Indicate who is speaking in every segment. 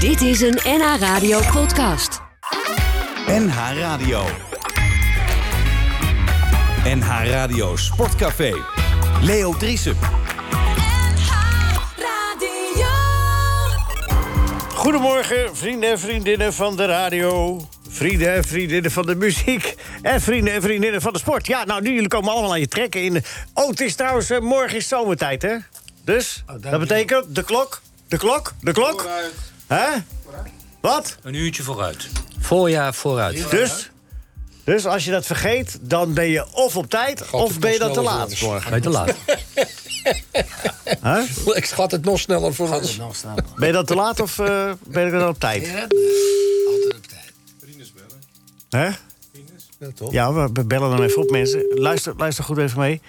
Speaker 1: Dit is een NH Radio podcast.
Speaker 2: NH Radio. NH Radio Sportcafé. Leo Driessen.
Speaker 3: Goedemorgen, vrienden en vriendinnen van de radio. Vrienden en vriendinnen van de muziek. En vrienden en vriendinnen van de sport. Ja, nou, nu jullie komen allemaal aan je trekken in... de- Oh, het is trouwens, eh, morgen is zomertijd, hè? Dus, dat betekent de klok, de klok, de klok. Hè? Wat?
Speaker 4: Een uurtje vooruit.
Speaker 5: Voorjaar vooruit.
Speaker 3: Dus, dus als je dat vergeet, dan ben je of op tijd... of ben je dan te laat.
Speaker 5: Bij te laat.
Speaker 6: Ik schat het nog sneller voor ons.
Speaker 3: Ben je dan te laat of eh, ben je dan op tijd?
Speaker 6: Altijd op tijd.
Speaker 3: Hè?
Speaker 6: Ja, toch?
Speaker 3: Ja, we we bellen dan even op, mensen. Luister, luister goed even mee.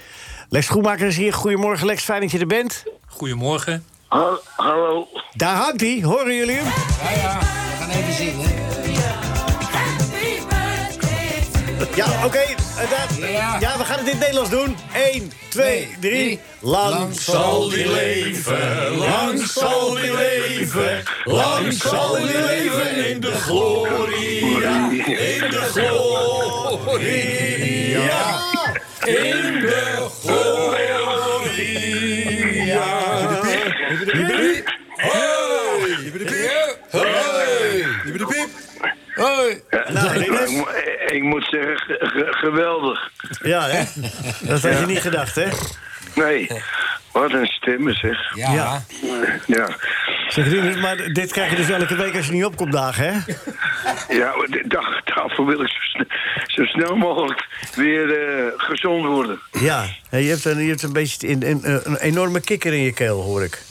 Speaker 3: Lex Schoenmaker is hier. Goedemorgen, Lex. Fijn dat je er bent.
Speaker 4: Goedemorgen.
Speaker 7: Ha- Hallo.
Speaker 3: Daar hangt hij. Horen jullie hem?
Speaker 6: We gaan even zien, hè?
Speaker 3: Ja, oké. eh, daar-
Speaker 6: Ja.
Speaker 3: Ja, we gaan het in het Nederlands doen. 1, 2,
Speaker 6: Nee,
Speaker 3: 3.
Speaker 6: nee.
Speaker 3: Lang
Speaker 6: Lang
Speaker 3: zal die
Speaker 8: leven, lang zal die leven, lang zal die leven in de gloria, in de gloria, in de gloria.
Speaker 6: Hoi!
Speaker 3: Nou,
Speaker 7: Ik,
Speaker 3: dit is-
Speaker 7: mo- eh, ik moet zeggen, ge- ge- geweldig.
Speaker 3: Ja, hè? Dat had je niet gedacht, hè?
Speaker 7: Nee, wat een stemmen zeg.
Speaker 6: Ja.
Speaker 3: Ja.
Speaker 7: Ja,
Speaker 3: Zeg, Rinus, maar dit krijg je dus elke week als je niet opkomt dagen, hè?
Speaker 7: ja maar d- dag, daarvoor wil ik zo, sne- zo snel mogelijk weer eh, gezond worden.
Speaker 3: Ja. Hé, Je hebt een, je hebt een beetje een, een, een enorme kikker in je keel, hoor ik.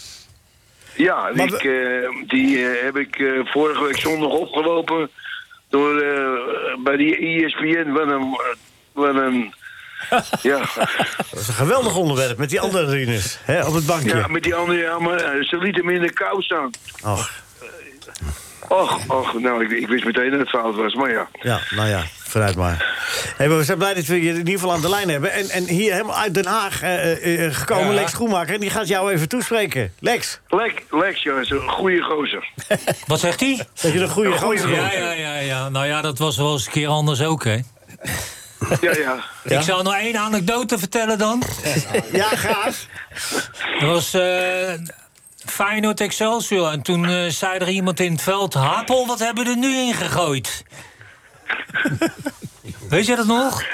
Speaker 7: Ja,
Speaker 3: Maar
Speaker 7: ik, eh, die eh, heb ik eh, vorige week zondag opgelopen door, eh, bij die E ESPN. Wat een... Wat een ja.
Speaker 3: Dat is een geweldig onderwerp met die andere Rinus, hè? Op het
Speaker 7: ja,
Speaker 3: bankje.
Speaker 7: met die andere, ja, maar eh, ze lieten me in de kou staan.
Speaker 3: Och,
Speaker 7: Och, och, nou, ik, ik wist meteen dat het fout was, maar ja.
Speaker 3: ja, nou ja, vooruit maar. Hé, maar we zijn blij dat we je in ieder geval aan de lijn hebben. En, en hier helemaal uit Den Haag eh, eh, eh, gekomen, Lex Schoenmaker. En die gaat jou even toespreken. Lex,
Speaker 7: Lex, Lex, jongens, een goede gozer.
Speaker 4: Wat zegt hij?
Speaker 3: dat je een goede gozer bent.
Speaker 4: Ja, ja, ja, ja. Nou ja, dat was wel eens een keer anders ook, hè.
Speaker 7: Ja, ja.
Speaker 3: Ja?
Speaker 4: Ik zou nog één anekdote vertellen dan.
Speaker 3: Ja, gaaf.
Speaker 4: Dat was eh, Feyenoord Excelsior. En toen eh, zei er iemand in het veld... Hapel, wat hebben we er nu in gegooid? Weet je dat nog?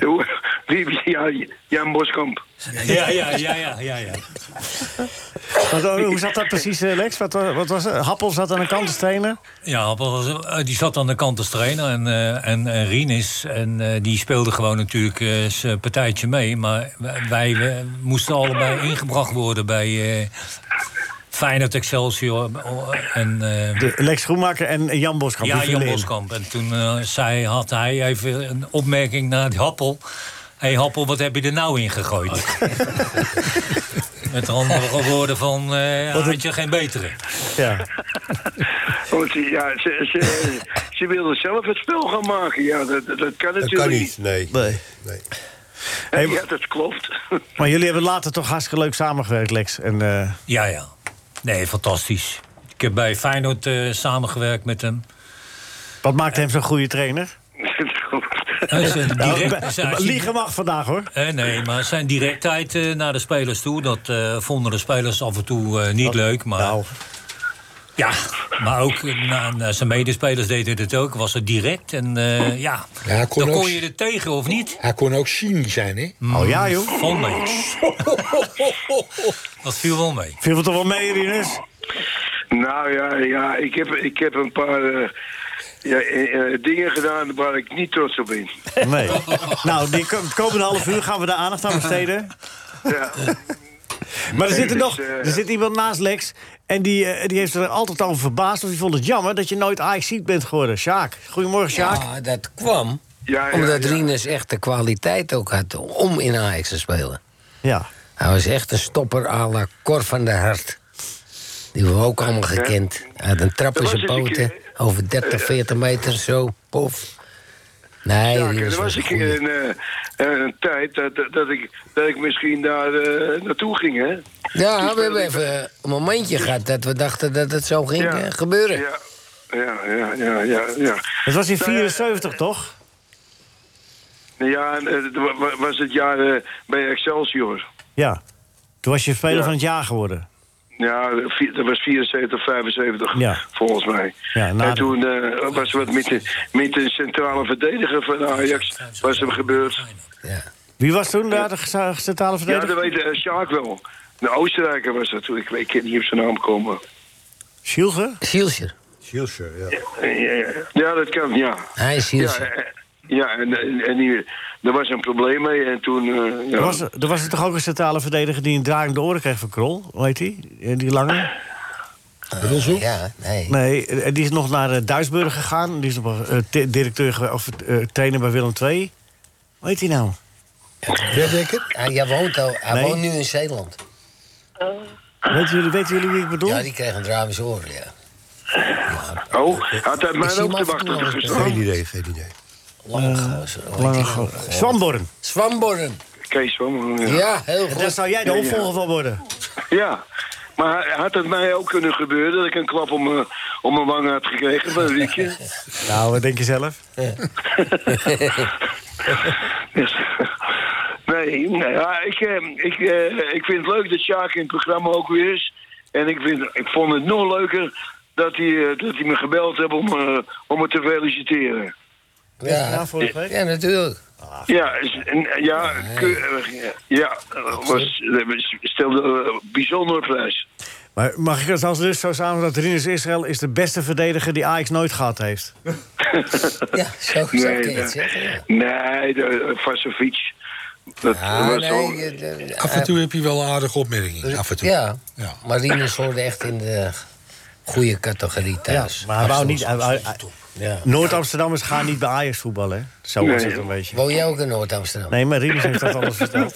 Speaker 7: Hoe- Wie, ja, Jan Boskamp.
Speaker 4: Ja, ja, ja, ja, ja. ja.
Speaker 3: Wat, eh, hoe zat dat precies, eh, Lex? Wat, wa- wat was het? Happel zat aan de kant te trainen.
Speaker 4: Ja, Appel was- eh, die zat aan de kant als trainer en, eh en, en Rinus. En eh, die speelde gewoon natuurlijk eh, zijn partijtje mee. Maar wij, wij, eh, moesten allebei ingebracht worden bij eh Feyenoord Excelsior. En, eh,
Speaker 3: De Lex Schoenmaker en Jan Boskamp.
Speaker 4: ja,
Speaker 3: die vielen
Speaker 4: Jan
Speaker 3: in.
Speaker 4: Boskamp. En toen eh, zei, had hij even een opmerking naar die Happel. Hé hey, Happel, wat heb je er nou in gegooid?
Speaker 3: Oh.
Speaker 4: Met andere woorden van, eh had je geen betere?
Speaker 3: Ja.
Speaker 7: Want ze- ja, ze, ze, ze wilden zelf het spel gaan maken. Ja, dat, dat- dat kan
Speaker 6: Dat
Speaker 7: natuurlijk
Speaker 6: kan
Speaker 7: niet.
Speaker 6: niet, nee.
Speaker 3: Nee.
Speaker 6: nee.
Speaker 3: Hey,
Speaker 7: Ja, dat klopt.
Speaker 3: maar jullie hebben later toch hartstikke leuk samengewerkt, Lex. En, eh,
Speaker 4: Ja, ja. Nee, fantastisch. Ik heb bij Feyenoord eh, samengewerkt met hem.
Speaker 3: wat maakt hem zo'n goede trainer?
Speaker 4: Hij is een direct-
Speaker 3: Nou,
Speaker 4: zijn-
Speaker 3: Liegen mag vandaag, hoor.
Speaker 4: Eh, nee, maar zijn directheid eh, naar de spelers toe... dat eh, vonden de spelers af en toe eh, niet leuk. Maar,
Speaker 3: Nou,
Speaker 4: ja, maar ook eh, na, na zijn medespelers deden het ook. Was het direct en eh, ja,
Speaker 6: Ja, hij kon
Speaker 4: dan
Speaker 6: ook-
Speaker 4: kon je er tegen of niet.
Speaker 6: Hij kon ook cynisch zijn, hè?
Speaker 4: Mm.
Speaker 3: oh ja, joh.
Speaker 4: Vond mee. Dat viel wel mee.
Speaker 3: Viel het toch wel mee, Rinus?
Speaker 7: nou ja, ja ik, heb, ik heb een paar eh, ja, eh, eh, dingen gedaan waar ik niet trots op ben.
Speaker 3: Nee. nou, die ko- het komende half uur gaan we daar aandacht aan besteden.
Speaker 7: Ja,
Speaker 3: Maar er zit, er
Speaker 7: dus,
Speaker 3: nog,
Speaker 7: eh,
Speaker 3: er zit iemand naast Lex. En die, eh, die heeft er altijd over verbaasd. Want die vond het jammer dat je nooit ajax bent geworden. Sjaak. Goedemorgen, Sjaak.
Speaker 5: Ja, dat kwam
Speaker 7: ja, ja,
Speaker 5: omdat
Speaker 7: ja.
Speaker 5: Rinus echt de kwaliteit ook had om in Ajax te spelen.
Speaker 3: Ja.
Speaker 5: Hij was echt een stopper à la Cor van der Hart. Die hebben we ook allemaal gekend. Hij had een trap in
Speaker 7: Er was
Speaker 5: zijn
Speaker 7: eens een
Speaker 5: poten.
Speaker 7: keer-
Speaker 5: Over 30, 40 meter zo. Pof. Nee,
Speaker 7: Ja,
Speaker 5: Rinus
Speaker 7: er was
Speaker 5: was
Speaker 7: een
Speaker 5: een
Speaker 7: keer
Speaker 5: goeie.
Speaker 7: een, eh, een tijd dat, dat, ik, dat ik misschien daar eh, naartoe ging, hè?
Speaker 5: Ja, we hebben
Speaker 7: speelde-
Speaker 5: even een momentje gehad dat we dachten dat het zo ging
Speaker 7: Ja.
Speaker 5: eh, gebeuren.
Speaker 7: Ja, ja, ja, ja, ja. ja.
Speaker 3: Het was in
Speaker 7: Nou ja,
Speaker 3: 74, toch?
Speaker 7: Ja, en, eh, het wa- wa- was het jaar eh, bij Excelsior.
Speaker 3: Ja. Toen was je speler
Speaker 7: Ja.
Speaker 3: van het jaar geworden.
Speaker 7: Ja, vi- dat was 74, 75,
Speaker 3: Ja.
Speaker 7: volgens mij.
Speaker 3: Ja, na
Speaker 7: en
Speaker 3: de-
Speaker 7: toen eh, was wat met de, met de centrale verdediger van Ajax was er gebeurd.
Speaker 3: Wie was toen daar de geza- centrale
Speaker 7: Ja, dat
Speaker 3: verdediger?
Speaker 7: weet eh, Sjaak wel. De Oostenrijker was dat toen. Ik weet ik kan niet op zijn naam komen.
Speaker 3: Schielge?
Speaker 5: Sieltje.
Speaker 6: Schilscher, ja.
Speaker 7: Eh, ja, ja. Ja, dat kan, ja.
Speaker 5: Hij is
Speaker 7: Ja,
Speaker 5: Sieltje.
Speaker 7: eh, ja en, en, en die, er was een probleem mee en toen... eh, ja.
Speaker 3: Er was, er was er toch ook een centrale verdediger die een draai om de oren kreeg van Krol? Hoe heet die? Eh, Die lange?
Speaker 5: Ja, nee.
Speaker 3: Nee, eh, die is nog naar eh, Duisburg gegaan. Die is nog eh, t- directeur ge- of eh, trainer bij Willem II. Hoe heet die nou?
Speaker 6: Ja, zeker?
Speaker 5: Hij, jij woont al, hij
Speaker 3: Nee.
Speaker 5: woont nu in Zeeland.
Speaker 3: Weten jullie, weten jullie wie ik bedoel?
Speaker 5: Ja, die kreeg een draai in zijn oren, ja.
Speaker 7: Oh, had hij
Speaker 5: Nou, Ik
Speaker 7: mij
Speaker 5: zie
Speaker 7: ook
Speaker 5: hem
Speaker 7: te
Speaker 5: af en toe
Speaker 7: wachten
Speaker 5: wel eens.
Speaker 6: Geen
Speaker 7: gestaan?
Speaker 6: idee, geen idee.
Speaker 5: Lange gozer. hoe heet die
Speaker 3: Eh,
Speaker 5: nou?
Speaker 3: Lange go- Zwamborn.
Speaker 5: Zwamborren.
Speaker 7: Kees van... eh,
Speaker 5: Ja, heel
Speaker 3: Daar
Speaker 5: goed.
Speaker 3: zou jij de
Speaker 7: Ja, ja.
Speaker 3: opvolger van worden.
Speaker 7: Ja, maar had het mij ook kunnen gebeuren dat ik een klap om mijn, om mijn wang had gekregen van Rietje?
Speaker 3: Nou, wat denk je zelf?
Speaker 7: Dus, nee, nee ja, ik, eh, ik, eh, ik vind het leuk dat Sjaak in het programma ook weer is. En ik, vind, ik vond het nog leuker dat hij, eh, dat hij me gebeld heeft om, eh, om me te feliciteren.
Speaker 5: Ja,
Speaker 3: Ja, vorige week.
Speaker 5: ja natuurlijk.
Speaker 7: Ja, is- en, ja, kun- eh, ja was, stelde eh, bijzonder prijs.
Speaker 3: Maar mag ik het als dus zo samen dat Rinus Israël is de beste verdediger die Ajax nooit gehad heeft?
Speaker 5: Ja, zo, zo kun je
Speaker 7: dat-
Speaker 5: het zeggen, ja.
Speaker 7: nee, de eh, Vasovic. Dat
Speaker 5: Ah,
Speaker 7: was wel-
Speaker 5: nee, je- de-
Speaker 6: Af en toe heb je wel een aardige opmerking. Af en toe.
Speaker 5: Ja,
Speaker 6: Ja.
Speaker 5: maar Rinus hoorde echt in de goede categorie thuis.
Speaker 3: maar hij wou niet. hij- hij- hij-
Speaker 5: Ja.
Speaker 3: Noord-Amsterdammers gaan niet bij Ajax voetballen. hè? Zo was
Speaker 7: Nee.
Speaker 3: het een beetje.
Speaker 5: Woon jij ook in Noord-Amsterdam?
Speaker 3: Nee, maar Rinus heeft dat alles verteld.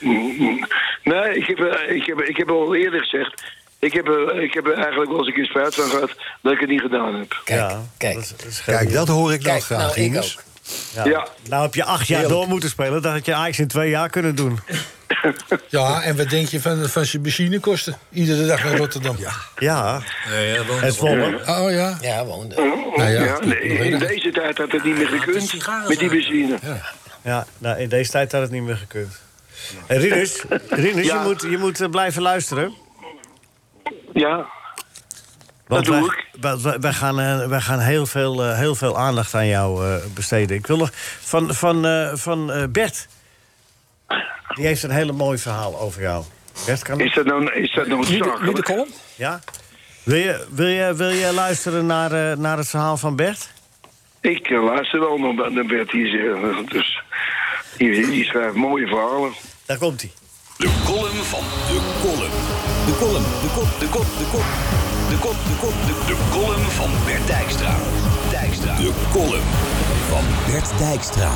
Speaker 7: Nee, ik heb, eh, ik, heb, ik heb al eerder gezegd. Ik heb, eh, ik heb er eigenlijk wel eens een keer spijt van gehad dat ik het niet gedaan heb.
Speaker 5: Kijk,
Speaker 3: Ja,
Speaker 5: kijk.
Speaker 3: dat is- dat is
Speaker 6: Kijk, dat hoor ik nou
Speaker 5: Kijk,
Speaker 6: graag,
Speaker 5: nou, ik
Speaker 6: Rinus.
Speaker 5: ook.
Speaker 3: Ja.
Speaker 7: Ja.
Speaker 3: Nou heb je acht jaar
Speaker 6: Heerlijk.
Speaker 3: door moeten spelen. Dat had je Ajax in twee jaar kunnen doen.
Speaker 6: Ja, en wat denk je van, van zijn benzinekosten? Iedere dag naar Rotterdam.
Speaker 3: Ja,
Speaker 4: Nee, hij woont nog
Speaker 3: het
Speaker 4: wel.
Speaker 3: volle.
Speaker 6: Oh ja.
Speaker 5: Ja, woonde.
Speaker 6: Nou ja.
Speaker 7: Ja, nee, in deze tijd had het niet meer gekund met die benzine.
Speaker 3: Ja, nou, in deze tijd had het niet meer gekund. En Rinus, Rinus
Speaker 7: Ja.
Speaker 3: je, moet, je moet eh, blijven luisteren.
Speaker 7: Ja,
Speaker 3: Want
Speaker 7: Dat doe
Speaker 3: wij, wij, wij- wij gaan, eh, wij gaan heel, veel, eh, heel veel aandacht aan jou eh, besteden. Ik wil nog van, van, eh, van eh, Bert. Die heeft een hele mooi verhaal over jou. Bert, kan dat?
Speaker 7: is dat nou, is dat nou zakelijk?
Speaker 6: kolom?
Speaker 3: Ja? Wil je, wil je, wil je luisteren naar, eh, naar het verhaal van Bert?
Speaker 7: Ik eh, luister wel nog naar Bert hier zeggen. Dus die, die schrijft mooie verhalen.
Speaker 3: Daar komt hij.
Speaker 2: De column van de column. De column, de kop, de kop, de kop. De kop, de kop, de De column van Bert Dijkstra. Dijkstra. De column van Bert Dijkstra.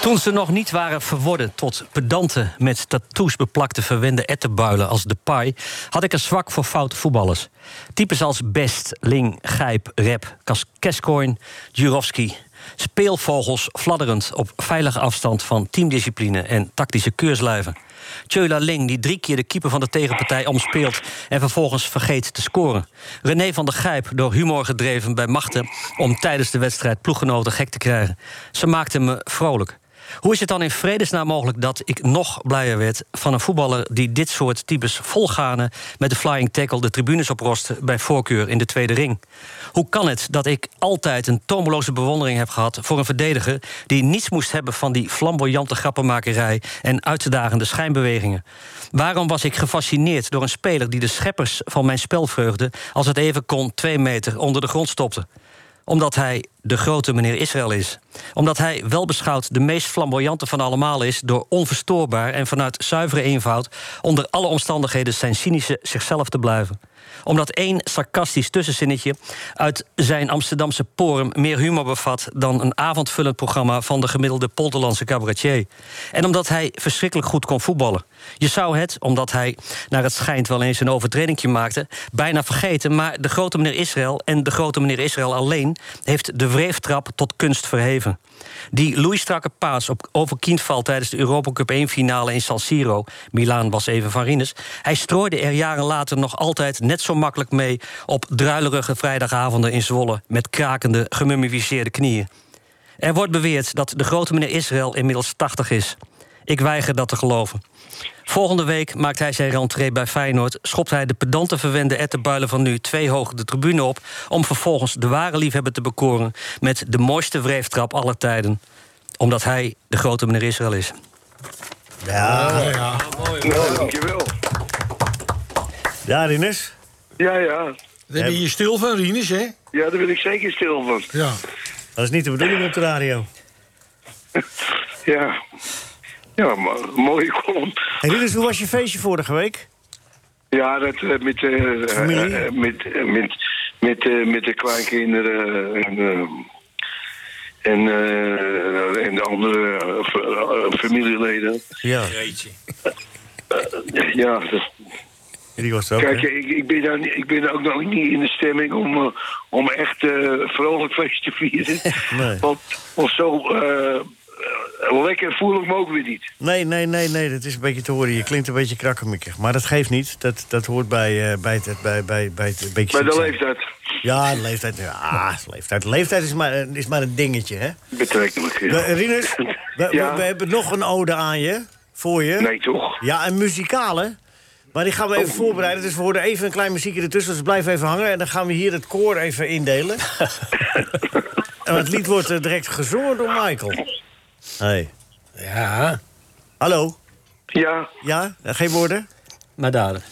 Speaker 9: Toen ze nog niet waren verworden tot pedante met tattoos beplakte verwende ettenbuilen als Depay, had ik een zwak voor foute voetballers. Types als Best, Ling, Gijp, Rep, Kas- Keskoin, Jurovski. Speelvogels fladderend op veilige afstand van teamdiscipline en tactische keurslijven. Tjöla Ling die drie keer de keeper van de tegenpartij omspeelt en vervolgens vergeet te scoren. René van der Gijp door humor gedreven bij machten om tijdens de wedstrijd ploeggenoten gek te krijgen. Ze maakten me vrolijk. Hoe is het dan in vredesnaam mogelijk dat ik nog blijer werd van een voetballer die dit soort types volgaande met de flying tackle de tribunes oproste bij voorkeur in de tweede ring? Hoe kan het dat ik altijd een tomeloze bewondering heb gehad voor een verdediger die niets moest hebben van die flamboyante grappenmakerij en uitdagende schijnbewegingen? Waarom was ik gefascineerd door een speler die de scheppers van mijn spelvreugde, als het even kon, twee meter onder de grond stopte? Omdat hij de grote meneer Israël is. Omdat hij welbeschouwd de meest flamboyante van allemaal is... door onverstoorbaar en vanuit zuivere eenvoud... onder alle omstandigheden zijn cynische zichzelf te blijven. Omdat één sarcastisch tussenzinnetje uit zijn Amsterdamse porum... meer humor bevat dan een avondvullend programma... van de gemiddelde Polderlandse cabaretier. En omdat hij verschrikkelijk goed kon voetballen. Je zou het, omdat hij naar het schijnt wel eens een overtredingje maakte... bijna vergeten, maar de grote meneer Israël... en de grote meneer Israël alleen... heeft de wreeftrap tot kunst verheven. gegeven. Die loeistrakke paas op over Kindval tijdens de Europa Cup 1-finale in San Siro... Milaan was even van Rinus. Hij strooide er jaren later nog altijd net zo makkelijk mee... op druilerige vrijdagavonden in Zwolle... met krakende, gemummificeerde knieën. Er wordt beweerd dat de grote meneer Israël inmiddels 80 is. Ik weiger dat te geloven. Volgende week maakt hij zijn rentree bij Feyenoord... schopt hij de pedante verwende ettenbuilen van nu twee hoog de tribune op... om vervolgens de ware liefhebber te bekoren... met de mooiste wreeftrap aller tijden. Omdat hij de grote meneer Israël is.
Speaker 3: Ja,
Speaker 7: Nou, dankjewel.
Speaker 3: ja Rinus.
Speaker 7: Ja, ja.
Speaker 6: Dan ben je hier stil van, Rinus, hè?
Speaker 7: Ja, daar ben ik zeker stil van.
Speaker 6: Ja.
Speaker 3: Dat is niet de bedoeling op de radio.
Speaker 7: Ja. Ja, maar mooie column.
Speaker 3: Hey, Rinus, hoe was je feestje vorige week?
Speaker 7: Ja, dat eh, met, eh,
Speaker 3: Familie?
Speaker 7: eh, eh, met, eh, met, met, eh, met de kleinkinderen en, eh, en, eh, en de andere eh, fa- eh, familieleden. Eh,
Speaker 3: Ja,
Speaker 7: Ja, dat-
Speaker 3: die was er ook.
Speaker 7: kijk,
Speaker 3: hè?
Speaker 7: ik, ik, ben daar, niet- ik ben ook nog niet in de stemming om, eh, om echt eh, vrolijk feest te vieren.
Speaker 3: Nee.
Speaker 7: Want, want zo eh, eh, lekker voel ik me ook weer niet.
Speaker 3: Nee, nee, nee, nee, dat is een beetje te horen. Je klinkt een beetje krakkemikkig. Maar dat geeft niet. Dat, dat hoort bij, eh, bij, het, bij, bij, bij het een beetje...
Speaker 7: Bij de
Speaker 3: succes.
Speaker 7: leeftijd
Speaker 3: Ja, de leeftijd. Ja, de leeftijd. De leeftijd is maar, een- is maar een dingetje, hè?
Speaker 7: betrekkelijk. ja.
Speaker 3: We- Eh, Rinus, we, we-
Speaker 7: Ja.
Speaker 3: we hebben nog een ode aan je. Voor je.
Speaker 7: Nee, toch? Oh.
Speaker 3: Ja, een muzikale. Maar die gaan we even voorbereiden. Dus we horen even een klein muziekje ertussen. Dus blijf even hangen. En dan gaan we hier het koor even indelen. en het lied wordt eh, direct gezongen door Michael. Hey.
Speaker 6: Ja.
Speaker 3: Hallo?
Speaker 7: Ja,
Speaker 3: Ja? Eh, Geen woorden?
Speaker 9: Maar daden.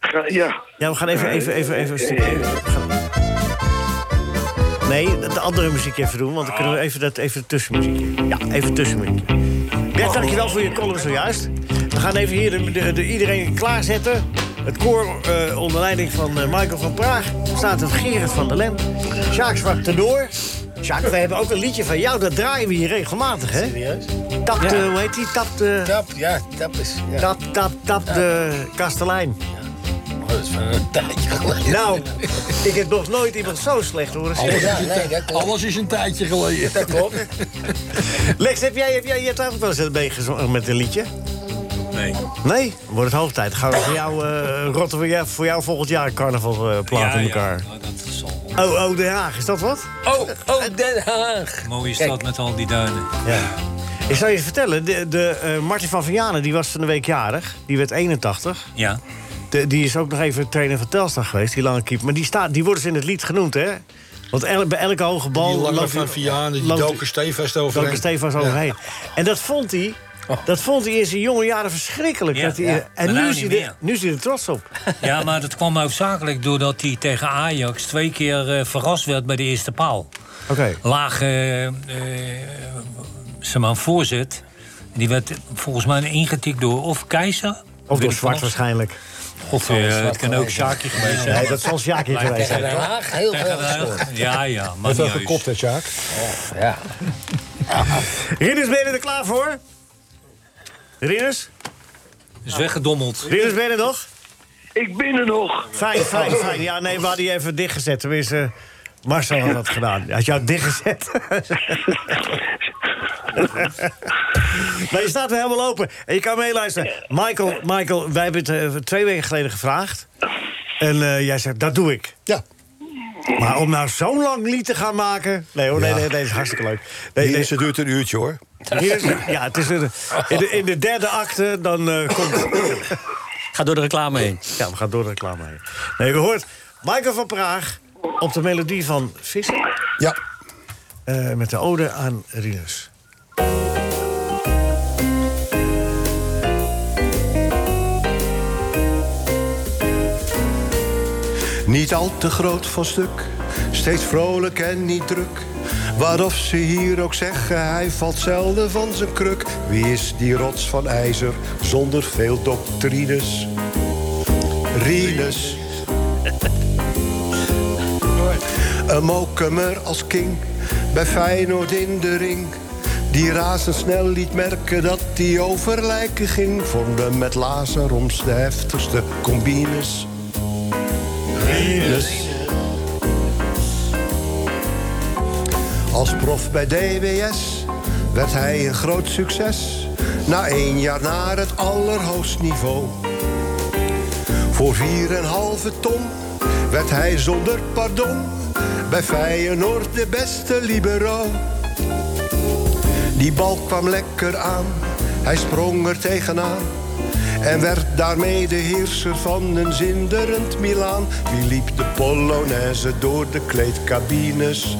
Speaker 7: ga, ja.
Speaker 3: Ja, we gaan even, even, even, even een stukje. we gaan- Nee, de andere muziek even doen, want dan kunnen we even dat even tussenmuziekje. Ja, even tussenmuziekje. Bert, dankjewel voor je column zojuist. We gaan even hier de, de, de- iedereen klaarzetten. Het koor eh, onder leiding van eh, Michael van Praag staat het Gerrit van der Lem. Sjaak Zwart Tenor. Sjaak, we hebben ook een liedje van jou, dat draaien we hier regelmatig, hè?
Speaker 5: Serieus?
Speaker 3: Tap de, eh, hoe heet die? Tap de,
Speaker 5: Tap, ja, tap is... Ja.
Speaker 3: tap, tap, tap de kastelein.
Speaker 5: Oh, dat is van een tijdje geleden.
Speaker 3: Nou, ik heb nog nooit iemand zo slecht horen zingen.
Speaker 5: Oh, Ja, nee, dat klopt.
Speaker 6: Alles is een tijdje geleden.
Speaker 5: Dat klopt.
Speaker 3: Lex, heb jij, heb jij, je hebt eigenlijk wel eens meegezongen met een liedje?
Speaker 4: Nee.
Speaker 3: Nee? Dan wordt het hoog tijd. Gaan we voor jou, eh, rotten voor jou, voor jou volgend jaar een carnaval eh, plaat in elkaar.
Speaker 4: Ja, dat is al.
Speaker 3: Oh, oh, Den Haag, is dat wat?
Speaker 5: Oh, oh, Den Haag.
Speaker 4: Mooie stad met al die duinen.
Speaker 3: Ja. Ik zou je vertellen, de, de, eh, Martin van Vianen, die was van de week jarig. Die werd 81.
Speaker 4: Ja.
Speaker 3: De- die is ook nog even trainer van Telstar geweest, die lange keeper. Maar die, staat, die wordt dus in het lied genoemd, hè? Want el- bij elke hoge bal...
Speaker 6: Die lange
Speaker 3: loopt hij-
Speaker 6: van Vianen, die
Speaker 3: loopt hij-
Speaker 6: doken stevast
Speaker 3: Daar
Speaker 6: over.
Speaker 3: was Stefans overheen. En dat vond hij. Dat vond hij in zijn jonge jaren verschrikkelijk.
Speaker 4: Oh. Ja,
Speaker 3: dat hij,
Speaker 4: ja. Maar
Speaker 3: En nu
Speaker 4: nou
Speaker 3: is,
Speaker 4: niet
Speaker 3: hij er,
Speaker 4: meer.
Speaker 3: nu is hij er trots op.
Speaker 4: Ja, maar dat kwam hoofdzakelijk doordat hij tegen Ajax twee keer eh, verrast werd bij de eerste paal.
Speaker 3: Oké.
Speaker 4: Laag, eh, eh, zeg maar, een voorzet. Die werd volgens mij ingetikt door of Keizer.
Speaker 3: Of
Speaker 4: Weet
Speaker 3: door
Speaker 4: ik
Speaker 3: zwart
Speaker 4: van of-
Speaker 3: waarschijnlijk.
Speaker 4: Of eh, het kan ook Sjaakje geweest zijn.
Speaker 3: Nee, dat zal Sjaakje
Speaker 4: Lijkt
Speaker 3: geweest zijn.
Speaker 5: Den Haag, heel
Speaker 4: Tegen
Speaker 5: veel
Speaker 4: de-
Speaker 5: gescoord. Oh,
Speaker 4: Ja, ja, maar niet uit.
Speaker 6: hè, Sjaak?
Speaker 5: Ja.
Speaker 3: Ridders, ben je er klaar voor? Ridders?
Speaker 4: Is weggedommeld.
Speaker 3: Ridders, ben je er nog?
Speaker 7: Ik ben er nog.
Speaker 3: Fijn, fijn, fijn. Ja, nee, we hadden je even dichtgezet. Tenminste, eh, Marcel had dat gedaan. Hij had jou dichtgezet. maar je staat er helemaal open. En je kan meeluisteren. Michael, Michael wij hebben het eh, twee weken geleden gevraagd. En eh, jij zegt, dat doe ik.
Speaker 5: Ja.
Speaker 3: Maar om nou zo'n lang lied te gaan maken... Nee hoor, nee, nee, nee, dat is hartstikke leuk. Nee, nee,
Speaker 10: Deze duurt een uurtje hoor.
Speaker 3: hier is- ja, het is een- in, de, in de derde acte, dan eh, komt...
Speaker 9: Ga door de reclame heen.
Speaker 3: Ja, we gaan door de reclame heen. Nee, we hoort Michael van Praag op de melodie van Visser.
Speaker 10: Ja.
Speaker 3: eh, met de ode aan Rinus.
Speaker 10: Niet al te groot van stuk, steeds vrolijk en niet druk. Waarof ze hier ook zeggen, hij valt zelden van zijn kruk. Wie is die rots van ijzer, zonder veel doctrines? Rinus. Een mokemer als king, bij Feyenoord in de ring. Die razendsnel liet merken dat hij over lijken ging. Vormde met Lazaroms de heftigste combines. Rinus.
Speaker 11: Als prof bij DWS werd hij een groot succes. Na één jaar naar het allerhoogst niveau. Voor 4,5 ton werd hij zonder pardon bij Feyenoord de beste libero. Die bal kwam lekker aan, hij sprong er tegenaan. En werd daarmee de heerser van een zinderend Milaan. Wie liep de Polonaise door de kleedcabines?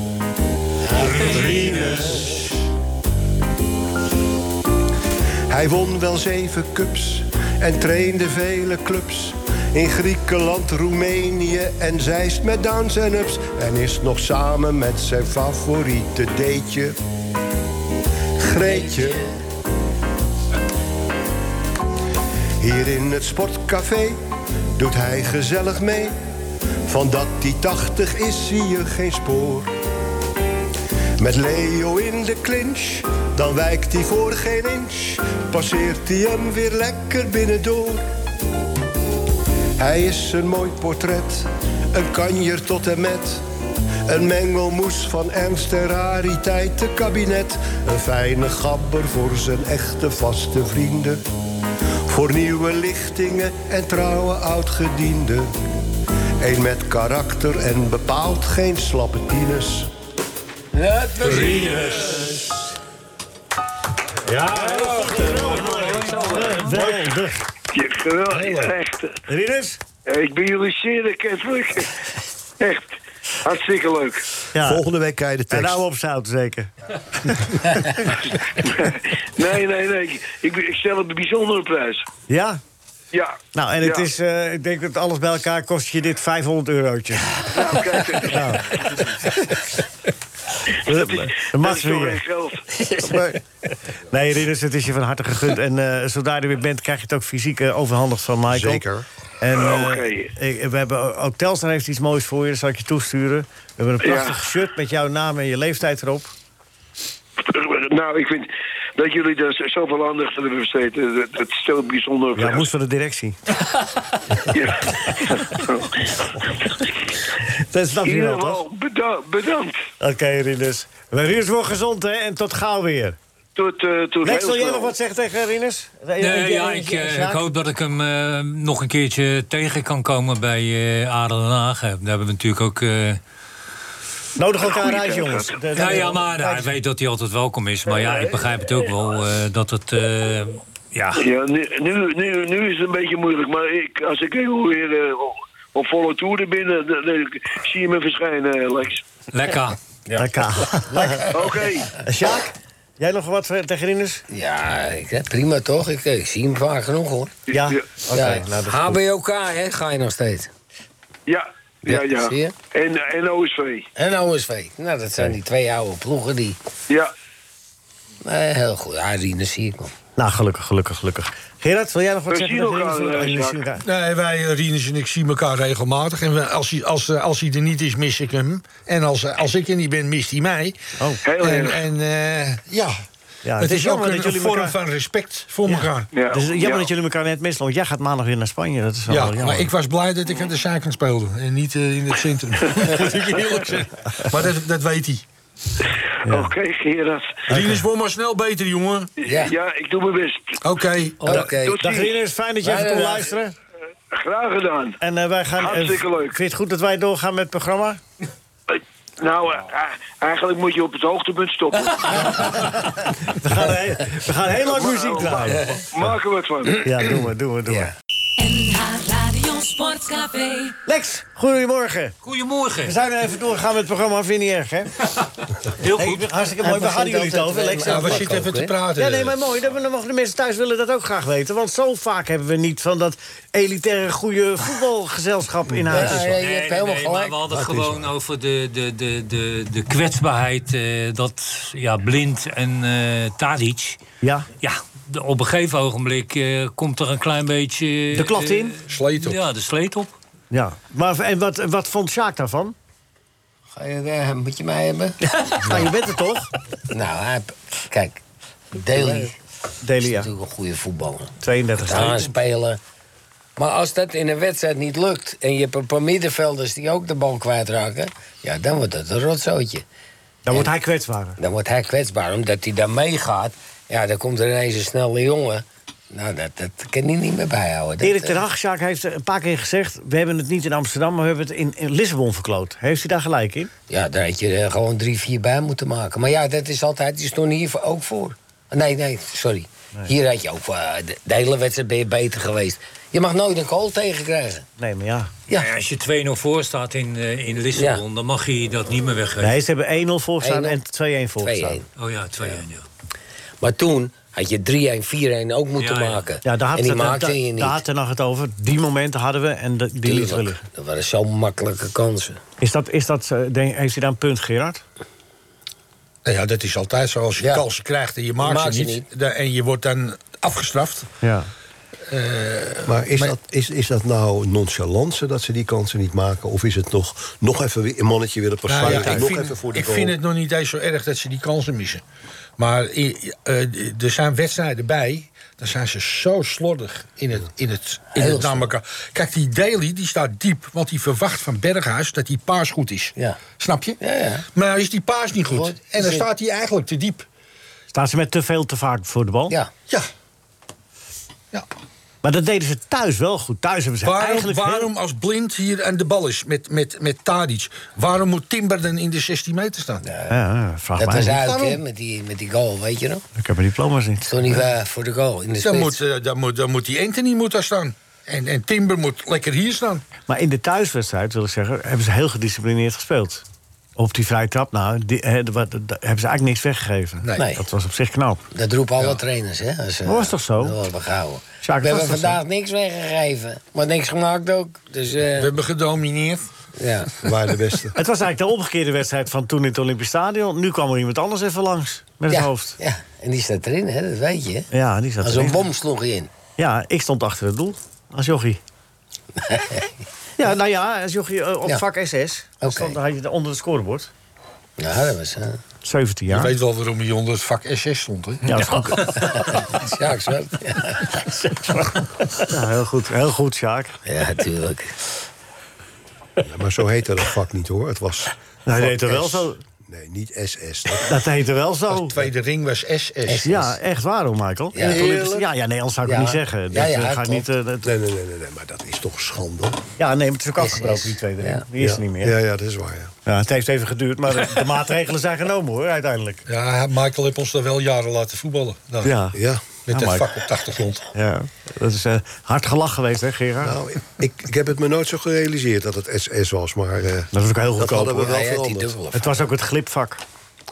Speaker 11: Hij won wel zeven cups en trainde vele clubs. In Griekenland, Roemenië en Zeist met downs en ups. En is nog samen met zijn favoriete deetje, Greetje. Hier in het sportcafé doet hij gezellig mee. Van dat hij 80 is zie je geen spoor. Met Leo in de clinch, dan wijkt hij voor geen inch. Passeert hij hem weer lekker binnendoor. Hij is een mooi portret, een kanjer tot en met. Een mengelmoes van ernst en rariteitenkabinet. Een fijne gabber voor zijn echte vaste vrienden. Voor nieuwe lichtingen en trouwe oudgedienden. Eén met karakter en bepaald geen slappe tieners.
Speaker 12: Het was Rinus.
Speaker 3: Ja, geweldig.
Speaker 7: Ja, geweldig, echt.
Speaker 3: Rinus?
Speaker 7: Ik ben jullie zeer erkentelijk. Echt, hartstikke leuk.
Speaker 11: Volgende week krijg je de
Speaker 3: En
Speaker 11: tekst.
Speaker 3: nou op zout zeker.
Speaker 7: nee, nee, nee. Ik, ik, ik stel het een bijzondere prijs.
Speaker 3: Ja?
Speaker 7: Ja.
Speaker 3: Nou, en het
Speaker 7: Ja.
Speaker 3: is, eh, ik denk dat alles bij elkaar kost je dit 500 eurotje.
Speaker 7: Nou, kijk,
Speaker 3: Nou.
Speaker 7: dat is,
Speaker 3: Dat mag
Speaker 7: dat is toch
Speaker 3: weer.
Speaker 7: geen geld.
Speaker 3: Nee, Ridders, het is je van harte gegund. En eh, zodra je er weer bent, krijg je het ook fysiek eh, overhandigd van Michael.
Speaker 11: Zeker.
Speaker 3: En eh,
Speaker 7: Oké.
Speaker 3: ik- we hebben, ook Telstar heeft iets moois voor je, dat zal ik je toesturen. We hebben een
Speaker 7: Ja.
Speaker 3: prachtig shirt met jouw naam en je leeftijd erop.
Speaker 7: Nou, ik vind dat jullie daar z- zoveel aandacht aan hebben besteed. eh, Dat, dat stelt bijzonder op.
Speaker 3: Ja, moest van de directie.
Speaker 7: Ja.
Speaker 3: Dat snap
Speaker 7: In
Speaker 3: je
Speaker 7: ieder
Speaker 3: wel, toch?
Speaker 7: geval, beda- bedankt.
Speaker 3: Oké, Ridders. Maar Ridders wordt gezond, hè? En tot gauw weer.
Speaker 7: Tot, eh tot
Speaker 3: Lex,
Speaker 7: heel
Speaker 3: wil jij
Speaker 7: snel.
Speaker 3: nog wat zeggen tegen Ridders?
Speaker 4: Nee, ja, ik, eh, ik hoop dat ik hem eh, nog een keertje tegen kan komen bij eh Adel Den Haag. Daar hebben we natuurlijk ook... eh,
Speaker 3: Nodig elkaar
Speaker 7: Goeie
Speaker 3: uit,
Speaker 7: kans,
Speaker 3: jongens.
Speaker 7: dat.
Speaker 3: De- de-
Speaker 4: Nou ja, maar hij weet dat hij altijd welkom is. Maar ja, ik begrijp het ook wel eh, dat het... eh, ja,
Speaker 7: Ja, nu, nu, nu, nu is het een beetje moeilijk. Maar ik, als ik heel weer eh, op volle toeren binnen, dan, dan zie je me verschijnen, eh, Lex.
Speaker 4: lekker.
Speaker 3: Lekker.
Speaker 7: Oké.
Speaker 3: Eh, Sjaak, jij nog wat eh, tegen Ridders?
Speaker 5: Ja, ik- prima toch? Ik, eh, ik zie hem vaak genoeg hoor.
Speaker 3: Ja.
Speaker 7: Ja.
Speaker 3: Oké,
Speaker 5: ja.
Speaker 3: nou, dat is goed.
Speaker 5: HBOK, hè, ga je nog steeds.
Speaker 7: Ja, ja,
Speaker 5: Ja,
Speaker 7: ja.
Speaker 5: zie je?
Speaker 7: En, en OSV.
Speaker 5: En OSV. Nou, dat zijn die twee oude ploegen die...
Speaker 7: Ja.
Speaker 5: Eh, heel goed. Ja, Riener zie ik nog.
Speaker 3: Nou, gelukkig, gelukkig, gelukkig. Gerard, wil jij nog wat
Speaker 7: We
Speaker 3: zeggen?
Speaker 7: zien
Speaker 3: tegen
Speaker 7: elkaar,
Speaker 3: Ridders?
Speaker 7: eh,
Speaker 3: Oh, jullie
Speaker 7: Sjaak.
Speaker 3: zien elkaar.
Speaker 6: Nee, wij, eh, Rinus en ik, zien elkaar regelmatig. En we- als hij, als, eh, als hij er niet is, mis ik hem. En als, eh, als ik er niet ben, mist hij mij.
Speaker 3: Oh.
Speaker 7: Heel
Speaker 6: en
Speaker 7: erg.
Speaker 6: en eh, ja.
Speaker 3: Ja,
Speaker 6: het is ook
Speaker 3: jammer
Speaker 6: een
Speaker 3: dat jullie
Speaker 6: vorm
Speaker 3: elkaar-
Speaker 6: van respect voor elkaar.
Speaker 7: Ja.
Speaker 3: Het is jammer
Speaker 7: ja.
Speaker 3: dat jullie elkaar net missen, want jij gaat maandag weer naar Spanje. Dat is wel
Speaker 6: Ja,
Speaker 3: jammer.
Speaker 6: maar ik was blij dat ik aan de zijkant speelde en niet eh, in het centrum. Moet ik eerlijk zeggen. Maar dat, dat weet hij.
Speaker 7: Oké, Gerard.
Speaker 6: Rinus wordt maar snel beter, jongen.
Speaker 5: Ja.
Speaker 7: Ja, ik doe mijn best.
Speaker 6: Oké.
Speaker 7: Oh,
Speaker 5: Oké.
Speaker 7: Tot
Speaker 3: Dag
Speaker 7: ziens.
Speaker 3: Rinus, fijn dat je even kon
Speaker 5: Dag.
Speaker 3: luisteren.
Speaker 7: Graag gedaan.
Speaker 3: En eh, wij gaan... eh,
Speaker 7: Hartstikke leuk.
Speaker 3: Vind je het goed dat wij doorgaan met het programma?
Speaker 7: Eh, Nou, eh, eh, eigenlijk moet je op het hoogtepunt stoppen.
Speaker 3: We gaan, he- we gaan heel lang muziek draaien.
Speaker 7: Maak er wat van.
Speaker 3: Ja, doen we, doen we, doen we.
Speaker 5: Ja.
Speaker 1: NH Radio Sportcafé.
Speaker 3: Lex, goedemorgen. We
Speaker 4: Goedemorgen.
Speaker 3: zijn er even doorgaan met het programma, vind je niet erg, hè?
Speaker 4: Heel
Speaker 3: Hey, ik
Speaker 4: goed.
Speaker 3: ben hartstikke mooi,
Speaker 5: Hij
Speaker 3: waar
Speaker 5: begint
Speaker 3: hadden jullie het over,
Speaker 5: altijd
Speaker 3: Lex?
Speaker 5: met-
Speaker 6: Ja,
Speaker 5: Nou,
Speaker 6: we zitten even te praten.
Speaker 3: Ja, nee, maar mooi. Dan dan mogen de mensen thuis willen dat ook graag weten. Want zo vaak hebben we niet van dat elitaire goede voetbalgezelschap in huis.
Speaker 5: Ja, ja, je
Speaker 4: Nee,
Speaker 5: hebt helemaal
Speaker 4: nee,
Speaker 5: gelijk.
Speaker 4: Maar we hadden gewoon over de, de, de, de, de kwetsbaarheid. eh, dat ja, Blind en eh Tadic.
Speaker 3: Ja.
Speaker 4: Ja, de- op een gegeven ogenblik eh, komt er een klein beetje. eh,
Speaker 3: De klad in?
Speaker 4: eh,
Speaker 6: Sleet op.
Speaker 4: Ja, de sleet op.
Speaker 3: Ja, maar en wat, wat vond Sjaak daarvan?
Speaker 5: Ga je, eh, moet je mij hebben?
Speaker 3: Nou, je bent er toch?
Speaker 5: nou, hij, kijk. Daly is
Speaker 3: Delia,
Speaker 5: natuurlijk een goede voetballer.
Speaker 3: 32
Speaker 5: gaan
Speaker 3: staat.
Speaker 5: spelen. Maar als dat in een wedstrijd niet lukt en je hebt een paar middenvelders die ook de bal kwijtraken, ja, dan wordt het een rotzootje.
Speaker 3: Dan wordt hij kwetsbaarder.
Speaker 5: Dan wordt hij kwetsbaar, omdat hij daar meegaat. Ja, dan komt er ineens een snelle jongen. Nou, dat, dat kan hij niet meer bijhouden. Dat,
Speaker 3: Erik ten
Speaker 5: eh,
Speaker 3: Hag, Sjaak, heeft een paar keer gezegd... we hebben het niet in Amsterdam, maar we hebben het in, in Lissabon verkloot. Heeft hij daar gelijk in?
Speaker 5: Ja, daar had je eh, gewoon drie, vier bij moeten maken. Maar ja, dat is altijd, die stond hier voor- ook voor. Nee, nee, sorry. Hier had je ook, voor, eh, de, de hele wedstrijd ben je beter geweest. Je mag nooit een goal tegenkrijgen.
Speaker 3: Nee, maar ja.
Speaker 5: Ja.
Speaker 4: Nou als je 2-0 voor staat in, eh, in Lissabon, dan mag je dat niet meer weggeven.
Speaker 3: Nee, ze hebben 1-0 volgestaan
Speaker 5: 1-0.
Speaker 3: en 2-1 volgestaan.
Speaker 5: 2-1.
Speaker 4: Oh ja, 2-1. ja.
Speaker 5: Maar toen had je 3-1, 4-1 ook moeten
Speaker 4: Ja, ja.
Speaker 5: maken.
Speaker 3: Ja, daar had,
Speaker 5: en die
Speaker 3: het- daar-
Speaker 5: maakte je niet.
Speaker 3: daar had Ten Hag het over. Die momenten hadden we en de- die lieten we
Speaker 5: Tuurlijk.
Speaker 3: liggen.
Speaker 5: Dat waren zo makkelijke kansen.
Speaker 3: Is dat, is dat, eh, denk, heeft hij daar een punt, Gerard?
Speaker 6: Nou ja, dat is altijd zo. Als je
Speaker 3: Ja.
Speaker 6: kansen krijgt en je maakt,
Speaker 3: maakt
Speaker 6: ze
Speaker 3: ze
Speaker 6: niet, da- en je wordt dan afgestraft.
Speaker 3: Ja.
Speaker 10: Maar is,
Speaker 6: maar-
Speaker 10: dat, is, is dat nou nonchalance dat ze die kansen niet maken? Of is het nog, nog even weer- een mannetje willen
Speaker 6: Nou
Speaker 10: passeren?
Speaker 6: ja,
Speaker 10: en
Speaker 6: ik
Speaker 10: nog
Speaker 6: vind,
Speaker 10: even voor de
Speaker 6: ik
Speaker 10: goal?
Speaker 6: vind het nog niet eens zo erg dat ze die kansen missen. Maar i- eh, d- er zijn wedstrijden bij. Dan zijn ze zo slordig in het, in het, in
Speaker 5: Heel
Speaker 6: het naar elkaar. Kijk, die Daly die staat diep. Want die verwacht van Berghuis dat die paas goed is.
Speaker 5: Ja.
Speaker 6: Snap je?
Speaker 5: Ja, ja.
Speaker 6: Maar nou is die paas niet goed.
Speaker 5: Goed.
Speaker 6: En dan
Speaker 5: Zin.
Speaker 6: staat hij eigenlijk te diep.
Speaker 3: Staan ze met te veel te vaak voor de bal?
Speaker 5: Ja.
Speaker 6: Ja.
Speaker 3: Maar dat deden ze thuis wel goed. Thuis hebben ze
Speaker 6: Waarom,
Speaker 3: eigenlijk... heel-
Speaker 6: waarom als blind hier aan de bal is met, met, met Tadic... waarom moet Timber dan in de 16 meter staan?
Speaker 3: Ja, ja, vraag
Speaker 5: Dat
Speaker 3: mij
Speaker 5: was
Speaker 3: niet.
Speaker 5: uit, hè,
Speaker 6: Waarom?
Speaker 5: met die, met die goal, weet je nog?
Speaker 3: Ik heb mijn diploma's niet.
Speaker 5: Stond niet eh, voor de goal in
Speaker 6: Dan
Speaker 5: de spits.
Speaker 6: moet, eh, dan, moet, dan moet die Anthony moet daar staan. En, en Timber moet lekker hier staan.
Speaker 3: Maar in de thuiswedstrijd, wil ik zeggen, hebben ze heel gedisciplineerd gespeeld. Op die vrije trap, nou, die, hè, de- wat- de- hebben ze eigenlijk niks weggegeven.
Speaker 5: Nee. Nee.
Speaker 3: Dat was op zich knap.
Speaker 5: Dat roepen alle trainers, hè? Als, eh,
Speaker 3: Dat was toch zo?
Speaker 5: dat worden gehouden.
Speaker 3: Sjaak,
Speaker 5: we
Speaker 3: dat
Speaker 5: hebben
Speaker 3: was toch
Speaker 5: vandaag niks weggegeven, maar niks gemaakt ook. Dus eh,
Speaker 6: We hebben gedomineerd.
Speaker 5: ja.
Speaker 10: We waren de beste.
Speaker 3: Het was eigenlijk de omgekeerde wedstrijd van toen in het Olympisch Stadion. Nu kwam er iemand anders even langs met het
Speaker 5: ja,
Speaker 3: hoofd.
Speaker 5: Ja, en die staat erin, hè? Dat weet je. hè?
Speaker 3: Ja, die zat
Speaker 5: Als een
Speaker 3: erin.
Speaker 5: bom sloeg hij in.
Speaker 3: Ja, ik stond achter het doel als jochie. ja, nou ja, als jochie eh, op
Speaker 5: Ja.
Speaker 3: vak SS.
Speaker 5: Oké.
Speaker 3: Stond, had je onder het scorebord.
Speaker 5: Ja, dat was... eh,
Speaker 3: 17
Speaker 6: Je
Speaker 3: jaar.
Speaker 6: weet wel waarom hij onder het vak SS stond, hè?
Speaker 3: Ja, dat is ook- Nou,
Speaker 5: Ja, ik zo.
Speaker 3: ja, heel goed. Heel goed, Sjaak.
Speaker 5: Ja, tuurlijk.
Speaker 10: Ja, maar zo heette dat vak niet hoor. Het was.
Speaker 3: Nou, hij
Speaker 10: vak
Speaker 3: deed er wel
Speaker 10: S.
Speaker 3: zo.
Speaker 10: Nee, niet SS.
Speaker 3: Dat heette wel
Speaker 6: De
Speaker 3: zo.
Speaker 6: tweede ring was SS.
Speaker 3: Ja, echt waar hoor, Michael.
Speaker 5: Ja.
Speaker 3: Ja, ja,
Speaker 5: Heerlijk.
Speaker 3: ja nee, anders zou ik
Speaker 5: Ja.
Speaker 3: het niet zeggen. Dat,
Speaker 5: Ja, ja,
Speaker 3: eh, ga
Speaker 5: klopt.
Speaker 3: niet, eh, dat-
Speaker 10: Nee, nee, nee, nee, nee, maar dat is toch schande.
Speaker 3: ja, nee, maar het is ook
Speaker 5: Is-
Speaker 3: afgebroken,
Speaker 5: is-
Speaker 3: die tweede
Speaker 5: ja.
Speaker 3: ring. Die is
Speaker 10: Ja.
Speaker 3: er niet meer.
Speaker 10: Ja, ja, dat is waar. Ja.
Speaker 3: Ja, het heeft even geduurd, maar de, de maatregelen zijn genomen hoor, uiteindelijk.
Speaker 6: Ja, Michael heeft ons daar wel jaren laten voetballen. Nou,
Speaker 3: Ja,
Speaker 10: Ja.
Speaker 6: Met
Speaker 3: Ja,
Speaker 6: dat
Speaker 3: Mike.
Speaker 6: vak op de achtergrond.
Speaker 3: ja. dat is eh, hard gelach geweest hè, Gerard?
Speaker 10: Nou, ik, ik heb het me nooit zo gerealiseerd dat het SS was, maar eh,
Speaker 3: dat was ook heel
Speaker 10: dat
Speaker 3: goedkoop
Speaker 10: hadden we
Speaker 3: hoor.
Speaker 10: wel
Speaker 5: Hij had die
Speaker 10: veranderd.
Speaker 5: dubbele.
Speaker 3: Het was ook het glipvak.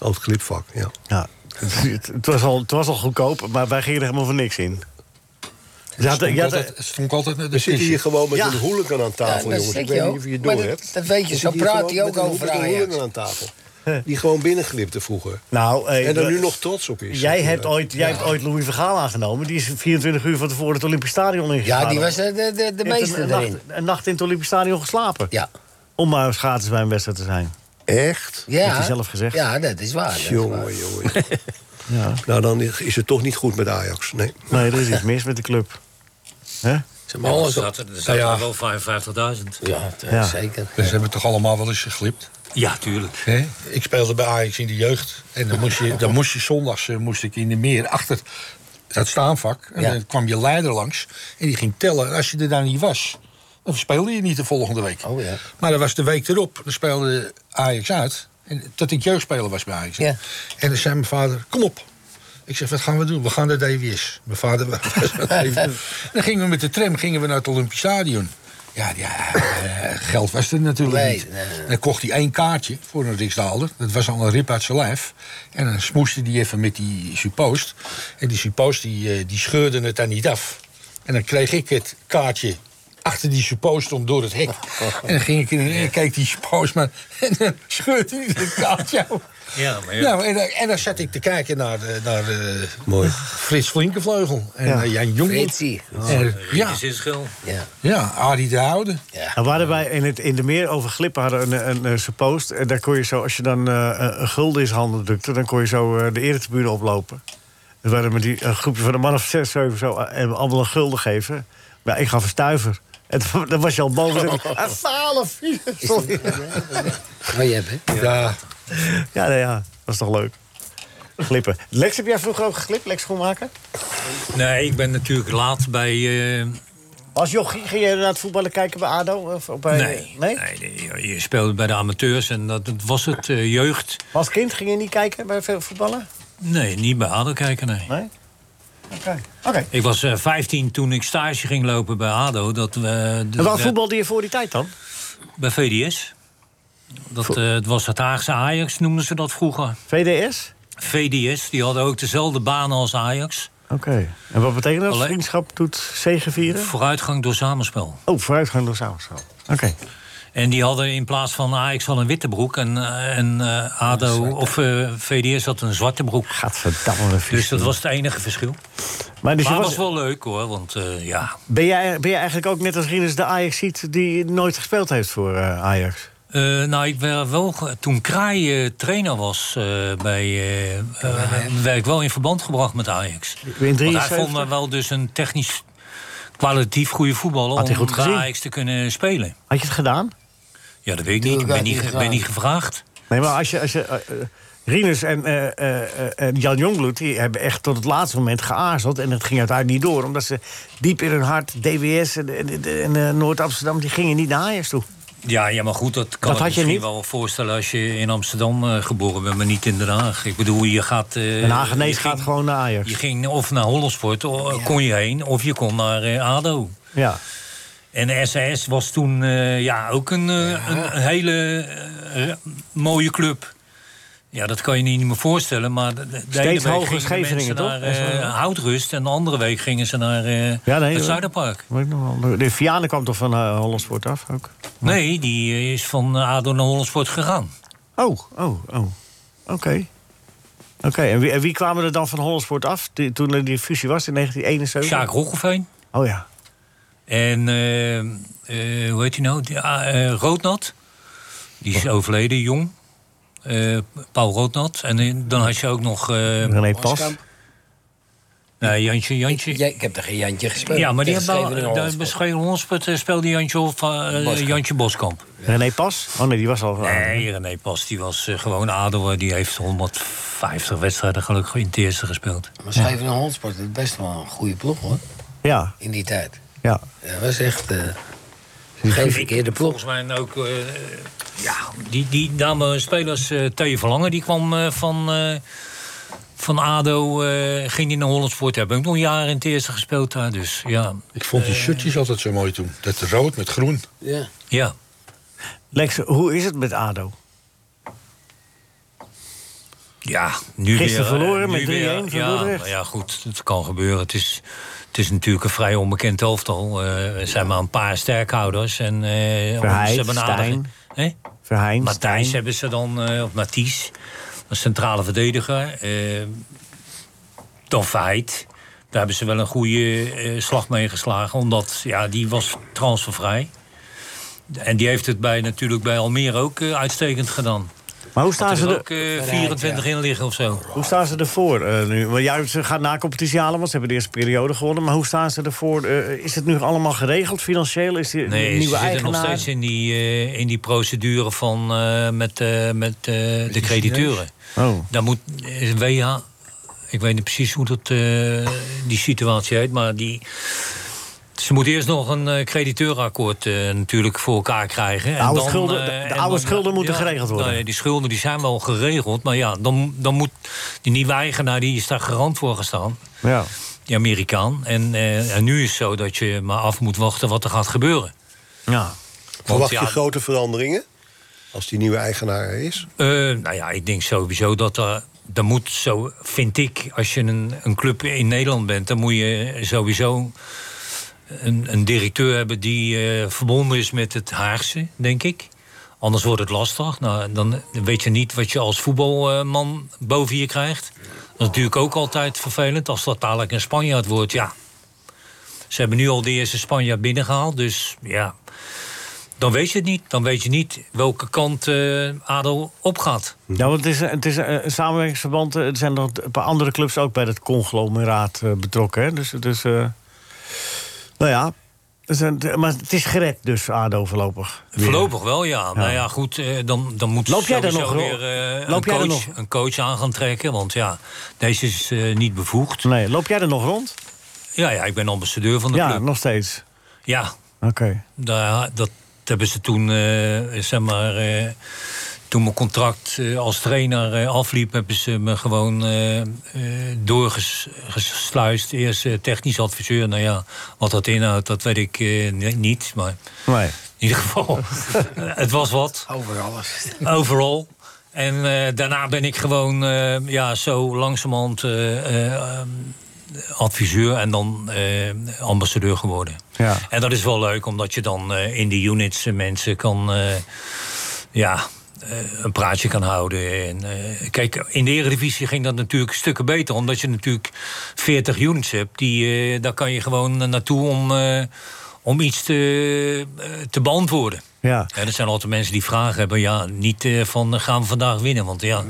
Speaker 10: Oh, het glipvak, ja.
Speaker 3: Ja. het, het was al, het was al goedkoop, maar wij gingen er helemaal voor niks in. Ja,
Speaker 6: Stond
Speaker 3: de- ja, de-
Speaker 6: altijd, stond altijd met
Speaker 10: We
Speaker 6: de
Speaker 10: zitten hier gewoon met
Speaker 3: Ja.
Speaker 10: een hooligan aan
Speaker 5: Ja,
Speaker 10: tafel,
Speaker 5: dat
Speaker 10: jongens.
Speaker 5: zeg
Speaker 10: Ik
Speaker 5: je
Speaker 10: weet niet
Speaker 5: ook.
Speaker 10: of je het
Speaker 5: Maar
Speaker 10: door
Speaker 5: dat-
Speaker 10: hebt.
Speaker 5: dat weet je,
Speaker 10: We
Speaker 5: zo
Speaker 10: zitten hier
Speaker 5: praat
Speaker 10: gewoon
Speaker 5: hij ook
Speaker 10: met een
Speaker 5: over
Speaker 10: hooligan-
Speaker 5: Ajax.
Speaker 10: hooligan aan tafel. Die gewoon binnenglipte vroeger.
Speaker 3: nou, eh,
Speaker 10: En er
Speaker 3: de-
Speaker 10: nu nog trots op is.
Speaker 3: Jij hebt ooit, jij hebt ooit Louis Vergaal aangenomen. Die is 24 uur van tevoren het Olympisch Stadion ingegaan.
Speaker 5: Ja, die was eh, de, de, de, de
Speaker 3: Heeft
Speaker 5: meeste
Speaker 3: een, een
Speaker 5: erin.
Speaker 3: nacht, een nacht in het Olympisch Stadion geslapen.
Speaker 5: Ja.
Speaker 3: Om maar eens gratis bij een wedstrijd te zijn.
Speaker 10: Echt?
Speaker 5: ja.
Speaker 3: Heeft hij zelf gezegd.
Speaker 5: Ja, dat is
Speaker 10: Ah,
Speaker 5: waar. dat is waar.
Speaker 10: Jongen, jongen. Nou, dan is het toch niet goed met Ajax. Nee.
Speaker 3: Nee, er is iets mis met de club. Hè?
Speaker 5: Ze
Speaker 4: Ja,
Speaker 5: mogen
Speaker 4: er
Speaker 5: zo-
Speaker 4: zaten, er zaten
Speaker 6: Nou ja.
Speaker 4: wel 55.000.
Speaker 5: Ja, dat- eh,
Speaker 3: Ja.
Speaker 5: zeker.
Speaker 6: Dus hebben toch allemaal wel eens geglipt?
Speaker 4: Ja, tuurlijk.
Speaker 6: Hè? Ik speelde bij Ajax in de jeugd. En dan moest je, dan moest je zondags eh, moest ik in de meer achter dat staanvak. En
Speaker 5: Ja.
Speaker 6: dan kwam je leider langs. En die ging tellen. En als je er dan niet was, dan speelde je niet de volgende week.
Speaker 5: Oh ja.
Speaker 6: Maar dat was de week erop. Dan speelde Ajax uit. En, dat ik jeugdspeler was bij Ajax.
Speaker 5: Ja.
Speaker 6: En dan zei mijn vader, kom op. Ik zeg, wat gaan we doen? We gaan naar de DWS. Mijn vader was En dan gingen we met de tram gingen we naar het Olympisch Stadion. Ja, ja eh, geld was er natuurlijk
Speaker 5: Nee,
Speaker 6: niet.
Speaker 5: nee, nee.
Speaker 6: Dan kocht hij één kaartje voor een riksdaalder. Dat was al een rip uit zijn lijf. En dan smoeste hij even met die suppost. En die suppost die, eh, die scheurde het dan niet af. En dan kreeg ik het kaartje achter die suppost om door het hek. En dan ging ik in en ik keek die suppost maar. En dan scheurde hij het kaartje af.
Speaker 4: Ja, maar ja.
Speaker 6: Nou, en, dan- en dan zat ik te kijken naar, eh, naar eh, Frits Flinkevleugel en
Speaker 3: Ja.
Speaker 6: eh, Jan Jongen.
Speaker 5: Fritsie.
Speaker 4: Oh,
Speaker 6: En, Eh, ja,
Speaker 4: Ja. Is schil.
Speaker 5: Ja.
Speaker 6: ja, Arie de Oude.
Speaker 3: Nou, we hadden wij in, het, in de meer over glippen hadden een, een, een, zo'n post. En daar kon je zo, als je dan eh, een een gulden is handen drukte, dan kon je zo eh, de eretribune oplopen. We waren met die een groepje van een man of zes, zeven zo, eh, en we allemaal een gulden geven. Maar ja, ik gaf een stuiver. En toen- dan was je al boven. Een falen vier. Ah, Sorry.
Speaker 5: Oh, je hebt, hè?
Speaker 6: Ja,
Speaker 3: Ja, nou ja, was toch leuk. Glippen. Lex, heb jij vroeger ook geglipt? Lex Schoenmaker?
Speaker 4: Nee, ik ben natuurlijk laat bij... eh,
Speaker 3: Als jochie ging je naar het voetballen kijken bij ADO? Of bij,
Speaker 4: Nee. nee, je speelde bij de amateurs en dat, dat was het, eh, jeugd.
Speaker 3: Maar Als kind ging je niet kijken bij veel voetballen?
Speaker 4: Nee, niet bij ADO kijken, nee.
Speaker 3: Nee? Oké.
Speaker 4: Ik was eh, 15 toen ik stage ging lopen bij ADO. Dat, we
Speaker 3: En wat voetbalde je voor die tijd dan?
Speaker 4: Bij VDS. Dat eh, het was het Haagse Ajax, noemden ze dat vroeger.
Speaker 3: VDS?
Speaker 4: VDS, die hadden ook dezelfde banen als Ajax.
Speaker 3: Oké. En wat betekent dat?
Speaker 4: Alleen-
Speaker 3: Vriendschap doet zegevieren?
Speaker 4: Vooruitgang door samenspel.
Speaker 3: Oh, vooruitgang door samenschap. Oké.
Speaker 4: En die hadden in plaats van Ajax al een witte broek. En, eh, en eh, ADO of eh, VDS had een zwarte broek.
Speaker 3: Gadverdamme. wat vies.
Speaker 4: Dus dat was het enige verschil.
Speaker 3: Maar, dus je
Speaker 4: maar
Speaker 3: was,
Speaker 4: was... was wel leuk hoor, want eh, ja...
Speaker 3: ben, jij, ben jij eigenlijk ook net als Rinus de ajax ziet die nooit gespeeld heeft voor eh, Ajax?
Speaker 4: Eh, nou, ik werd wel, ge- toen Kraai eh, trainer was eh, bij... eh, eh, werd ik wel in verband gebracht met Ajax.
Speaker 3: In
Speaker 4: Want hij vond
Speaker 3: 73?
Speaker 4: me wel dus een technisch kwalitatief goede voetballer...
Speaker 3: Had
Speaker 4: om
Speaker 3: hij goed
Speaker 4: bij
Speaker 3: gezien?
Speaker 4: Ajax te kunnen spelen.
Speaker 3: Had je het gedaan?
Speaker 4: Ja, dat weet ik niet. Ik
Speaker 5: Tuurlijk
Speaker 4: ben
Speaker 5: had
Speaker 4: niet,
Speaker 5: hij
Speaker 4: ge-
Speaker 5: gedaan.
Speaker 4: ben niet gevraagd.
Speaker 3: Nee, maar als je... Als je eh, eh, Rinus en, eh, eh, eh, en Jan Jongbloed die hebben echt tot het laatste moment geaarzeld. En dat ging uiteindelijk niet door. Omdat ze diep in hun hart, DWS en, en, en, eh, Noord-Amsterdam... die gingen niet naar Ajax toe.
Speaker 4: Ja, ja, maar goed, dat kan ik
Speaker 3: Dat had je
Speaker 4: misschien
Speaker 3: niet?
Speaker 4: wel voorstellen... als je in Amsterdam eh, geboren bent, maar niet in Den Haag. Ik bedoel, je gaat... eh,
Speaker 3: En Hagenees
Speaker 4: je
Speaker 3: gaat
Speaker 4: ging-
Speaker 3: gewoon naar Ajax.
Speaker 4: Je ging of naar Hollandsport, o- kon je heen... of je kon naar eh, ADO.
Speaker 3: Ja.
Speaker 4: En SAS was toen eh, ja, ook een, eh, een hele eh, mooie club. Ja, dat kan je niet meer voorstellen. Maar de, de- de ene week
Speaker 3: hoger
Speaker 4: gingen de
Speaker 3: Scheveningen,
Speaker 4: mensen
Speaker 3: toch?
Speaker 4: naar eh, Houtrust. En de andere week gingen ze naar eh,
Speaker 3: Ja, nee,
Speaker 4: het
Speaker 3: hoor.
Speaker 4: Zuiderpark.
Speaker 3: Weet ik nog wel. De Vianen kwam toch van eh Hollandsport af ook?
Speaker 4: Nee, die eh, is van ADO naar Hollandsport gegaan.
Speaker 3: Oh, oh, oh. Oké. Oké, en, wie, en wie kwamen er dan van Hollandsport af die- toen er die fusie was in 1971?
Speaker 4: Sjaak Roggeveen.
Speaker 3: Oh ja.
Speaker 4: En eh, eh, hoe heet hij nou? Die, ah, eh, Roodnat. Die
Speaker 3: Oh.
Speaker 4: is overleden, jong. Eh, Paul Roodnat. En eh, dan had je ook nog... eh,
Speaker 3: René Pas.
Speaker 4: nee, Jantje, Jantje.
Speaker 5: Ja, ik heb er geen Jantje gespeeld.
Speaker 4: Ja, maar die
Speaker 5: Tegen
Speaker 4: hebben
Speaker 5: Scheveningen
Speaker 4: wel, daar
Speaker 5: Hollands.
Speaker 4: beschreven ons speelde Jantje, of, eh,
Speaker 5: Boskamp.
Speaker 4: Jantje Boskamp.
Speaker 3: René Pas? Oh nee, die was al...
Speaker 4: Nee, René Pas, die was eh, gewoon ADO. Die heeft 150 wedstrijden gelukkig in het eerste gespeeld.
Speaker 5: Maar Scheveningen Hollandsport is best wel een goede ploeg, hoor.
Speaker 3: Ja,
Speaker 5: In die tijd.
Speaker 3: ja.
Speaker 5: Ja, dat was echt... eh, geen verkeerde ploeg.
Speaker 4: Volgens mij ook... eh, ja, die, die dame spelers, eh Theo Verlangen, die kwam eh, van... eh, van ADO eh, ging die naar Hollandsport. Hebben ook nog jaren in het eerste gespeeld daar. Dus ja,
Speaker 6: Ik vond die shirtjes altijd zo mooi toen. Dat rood met groen.
Speaker 5: Ja.
Speaker 4: ja.
Speaker 3: Lex, hoe is het met ADO?
Speaker 4: Ja, nu
Speaker 3: Gisteren
Speaker 4: weer, eh,
Speaker 3: verloren
Speaker 4: nu
Speaker 3: met 3-1
Speaker 4: weer,
Speaker 3: van
Speaker 4: ja,
Speaker 3: Dordrecht.
Speaker 4: maar ja, goed, het kan gebeuren. Het is, het is natuurlijk een vrij onbekend elftal. Eh, er zijn maar een paar sterkhouders. En, eh,
Speaker 3: Verheid,
Speaker 4: aardige-
Speaker 3: Stijn.
Speaker 4: Hè?
Speaker 3: Verheijn,
Speaker 4: Matthijs
Speaker 3: Stijn.
Speaker 4: hebben ze dan, eh, of Mathies, een centrale verdediger. Eh, dan Verheid. Daar hebben ze wel een goede eh, slag mee geslagen. Omdat, ja, die was transfervrij. En die heeft het bij, natuurlijk bij Almere ook eh, uitstekend gedaan.
Speaker 3: Maar hoe staan,
Speaker 4: Er is
Speaker 3: ze er,
Speaker 4: ook eh, 24 in liggen of zo.
Speaker 3: hoe staan ze ervoor eh, nu? Want ja, ze gaan na competitie halen, want ze hebben de eerste periode gewonnen. Maar hoe staan ze ervoor? Eh, is het nu allemaal geregeld financieel? Is die
Speaker 4: Nee,
Speaker 3: nieuwe
Speaker 4: ze zitten
Speaker 3: eigenaar?
Speaker 4: nog steeds in die, eh, in die procedure van, eh, met, eh, met eh, de crediteuren.
Speaker 3: Oh,
Speaker 4: Daar moet eh, WH, ik weet niet precies hoe dat, eh, die situatie heet, maar die, ze moeten Dus eerst nog een eh, crediteurenakkoord eh, natuurlijk voor elkaar krijgen. En
Speaker 3: oude
Speaker 4: dan,
Speaker 3: schulden-
Speaker 4: eh,
Speaker 3: de- de
Speaker 4: en
Speaker 3: oude schulden moeten geregeld worden.
Speaker 4: nou ja, die schulden die zijn wel geregeld, maar ja, dan, dan moet die nieuwe eigenaar, die is daar garant voor gestaan.
Speaker 3: ja.
Speaker 4: Die Amerikaan. En, eh, en nu is het zo dat je maar af moet wachten wat er gaat gebeuren.
Speaker 3: Ja.
Speaker 10: Verwacht
Speaker 4: ja-
Speaker 10: je grote veranderingen? Als die nieuwe eigenaar er is?
Speaker 4: Eh, nou ja, ik denk sowieso dat er. Dan moet zo, vind ik, als je een, een club in Nederland bent, dan moet je sowieso een, een directeur hebben die eh, verbonden is met het Haagse, denk ik. Anders wordt het lastig. Nou, dan weet je niet wat je als voetbalman boven je krijgt. Dat is natuurlijk ook altijd vervelend als dat dadelijk een Spanjaard wordt. Ja, ze hebben nu al de eerste Spanjaard binnengehaald, dus ja. Dan weet je het niet. Dan weet je niet welke kant eh Adel opgaat.
Speaker 3: Ja, want het is, het is eh, een samenwerkingsverband. Eh, Er zijn nog een paar andere clubs ook bij dat conglomeraat eh, betrokken. Hè? Dus, dus eh, nou ja, Dus, eh, maar het is gered dus, ADO voorlopig. Weer.
Speaker 4: Voorlopig wel, ja. Nou ja, goed, eh, dan, dan moet
Speaker 3: Loop jij daar
Speaker 4: sowieso weer
Speaker 3: nog, Ro-
Speaker 4: eh,
Speaker 3: Loop
Speaker 4: een,
Speaker 3: jij daar
Speaker 4: coach,
Speaker 3: nog?
Speaker 4: een coach aan gaan trekken. Want ja, deze is eh, niet bevoegd.
Speaker 3: Nee, loop jij er nog rond?
Speaker 4: Ja, ja, ik ben ambassadeur van de
Speaker 3: Ja,
Speaker 4: club.
Speaker 3: nog steeds.
Speaker 4: Ja,
Speaker 3: Oké.
Speaker 4: daar, dat hebben ze toen, eh, zeg maar... eh, toen mijn contract eh, als trainer eh, afliep, hebben ze me gewoon eh, eh, doorgesluist. Eerst eh, technisch adviseur. Nou ja, wat dat inhoudt, dat weet ik eh, ni- niet. Maar
Speaker 3: Nee.
Speaker 4: in ieder geval, eh, het was wat.
Speaker 5: Over alles.
Speaker 4: Overal. En eh, daarna ben ik gewoon eh, ja, zo langzamerhand eh, eh, adviseur en dan eh, ambassadeur geworden.
Speaker 3: Ja.
Speaker 4: En dat is wel leuk, omdat je dan eh, in de units eh, mensen kan. eh, ja, eh, een praatje kan houden. En, eh, kijk, in de Eredivisie ging dat natuurlijk stukken beter. Omdat je natuurlijk 40 units hebt. Die, eh, daar kan je gewoon eh, naartoe om, eh, om iets te, eh, te beantwoorden.
Speaker 3: Ja.
Speaker 4: Ja, dat zijn altijd mensen die vragen hebben. Ja, niet eh, van eh, gaan we vandaag winnen. Want ja,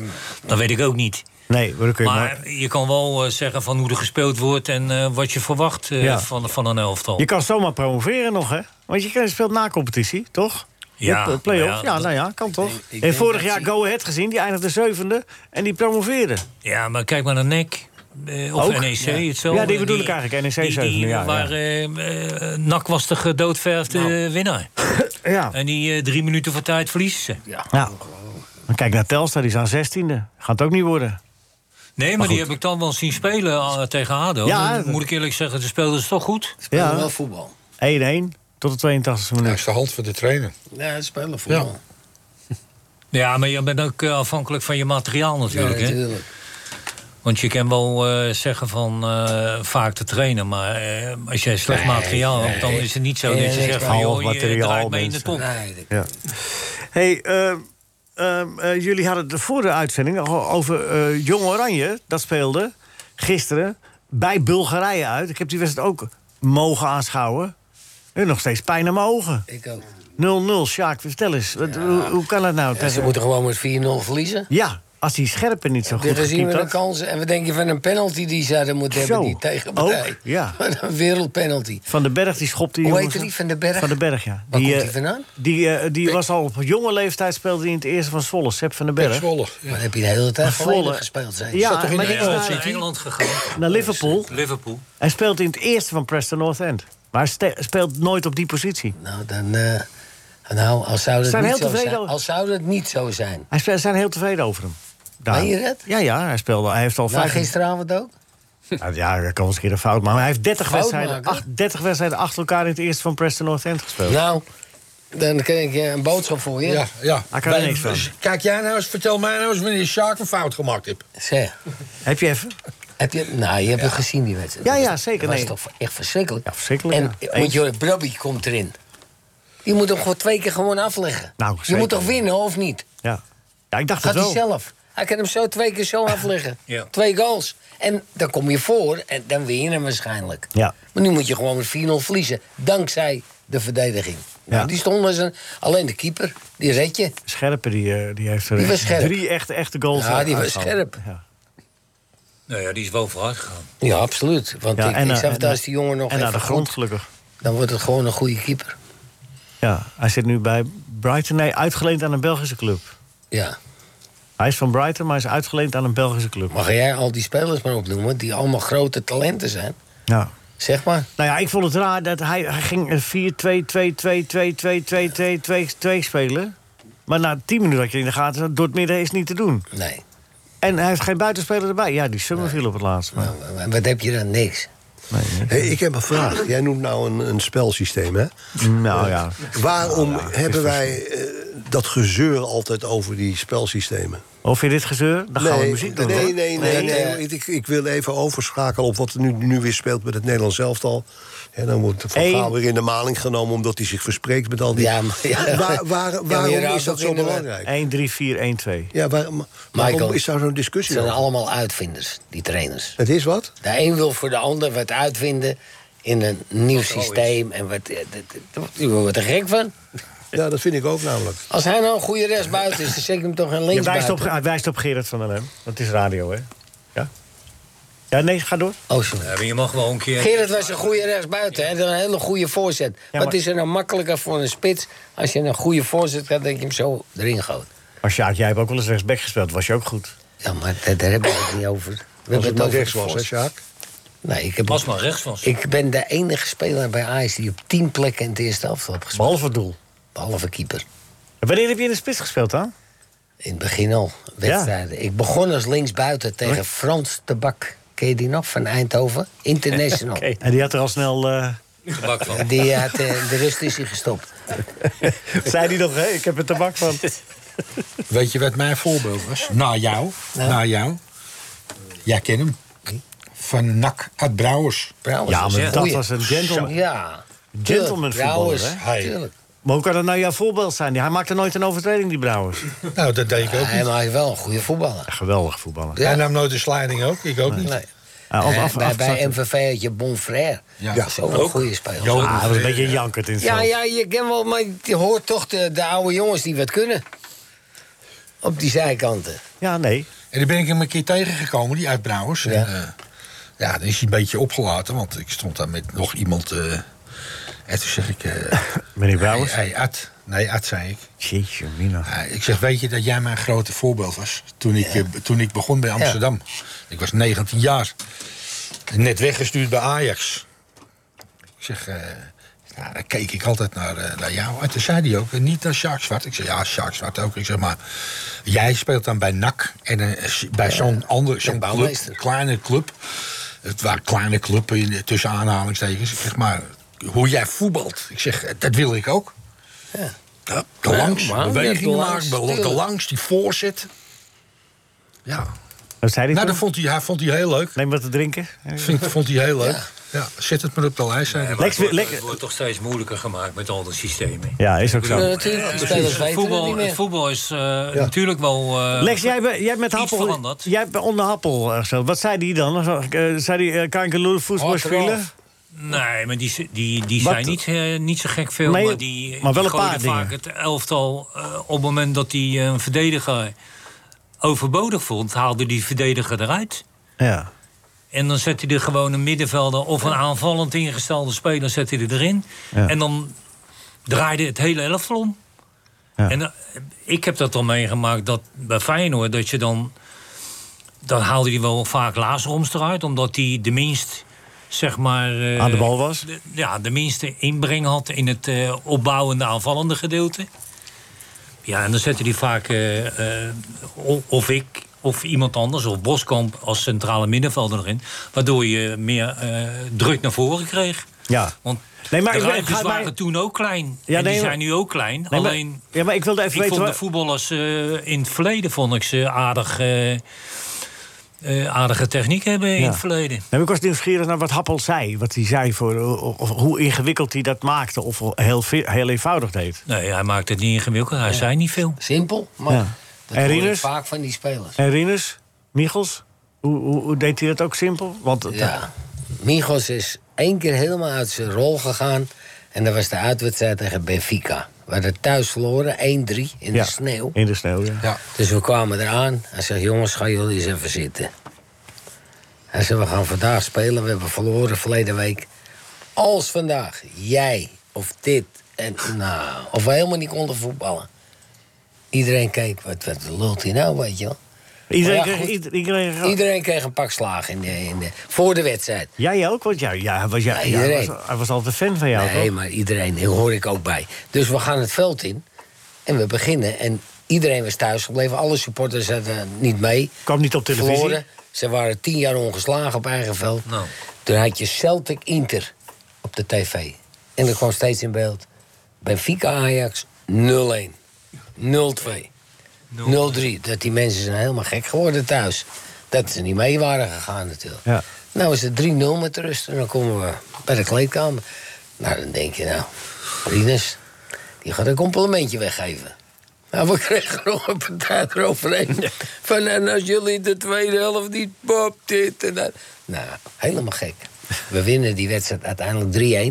Speaker 4: dat weet ik ook niet.
Speaker 3: Nee, maar dan kun je maar...
Speaker 4: Maar je kan wel eh, zeggen van hoe er gespeeld wordt en eh, wat je verwacht eh,
Speaker 3: Ja.
Speaker 4: van, van een elftal.
Speaker 3: Je kan zomaar promoveren nog, hè? Want je speelt na competitie, toch?
Speaker 4: Ja,
Speaker 3: Op, eh, play-off.
Speaker 4: nou
Speaker 3: Ja,
Speaker 4: ja,
Speaker 3: nou ja, kan toch?
Speaker 5: ik
Speaker 3: en
Speaker 5: denk
Speaker 3: vorig
Speaker 5: dat
Speaker 3: jaar
Speaker 5: ze-
Speaker 3: Go Ahead gezien, die eindigde zevende en die promoveerde.
Speaker 4: Ja, maar kijk maar naar NEC. eh, of
Speaker 3: Ook?
Speaker 4: NEC,
Speaker 3: Ja.
Speaker 4: hetzelfde.
Speaker 3: Ja, die bedoel ik eigenlijk, NEC
Speaker 4: eh, die,
Speaker 3: zevende,
Speaker 4: die,
Speaker 3: ja, ja.
Speaker 4: Waar eh, eh, NAC was de gedoodverfde eh, winnaar.
Speaker 3: Ja.
Speaker 4: En die eh, drie minuten voor tijd verliezen ze.
Speaker 3: ja. Maar kijk naar Telstar, die is aan zestiende. Gaat ook niet worden.
Speaker 4: Nee, maar, die heb ik dan wel zien spelen eh, tegen ADO.
Speaker 3: Ja,
Speaker 4: Dan moet ik eerlijk zeggen, ze speelden ze toch goed.
Speaker 5: Spelen
Speaker 3: Ja.
Speaker 5: wel voetbal.
Speaker 3: 1-1 tot de 82e
Speaker 6: Hij
Speaker 3: minuut.
Speaker 6: is de hand van de trainer.
Speaker 5: Ja, ze spelen voetbal.
Speaker 4: Ja, maar je bent ook eh, afhankelijk van je materiaal
Speaker 5: Ja,
Speaker 4: natuurlijk. hè?
Speaker 5: natuurlijk.
Speaker 4: Want je kan wel eh, zeggen van eh, vaak te trainen, maar eh, als jij slecht materiaal hebt, dan is het niet zo
Speaker 5: Nee,
Speaker 4: dat je
Speaker 5: nee,
Speaker 4: zegt
Speaker 5: nee,
Speaker 4: van
Speaker 3: nee.
Speaker 4: joh, je
Speaker 3: Materiaal,
Speaker 4: draait mee in de top.
Speaker 3: mensen.
Speaker 5: Nee, dat-
Speaker 3: Ja. hey, ehm, ehm, eh, jullie hadden het voor de uitzending al over eh, Jong Oranje. Dat speelde gisteren bij Bulgarije uit. Ik heb die wedstrijd ook mogen aanschouwen. En nog steeds pijn aan mijn ogen.
Speaker 5: ik ook.
Speaker 3: 0-0, Sjaak, vertel eens. wat- Hoe, hoe kan dat nou?
Speaker 5: En ze
Speaker 3: tegen-
Speaker 5: moeten gewoon met 4-0 verliezen.
Speaker 3: Ja, als die scherpen niet zo
Speaker 5: Dit
Speaker 3: goed
Speaker 5: gezien
Speaker 3: gekiept
Speaker 5: we de
Speaker 3: had.
Speaker 5: kansen. En we denken van een penalty die ze hadden moeten
Speaker 3: Zo, Oh,
Speaker 5: hebben, die tegenpartij.
Speaker 3: ook, ja.
Speaker 5: Wat een wereldpenalty.
Speaker 3: Van den Berg, die schopte
Speaker 5: Hoe
Speaker 3: jongens-
Speaker 5: heette die, Van den Berg?
Speaker 3: Van den Berg, ja.
Speaker 5: Waar komt
Speaker 3: eh,
Speaker 5: die vandaan?
Speaker 3: Die, eh, die was al op jonge leeftijd speelde hij in het eerste van Zwolle. Sep van den
Speaker 6: Pek
Speaker 3: Berg.
Speaker 6: Zwolle. Ja.
Speaker 5: Maar heb je de hele tijd
Speaker 3: Zwolle.
Speaker 5: volledig gespeeld zijn.
Speaker 3: Ja,
Speaker 5: Zat toch in
Speaker 3: maar
Speaker 5: de
Speaker 3: die
Speaker 4: Ja,
Speaker 3: is
Speaker 4: ze
Speaker 3: daar-
Speaker 4: naar Engeland gegaan.
Speaker 3: Naar Liverpool.
Speaker 4: Liverpool.
Speaker 3: Hij speelt in het eerste van Preston North End. Maar hij ste- speelt nooit op die positie.
Speaker 5: Nou, dan. eh, nou, als zou dat
Speaker 3: Zijn
Speaker 5: niet
Speaker 3: heel
Speaker 5: zo
Speaker 3: tevreden
Speaker 5: zijn.
Speaker 3: over.
Speaker 5: Als zou dat niet zo zijn.
Speaker 3: Hij spe- ze zijn heel tevreden over hem. Daar.
Speaker 5: Meen je dat?
Speaker 3: Ja, ja, hij, speelde, hij heeft al
Speaker 5: Nou,
Speaker 3: vijf...
Speaker 5: gisteravond ook.
Speaker 3: Nou, ja, hij kan wel eens een keer een fout maken. Maar hij heeft 30
Speaker 5: Fout
Speaker 3: wedstrijden,
Speaker 5: maken?
Speaker 3: acht- 30 wedstrijden achter elkaar in het eerste van Preston North End gespeeld.
Speaker 5: Nou, dan kreeg ik eh, een boodschap voor je.
Speaker 6: Ja, ja.
Speaker 3: Hij kan er
Speaker 6: Wij-
Speaker 3: niks van.
Speaker 6: Kijk jij nou eens, vertel mij nou eens wanneer Sjaak een fout gemaakt heeft.
Speaker 5: Zeg,
Speaker 3: Heb je even?
Speaker 5: heb je, nou, je hebt het gezien, die wedstrijd.
Speaker 3: Ja,
Speaker 5: Dat
Speaker 3: ja,
Speaker 5: was-
Speaker 3: zeker,
Speaker 5: Dat was
Speaker 3: nee.
Speaker 5: toch echt verschrikkelijk.
Speaker 3: Ja, verschrikkelijk,
Speaker 5: En
Speaker 3: ja.
Speaker 5: eh, want Jorrit Brobby komt erin. Die moet hem gewoon twee keer gewoon afleggen.
Speaker 3: Nou,
Speaker 5: je
Speaker 3: zeker.
Speaker 5: moet toch winnen, of niet?
Speaker 3: Ja. ja, ik dacht
Speaker 5: Gaat
Speaker 3: het
Speaker 5: hij
Speaker 3: wel.
Speaker 5: zelf. Hij kan hem zo twee keer zo afleggen.
Speaker 4: Ja.
Speaker 5: Twee goals. En dan kom je voor en dan win je hem waarschijnlijk.
Speaker 3: Ja.
Speaker 5: Maar nu moet je gewoon met 4-0 verliezen. Dankzij de verdediging. Nou, die stond als een, alleen de keeper. Die red je.
Speaker 3: Scherpen, die, eh, die heeft er
Speaker 5: Die was scherp.
Speaker 3: drie echte, echte goals eh,
Speaker 5: Ja, die was
Speaker 3: uitgehaald.
Speaker 5: scherp.
Speaker 3: Ja.
Speaker 4: Nou ja, die is wel vooruit gegaan.
Speaker 5: Ja, absoluut. Want
Speaker 3: Ja,
Speaker 5: ik,
Speaker 3: en,
Speaker 5: ik
Speaker 3: eh,
Speaker 5: zeg,
Speaker 3: en,
Speaker 5: daar
Speaker 3: eh,
Speaker 5: is die jongen nog
Speaker 3: En naar de
Speaker 5: even
Speaker 3: grond,
Speaker 5: goed.
Speaker 3: gelukkig.
Speaker 5: Dan wordt het gewoon een goede keeper.
Speaker 3: Ja, hij zit nu bij Brighton. Nee, uitgeleend aan een Belgische club.
Speaker 5: Ja.
Speaker 3: Hij is van Brighton, maar hij is uitgeleend aan een Belgische club.
Speaker 5: Mag jij al die spelers maar opnoemen die allemaal grote talenten zijn?
Speaker 3: Ja.
Speaker 5: Zeg maar.
Speaker 3: Nou ja, ik vond het raar dat hij, hij ging 4-2-2-2-2-2-2-2-2 spelen. Maar na 10 minuten had je in de gaten, door het midden is niet te doen.
Speaker 5: Nee.
Speaker 3: En hij heeft geen buitenspeler erbij. Ja, die Summer viel op het laatst. Maar,
Speaker 5: Nou, Wat heb je dan? Niks.
Speaker 3: nee, nee.
Speaker 10: Hey, ik heb een vraag. Jij noemt nou een, een spelsysteem, hè?
Speaker 3: Nou ja.
Speaker 10: Waarom
Speaker 5: Nou
Speaker 10: hebben
Speaker 5: dus-
Speaker 10: wij eh, dat gezeur altijd over die spelsystemen?
Speaker 3: Of je dit gezeur? Dan gaan we muziek doen.
Speaker 10: nee, nee,
Speaker 3: hoor.
Speaker 10: nee, nee, nee. Ik, ik wil even overschakelen op wat er nu, nu weer speelt met het Nederlands elftal. En dan wordt Van
Speaker 3: Eén.
Speaker 10: Gaal weer in de maling genomen omdat hij zich verspreekt met al die...
Speaker 5: Ja, maar-
Speaker 10: Waar-
Speaker 5: ja.
Speaker 10: waar-
Speaker 5: Ja, maar je
Speaker 10: waarom
Speaker 5: raakt
Speaker 10: is dat
Speaker 5: ook
Speaker 10: zo
Speaker 5: in de-
Speaker 10: belangrijk?
Speaker 3: 1, 3, 4, 1, 2.
Speaker 10: Ja, waar- maar- waarom
Speaker 5: Michael,
Speaker 10: is daar zo'n
Speaker 5: Het
Speaker 10: discussie
Speaker 5: zijn
Speaker 10: over?
Speaker 5: allemaal uitvinders, die trainers.
Speaker 10: Het is wat?
Speaker 5: De een wil voor de ander wat uitvinden in een nieuw systeem. En wat, eh, dat- dat- u wordt er gek van.
Speaker 10: Ja, dat vind ik ook namelijk.
Speaker 5: Als hij nou een goede rechtsbuiten is, dan zet ik hem toch een
Speaker 3: Je
Speaker 5: linksbuiten.
Speaker 3: wijst op, hij wijst op Gerard van der Lem. Dat is radio, hè? Ja? Ja, nee, ga door.
Speaker 5: Oh, sorry.
Speaker 4: Ja, maar je mag wel een keer...
Speaker 5: Gerrit was een goede rechtsbuiten. hè? Een hele goede voorzet.
Speaker 3: maar-
Speaker 5: Wat is er nou makkelijker voor een spits... als je een goede voorzet gaat, dat je hem zo erin gooit?
Speaker 3: Maar Sjaak, jij hebt ook wel eens rechtsback gespeeld. Was je ook goed?
Speaker 5: Ja, maar daar, daar hebben we het niet over. We
Speaker 6: Als
Speaker 5: hebben
Speaker 10: nou
Speaker 6: het maar
Speaker 5: over
Speaker 6: rechts
Speaker 5: de
Speaker 6: was, hè,
Speaker 5: voorzet.
Speaker 6: Sjaak?
Speaker 5: Nee, ik, heb,
Speaker 4: Als maar rechts was.
Speaker 5: ik ben de enige speler bij Ajax die op tien plekken in het eerste elftal heeft gespeeld.
Speaker 3: Behalve het doel.
Speaker 5: Behalve keeper.
Speaker 3: En wanneer heb je in de spits gespeeld dan?
Speaker 5: In het begin al, Oh, wedstrijden. Ik begon als linksbuiten tegen Frans de Bak. Ken je die nog, van Eindhoven? International.
Speaker 3: En die had er al snel... eh,
Speaker 4: Gebak van.
Speaker 5: Die had, eh, de rust is hij gestopt.
Speaker 3: zei die nog, hé, ik heb er tabak van.
Speaker 6: Weet je wat mijn voorbeeld was? Na jou. Na jou. Jij kent hem. Van Nak uit Brouwers.
Speaker 5: Brouwers
Speaker 3: Ja,
Speaker 5: was
Speaker 3: maar
Speaker 5: een
Speaker 3: dat
Speaker 5: goeie.
Speaker 3: was een gentleman.
Speaker 5: Ja.
Speaker 3: Gentleman
Speaker 5: Tuurlijk,
Speaker 3: voetballer,
Speaker 5: Brouwers,
Speaker 6: hè? Hij.
Speaker 5: tuurlijk.
Speaker 3: Maar hoe kan dat nou jouw voorbeeld zijn? Hij maakte nooit een overtreding, die Brouwers.
Speaker 6: Nou, dat deed ik ook
Speaker 5: Hij
Speaker 6: niet.
Speaker 5: was wel een goede voetballer.
Speaker 3: Geweldig voetballer.
Speaker 5: Ja.
Speaker 6: Hij nam nooit de sliding ook. Ik ook niet.
Speaker 5: Nee.
Speaker 3: Ah, af-
Speaker 5: Eh,
Speaker 3: af-
Speaker 5: bij, bij
Speaker 3: afgezakt.
Speaker 5: MVV had je Bonfrère.
Speaker 6: Ja.
Speaker 5: Ja. Zo'n
Speaker 6: Ook.
Speaker 5: goede speler.
Speaker 6: Jo-
Speaker 3: Ah, hij was een beetje jankerd in het
Speaker 5: Ja,
Speaker 3: veld.
Speaker 5: ja, je kent wel, maar je hoort toch de, de oude jongens die wat kunnen. Op die zijkanten.
Speaker 3: Ja, nee.
Speaker 6: En dan ben ik hem een keer tegengekomen, die uit Brouwers. En,
Speaker 5: Ja.
Speaker 6: eh, ja, dan is hij een beetje opgelaten, want ik stond daar met nog iemand. eh, en toen zeg ik... eh,
Speaker 3: Meneer Brouwers?
Speaker 6: Hey, hey, Ad. Nee, Ad, zei ik.
Speaker 3: Jeetje, mina.
Speaker 6: Ja, ik zeg, weet je dat jij mijn grote voorbeeld was? Toen ik, eh, toen ik begon bij Amsterdam. Ik was 19 jaar. Net weggestuurd bij Ajax. Ik zeg, eh nou, dan keek ik altijd naar, eh, naar jou. En toen zei hij ook, eh, niet naar Sjaak Zwart. Ik zeg, ja, Sjaak Zwart ook. Ik zeg, maar jij speelt dan bij NAC. En eh, s- bij zo'n ander, zo'n club,
Speaker 5: bouwmeester.
Speaker 6: kleine club. Het waren kleine club in- tussen aanhalingstekens. Ik zeg, maar hoe jij voetbalt. Ik zeg, eh, dat wil ik ook. Ja, de langs,
Speaker 5: Ja, maar,
Speaker 6: bewegingen
Speaker 5: ja, de langs,
Speaker 6: maken, de, de
Speaker 5: tuurlijk.
Speaker 6: langs, die voorzet. Ja,
Speaker 3: Dat zei hij
Speaker 6: nou,
Speaker 3: toen?
Speaker 6: dat vond hij, hij vond hij heel leuk.
Speaker 3: Neem wat te drinken.
Speaker 6: Vind, vond hij heel leuk. Ja. zet het maar op de lijst. zei hij.
Speaker 3: Lex,
Speaker 4: Het wordt-
Speaker 3: lekker.
Speaker 4: Het wordt toch steeds moeilijker gemaakt met al die systemen.
Speaker 3: Ja, is ook
Speaker 5: Ja,
Speaker 3: zo.
Speaker 5: natuurlijk, die spelers
Speaker 4: Het
Speaker 5: weten het niet
Speaker 4: voetbal, het
Speaker 5: meer.
Speaker 4: voetbal is eh, natuurlijk wel... eh,
Speaker 3: Lex, jij, hebt- jij hebt met
Speaker 4: Iets
Speaker 3: Happel...
Speaker 4: veranderd.
Speaker 3: Jij hebt onder Happel eh, gespeeld. Wat zei die dan? Eh, zei die, kan ik een
Speaker 5: Oh,
Speaker 3: lul voetbal
Speaker 6: Hard
Speaker 3: spelen?
Speaker 6: eraf.
Speaker 4: Nee, maar die, die, die
Speaker 3: Wat?
Speaker 4: zijn niet, eh, niet zo gek veel.
Speaker 3: Nee,
Speaker 4: maar die,
Speaker 3: maar wel
Speaker 4: die
Speaker 3: een paar
Speaker 4: gooiden vaak het elftal eh, op het moment dat hij een verdediger overbodig vond, haalde die verdediger eruit.
Speaker 3: Ja.
Speaker 4: En dan zet hij er gewoon een middenvelder of een aanvallend ingestelde speler zet hij er erin.
Speaker 3: Ja.
Speaker 4: En dan draaide het hele elftal om.
Speaker 3: Ja.
Speaker 4: En eh, ik heb dat al meegemaakt dat bij Feyenoord dat je dan... Dan haalde hij wel vaak Lazaromst eruit, omdat hij de minst... Zeg maar, eh,
Speaker 3: Aan de bal was?
Speaker 4: de- ja, de minste inbreng had in het eh, opbouwende aanvallende gedeelte. Ja, en dan zette hij vaak eh, eh, o- of ik of iemand anders, of Boskamp als centrale middenvelder erin. Waardoor je meer eh, druk naar voren kreeg.
Speaker 3: Ja.
Speaker 4: Want
Speaker 3: Nee, maar
Speaker 4: de
Speaker 3: ik ben-
Speaker 4: ruimtes
Speaker 3: ga- maar-
Speaker 4: waren toen ook klein.
Speaker 3: Ja,
Speaker 4: en die
Speaker 3: nee, maar-
Speaker 4: zijn nu ook klein.
Speaker 3: Nee, maar-
Speaker 4: Alleen,
Speaker 3: ja, maar ik wilde even
Speaker 4: ik
Speaker 3: weten...
Speaker 4: vond de
Speaker 3: Waar,
Speaker 4: voetballers eh, in het verleden vond ik ze aardig, eh, eh, aardige techniek hebben in
Speaker 3: Ja.
Speaker 4: het verleden.
Speaker 3: Nee, maar ik was nieuwsgierig naar wat Happel zei. Wat hij zei voor... eh, Of, of hoe ingewikkeld hij dat maakte. Of heel, ve- heel eenvoudig deed.
Speaker 4: Nee, hij maakte het niet ingewikkeld. Hij zei niet veel.
Speaker 5: Simpel, maar
Speaker 3: Ja.
Speaker 5: dat
Speaker 3: En
Speaker 5: hoor ik
Speaker 3: Rieders?
Speaker 5: vaak van die spelers.
Speaker 3: En Rinus? Michels? Hoe, hoe, hoe deed hij dat ook simpel? Want dat-
Speaker 5: Ja. Migos is één keer helemaal uit zijn rol gegaan. En dat was de uitwedstrijd tegen Benfica. We hadden thuis verloren, 1-3 in
Speaker 3: ja,
Speaker 5: de sneeuw.
Speaker 3: In de sneeuw, ja.
Speaker 6: Ja.
Speaker 5: Dus we kwamen eraan. Hij zegt, jongens, gaan jullie eens even zitten. Hij zegt, we gaan vandaag spelen. We hebben verloren verleden week. Als vandaag jij of dit en nou... Of we helemaal niet konden voetballen. Iedereen keek, wat, wat lult hij nou, weet je wel.
Speaker 3: eh, Iedereen,
Speaker 5: Maar Nou ja,
Speaker 3: kreeg,
Speaker 5: goed.
Speaker 3: ieder- iedereen, kreeg-
Speaker 5: Iedereen kreeg een pak slaag in de, in de, voor de wedstrijd.
Speaker 3: Jij ook? Want jij, ja, hij was, ja,
Speaker 5: Ja,
Speaker 3: ja, hij
Speaker 5: iedereen.
Speaker 3: was, hij was altijd fan van jou,
Speaker 5: Nee,
Speaker 3: toch?
Speaker 5: maar iedereen, daar hoor ik ook bij. Dus we gaan het veld in en we beginnen. En iedereen was thuis gebleven, alle supporters zaten niet mee.
Speaker 3: Kwam niet op televisie.
Speaker 5: Verloren. Ze waren tien jaar ongeslagen op eigen veld.
Speaker 4: Nou.
Speaker 5: Toen had je Celtic Inter op de tv. En er kwam steeds in beeld. Benfica Ajax 0-1, 0-2, 0-3. Dat die mensen zijn helemaal gek geworden thuis. Dat ze niet mee waren gegaan natuurlijk.
Speaker 3: Ja.
Speaker 5: Nou is het 3-0 met de rust en dan komen we bij de kleedkamer. Nou, dan denk je nou, Rinus, die gaat een complimentje weggeven. Nou, we kregen nog een partij eroverheen. Van, en als jullie de tweede helft niet pop, dit en dat. Nou, helemaal gek. We winnen die wedstrijd uiteindelijk 3-1.
Speaker 3: Ja,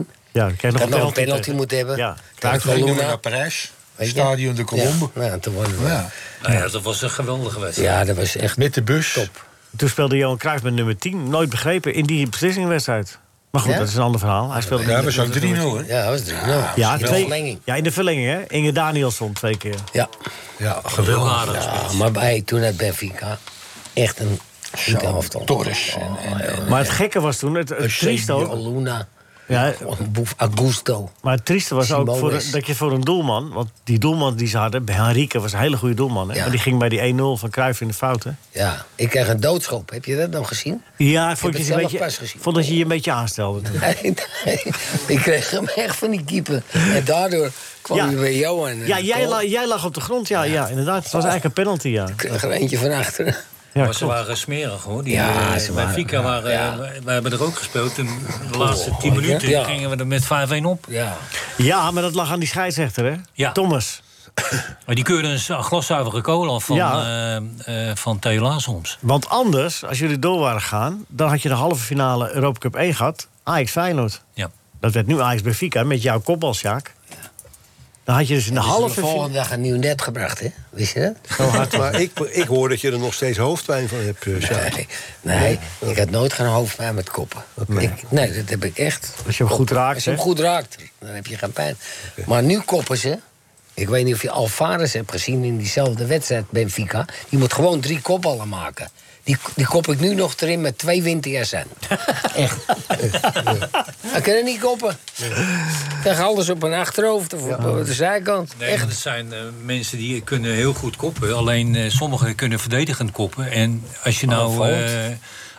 Speaker 3: dan krijg je
Speaker 5: Dat
Speaker 3: nog
Speaker 5: nog een penalty
Speaker 3: tegen.
Speaker 5: moeten hebben.
Speaker 3: Ja.
Speaker 5: Tegen
Speaker 6: Toen gingen we naar
Speaker 5: Colonna.
Speaker 6: Parijs.
Speaker 5: Weet je?
Speaker 6: Stadion de Colombe.
Speaker 5: Ja, nou, toen wonnen we.
Speaker 6: Ja.
Speaker 5: Ja.
Speaker 4: Nou ja, dat was een geweldige wedstrijd.
Speaker 5: Ah, dat was echt
Speaker 6: Met de bus.
Speaker 5: top.
Speaker 3: Toen speelde Johan Cruijff met nummer 10. Nooit begrepen in die beslissingwedstrijd. Maar goed,
Speaker 5: Ja?
Speaker 3: dat is een ander verhaal. Hij speelde
Speaker 6: Ja,
Speaker 3: niet
Speaker 6: was
Speaker 3: met-
Speaker 6: ook
Speaker 3: met nummer
Speaker 6: 3-0, hè?
Speaker 3: 10.
Speaker 5: Ja, dat was 3-0.
Speaker 3: Ja,
Speaker 5: in de
Speaker 3: twee-
Speaker 5: verlenging.
Speaker 3: ja, in de verlenging, hè? Inge Danielsson twee keer.
Speaker 5: Ja.
Speaker 6: Ja, geweldig.
Speaker 5: ja, maar bij, toen uit Benfica. Echt een goed elftal.
Speaker 6: Torres. En, en, en-
Speaker 3: Maar het gekke was toen, het, het trieste
Speaker 5: Eusebio
Speaker 3: ook...
Speaker 5: Luna.
Speaker 3: Ja,
Speaker 5: Boef Augusto.
Speaker 3: maar het trieste was ook
Speaker 5: Simoes.
Speaker 3: voor, een- dat je voor een doelman... want die doelman die ze hadden, Henrique was een hele goede doelman... Hè?
Speaker 5: Ja.
Speaker 3: maar die ging bij die 1-0 van Cruijff in de fouten.
Speaker 5: Ja, ik kreeg een doodschop. Heb je dat nou gezien?
Speaker 3: Ja, ik
Speaker 5: heb
Speaker 3: vond,
Speaker 5: het
Speaker 3: je ze een
Speaker 5: zelf
Speaker 3: beetje,
Speaker 5: pas gezien.
Speaker 3: vond dat je je een beetje aanstelde toen.
Speaker 5: Nee, nee, ik kreeg hem echt van die keeper. En daardoor kwam hij bij Johan. en eh,
Speaker 3: Ja,
Speaker 5: de
Speaker 3: jij,
Speaker 5: goal.
Speaker 3: la- jij lag op de grond, ja, ja. inderdaad. Het was eigenlijk een penalty, ja.
Speaker 5: Ik kreeg er eentje van achteren.
Speaker 3: ja
Speaker 4: maar ze
Speaker 3: klopt.
Speaker 4: waren smerig hoor. Die,
Speaker 5: Ja,
Speaker 4: eh,
Speaker 5: ze
Speaker 4: bij
Speaker 5: waren-
Speaker 4: Fika waren.
Speaker 5: ja. Oh,
Speaker 4: eh, wij- wij hebben er ook gespeeld. Toen de laatste 10
Speaker 5: ja.
Speaker 4: minuten
Speaker 5: Ja.
Speaker 4: gingen we er met 5-1 op.
Speaker 5: Ja.
Speaker 3: ja, maar dat lag aan die scheidsrechter, hè?
Speaker 4: Ja.
Speaker 3: Thomas.
Speaker 4: Maar die keurden een sa- glaszuivere kool af van,
Speaker 3: Ja.
Speaker 4: eh, eh, van Theo Laansoms.
Speaker 3: Want anders, als jullie door waren gegaan... dan had je de halve finale Europa Cup 1 gehad. Ajax Feyenoord.
Speaker 4: Ja.
Speaker 3: Dat werd nu Ajax Benfica met jouw kopbal, Sjaak. Dan had je dus in de
Speaker 5: Dus
Speaker 3: halve
Speaker 5: de
Speaker 3: finale...
Speaker 5: volgende dag een nieuw net gebracht, hè? Wist je dat?
Speaker 11: Oh,
Speaker 10: Maar ik, ik hoor dat je er nog steeds hoofdpijn van hebt, eh, Sjaak.
Speaker 5: Nee, nee, ik had nooit geen hoofdpijn met koppen. Ik, nee, dat heb ik echt.
Speaker 3: Als je hem goed raakt,
Speaker 5: Als je hem
Speaker 3: hè?
Speaker 5: goed raakt, dan heb je geen pijn. Maar nu koppen ze. Ik weet niet of je Alvarez hebt gezien in diezelfde wedstrijd, Benfica. Die moet gewoon drie kopballen maken. Die, die kop ik nu nog erin met twee winters aan. Echt. Hij kan er niet koppen. Hij krijgt alles op een achterhoofd of op op de zijkant.
Speaker 4: Nee,
Speaker 5: Echt.
Speaker 4: maar dat zijn eh, mensen die kunnen heel goed koppen. Alleen eh, sommigen kunnen verdedigend koppen. En als je
Speaker 5: Oh,
Speaker 4: nou eh,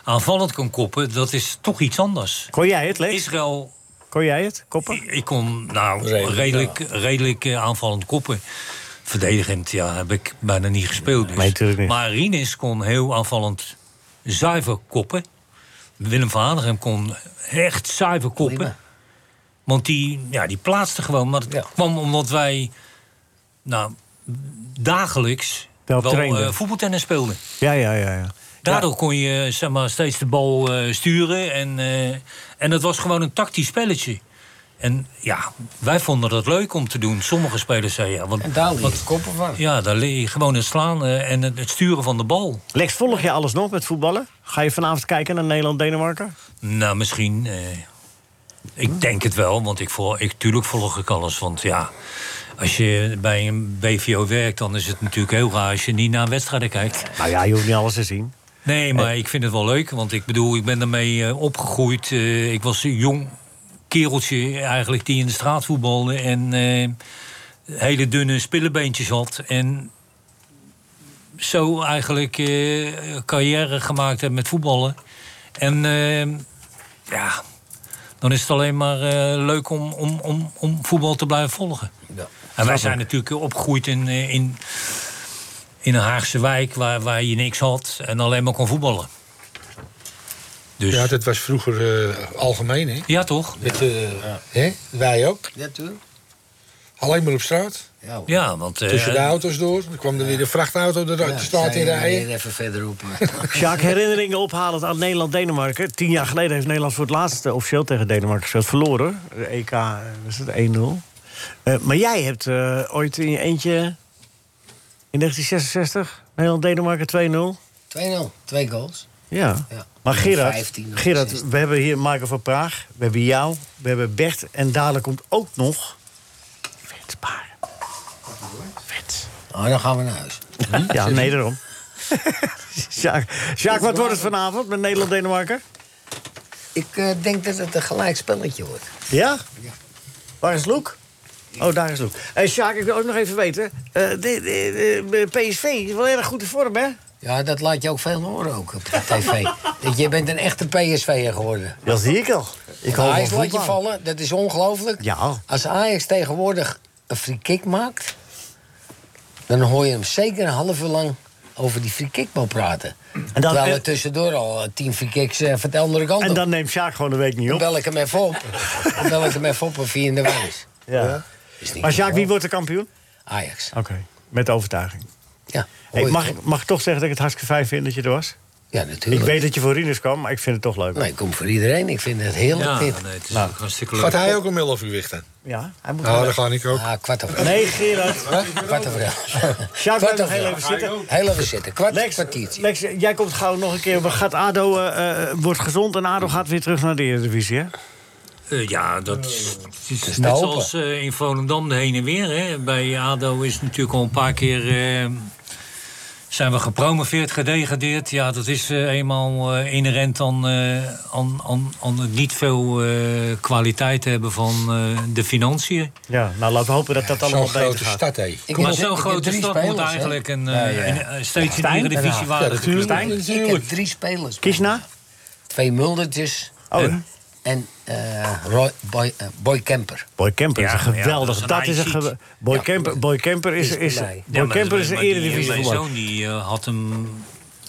Speaker 4: aanvallend kan koppen, dat is toch iets anders.
Speaker 3: Kon jij het, Lex?
Speaker 4: Israël,
Speaker 3: Kon jij het, koppen?
Speaker 4: ik, ik kon nou redelijk, redelijk, eh, aanvallend koppen. Verdedigend, ja, heb ik bijna niet gespeeld. Dus.
Speaker 3: Nee, natuurlijk niet.
Speaker 4: Maar Rinus kon heel aanvallend zuiver koppen. Willem van Hanegem kon echt zuiver koppen.
Speaker 5: Prima.
Speaker 4: Want die, ja, die plaatste gewoon. Maar dat
Speaker 5: Ja.
Speaker 4: kwam omdat wij nou, dagelijks
Speaker 3: Wel
Speaker 4: wel
Speaker 3: trainden.
Speaker 4: eh, voetbaltennis speelden.
Speaker 3: Ja, ja, ja. ja.
Speaker 4: Daardoor kon je zeg maar, steeds de bal eh, sturen. En, eh, en dat was gewoon een tactisch spelletje. En ja, wij vonden dat leuk om te doen. Sommige spelers zeiden ja. Want,
Speaker 5: En daar leer
Speaker 4: want-
Speaker 5: je koppen van.
Speaker 4: ja, daar leer je gewoon het slaan eh, en het, het sturen van de bal.
Speaker 3: Lex, volg je alles nog met voetballen? Ga je vanavond kijken naar Nederland-Denemarken?
Speaker 4: Nou, misschien. eh, ik denk het wel, want ik, vol, ik, tuurlijk volg ik alles. Want ja, als je bij een BVO werkt, dan is het natuurlijk heel raar als je niet naar wedstrijden kijkt.
Speaker 3: Nou ja, je hoeft niet alles te zien.
Speaker 4: Nee, maar ik vind het wel leuk. Want ik bedoel, ik ben daarmee eh, opgegroeid. Eh, ik was een jong kereltje eigenlijk die in de straat voetbalde. En eh, hele dunne spillebeentjes had. En zo eigenlijk eh, carrière gemaakt heb met voetballen. En eh, ja, dan is het alleen maar eh, leuk om, om, om, om voetbal te blijven volgen. En wij zijn natuurlijk opgegroeid in, eh, in, in een Haagse wijk waar, waar je niks had en alleen maar kon voetballen. Dus
Speaker 6: Ja,
Speaker 4: ja,
Speaker 6: dat was vroeger eh, algemeen, hè?
Speaker 4: toch?
Speaker 6: Met, eh, hè? Wij ook.
Speaker 5: Ja, tuurlijk.
Speaker 6: Alleen maar op straat.
Speaker 5: Ja, hoor.
Speaker 4: Ja, want eh,
Speaker 6: Tussen de auto's door. Dan kwam er weer de vrachtauto de, de
Speaker 5: Ja,
Speaker 6: straat in
Speaker 5: zei meneer
Speaker 6: rijden.
Speaker 5: Even verder roepen.
Speaker 3: Sjaak, herinneringen ophalend aan Nederland-Denemarken. Tien jaar geleden heeft Nederland voor het laatst eh, officieel tegen Denemarken gespeeld. Verloren. De EK, eh, was het 1-0. Eh, maar jij hebt eh, ooit in je eentje... in 1966 Nederland-Denemarken 2-0.
Speaker 5: 2-0. Twee goals.
Speaker 3: Ja.
Speaker 5: Ja.
Speaker 3: Maar Gerard,
Speaker 5: 15 of
Speaker 3: Gerard,
Speaker 5: 16.
Speaker 3: we hebben hier Michael van Praag, we hebben jou, we hebben Bert... en dadelijk komt ook nog... Frits Baar. Frits.
Speaker 5: Oh, dan gaan we naar huis.
Speaker 3: Hm? Ja, nee, daarom. Sjaak, Sjaak, wat wordt het vanavond met Nederland-Denemarken?
Speaker 5: Ik eh, denk dat het een gelijkspelletje wordt.
Speaker 3: Ja? Waar is Loek? Oh, daar is Loek. Eh Sjaak, ik wil ook nog even weten. eh, de, de- de- PSV is wel erg goed in vorm, hè?
Speaker 5: Ja, dat laat je ook veel horen ook op de tv. dat je bent een echte PSV'er geworden.
Speaker 3: Dat zie ik al. Ik
Speaker 5: Als
Speaker 3: hou
Speaker 5: Ajax
Speaker 3: van
Speaker 5: laat je
Speaker 3: voetbal.
Speaker 5: vallen, dat is ongelooflijk.
Speaker 3: Ja.
Speaker 5: Als Ajax tegenwoordig een free kick maakt... dan hoor je hem zeker een half uur lang over die free kickbal praten.
Speaker 3: En dan-
Speaker 5: Terwijl
Speaker 3: en-
Speaker 5: er tussendoor al eh, tien free kicks eh, van de andere kant
Speaker 3: En
Speaker 5: op.
Speaker 3: dan neemt Sjaak gewoon de week niet
Speaker 5: Dan
Speaker 3: op.
Speaker 5: bel ik hem even op. dan bel ik hem even op en via in de wijs.
Speaker 3: Ja.
Speaker 5: Is niet
Speaker 3: Maar Sjaak, wie
Speaker 5: normaal.
Speaker 3: wordt de kampioen?
Speaker 5: Ajax.
Speaker 3: Oké, met overtuiging.
Speaker 5: Ja,
Speaker 3: Hey,
Speaker 5: hoor je
Speaker 3: mag,
Speaker 5: het
Speaker 3: ik- mag ik toch zeggen dat ik het hartstikke fijn vind dat je er was?
Speaker 5: wel. Ja, natuurlijk.
Speaker 3: Ik weet dat je voor Rinus kwam, maar ik vind het toch leuk.
Speaker 5: Nee, ik kom voor iedereen. Ik vind het heerlijk
Speaker 4: Ja, nee,
Speaker 5: dit.
Speaker 4: het is
Speaker 3: Nou.
Speaker 4: ook hartstikke leuk.
Speaker 6: Gaat hij ook om 11 uur weg dan?
Speaker 3: Ja, hij moet
Speaker 6: Nou, daar ga ik ook.
Speaker 5: Ah, kwart over elf.
Speaker 3: Nee, Gerard.
Speaker 5: Kwart over elf.
Speaker 3: Sjaak, blijf
Speaker 5: Kwart
Speaker 3: nog
Speaker 5: over
Speaker 3: heel even
Speaker 5: elf.
Speaker 3: zitten.
Speaker 5: Heel even zitten. Kwart,
Speaker 3: Lex,
Speaker 5: kwartiertje.
Speaker 3: Lex, jij komt gauw nog een keer. Gaat ADO eh, eh, wordt gezond en ADO gaat weer terug naar de Eredivisie, hè?
Speaker 4: Eh, ja, dat is, het is
Speaker 5: te
Speaker 4: net
Speaker 5: hopen.
Speaker 4: zoals eh, in Volendam de heen en weer. Hè. Bij ADO is natuurlijk al een paar keer... eh, zijn we gepromoveerd, gedegradeerd. Ja, dat is eh, eenmaal eh, inherent aan, eh, aan, aan, aan het niet veel eh, kwaliteit hebben van eh, de financiën.
Speaker 3: Ja, nou laten we hopen dat dat allemaal
Speaker 6: Zo'n
Speaker 3: beter
Speaker 6: grote
Speaker 3: gaat.
Speaker 6: stad, hé.
Speaker 5: Ik
Speaker 4: maar
Speaker 5: heb-
Speaker 4: zo'n
Speaker 5: ik heb
Speaker 4: grote
Speaker 5: drie
Speaker 4: stad moet
Speaker 5: spelers, hè.
Speaker 4: eigenlijk een,
Speaker 5: Ja,
Speaker 4: eh,
Speaker 5: ja.
Speaker 4: een, eh, steeds in de
Speaker 3: Stijn?
Speaker 4: Eredivisie
Speaker 6: Ja,
Speaker 4: waarde
Speaker 6: natuurlijk.
Speaker 3: Stijn?
Speaker 5: Ik heb drie spelers.
Speaker 3: Kishna?
Speaker 5: Twee Muldertjes.
Speaker 3: Oh,
Speaker 5: en- En eh, Roy, Boy, eh, Boy Kemper.
Speaker 3: Boy Kemper is
Speaker 4: Ja,
Speaker 3: een
Speaker 4: maar ja,
Speaker 3: geweldig.
Speaker 4: dat
Speaker 3: dat
Speaker 4: is een
Speaker 3: is een gewe-
Speaker 4: high-seat.
Speaker 3: Boy,
Speaker 5: Ja.
Speaker 3: Kemper, Boy Kemper is, is,
Speaker 5: Ja,
Speaker 3: Boy Kemper is een
Speaker 4: maar die- Mijn
Speaker 3: eredivisie
Speaker 4: zoon die, eh, had hem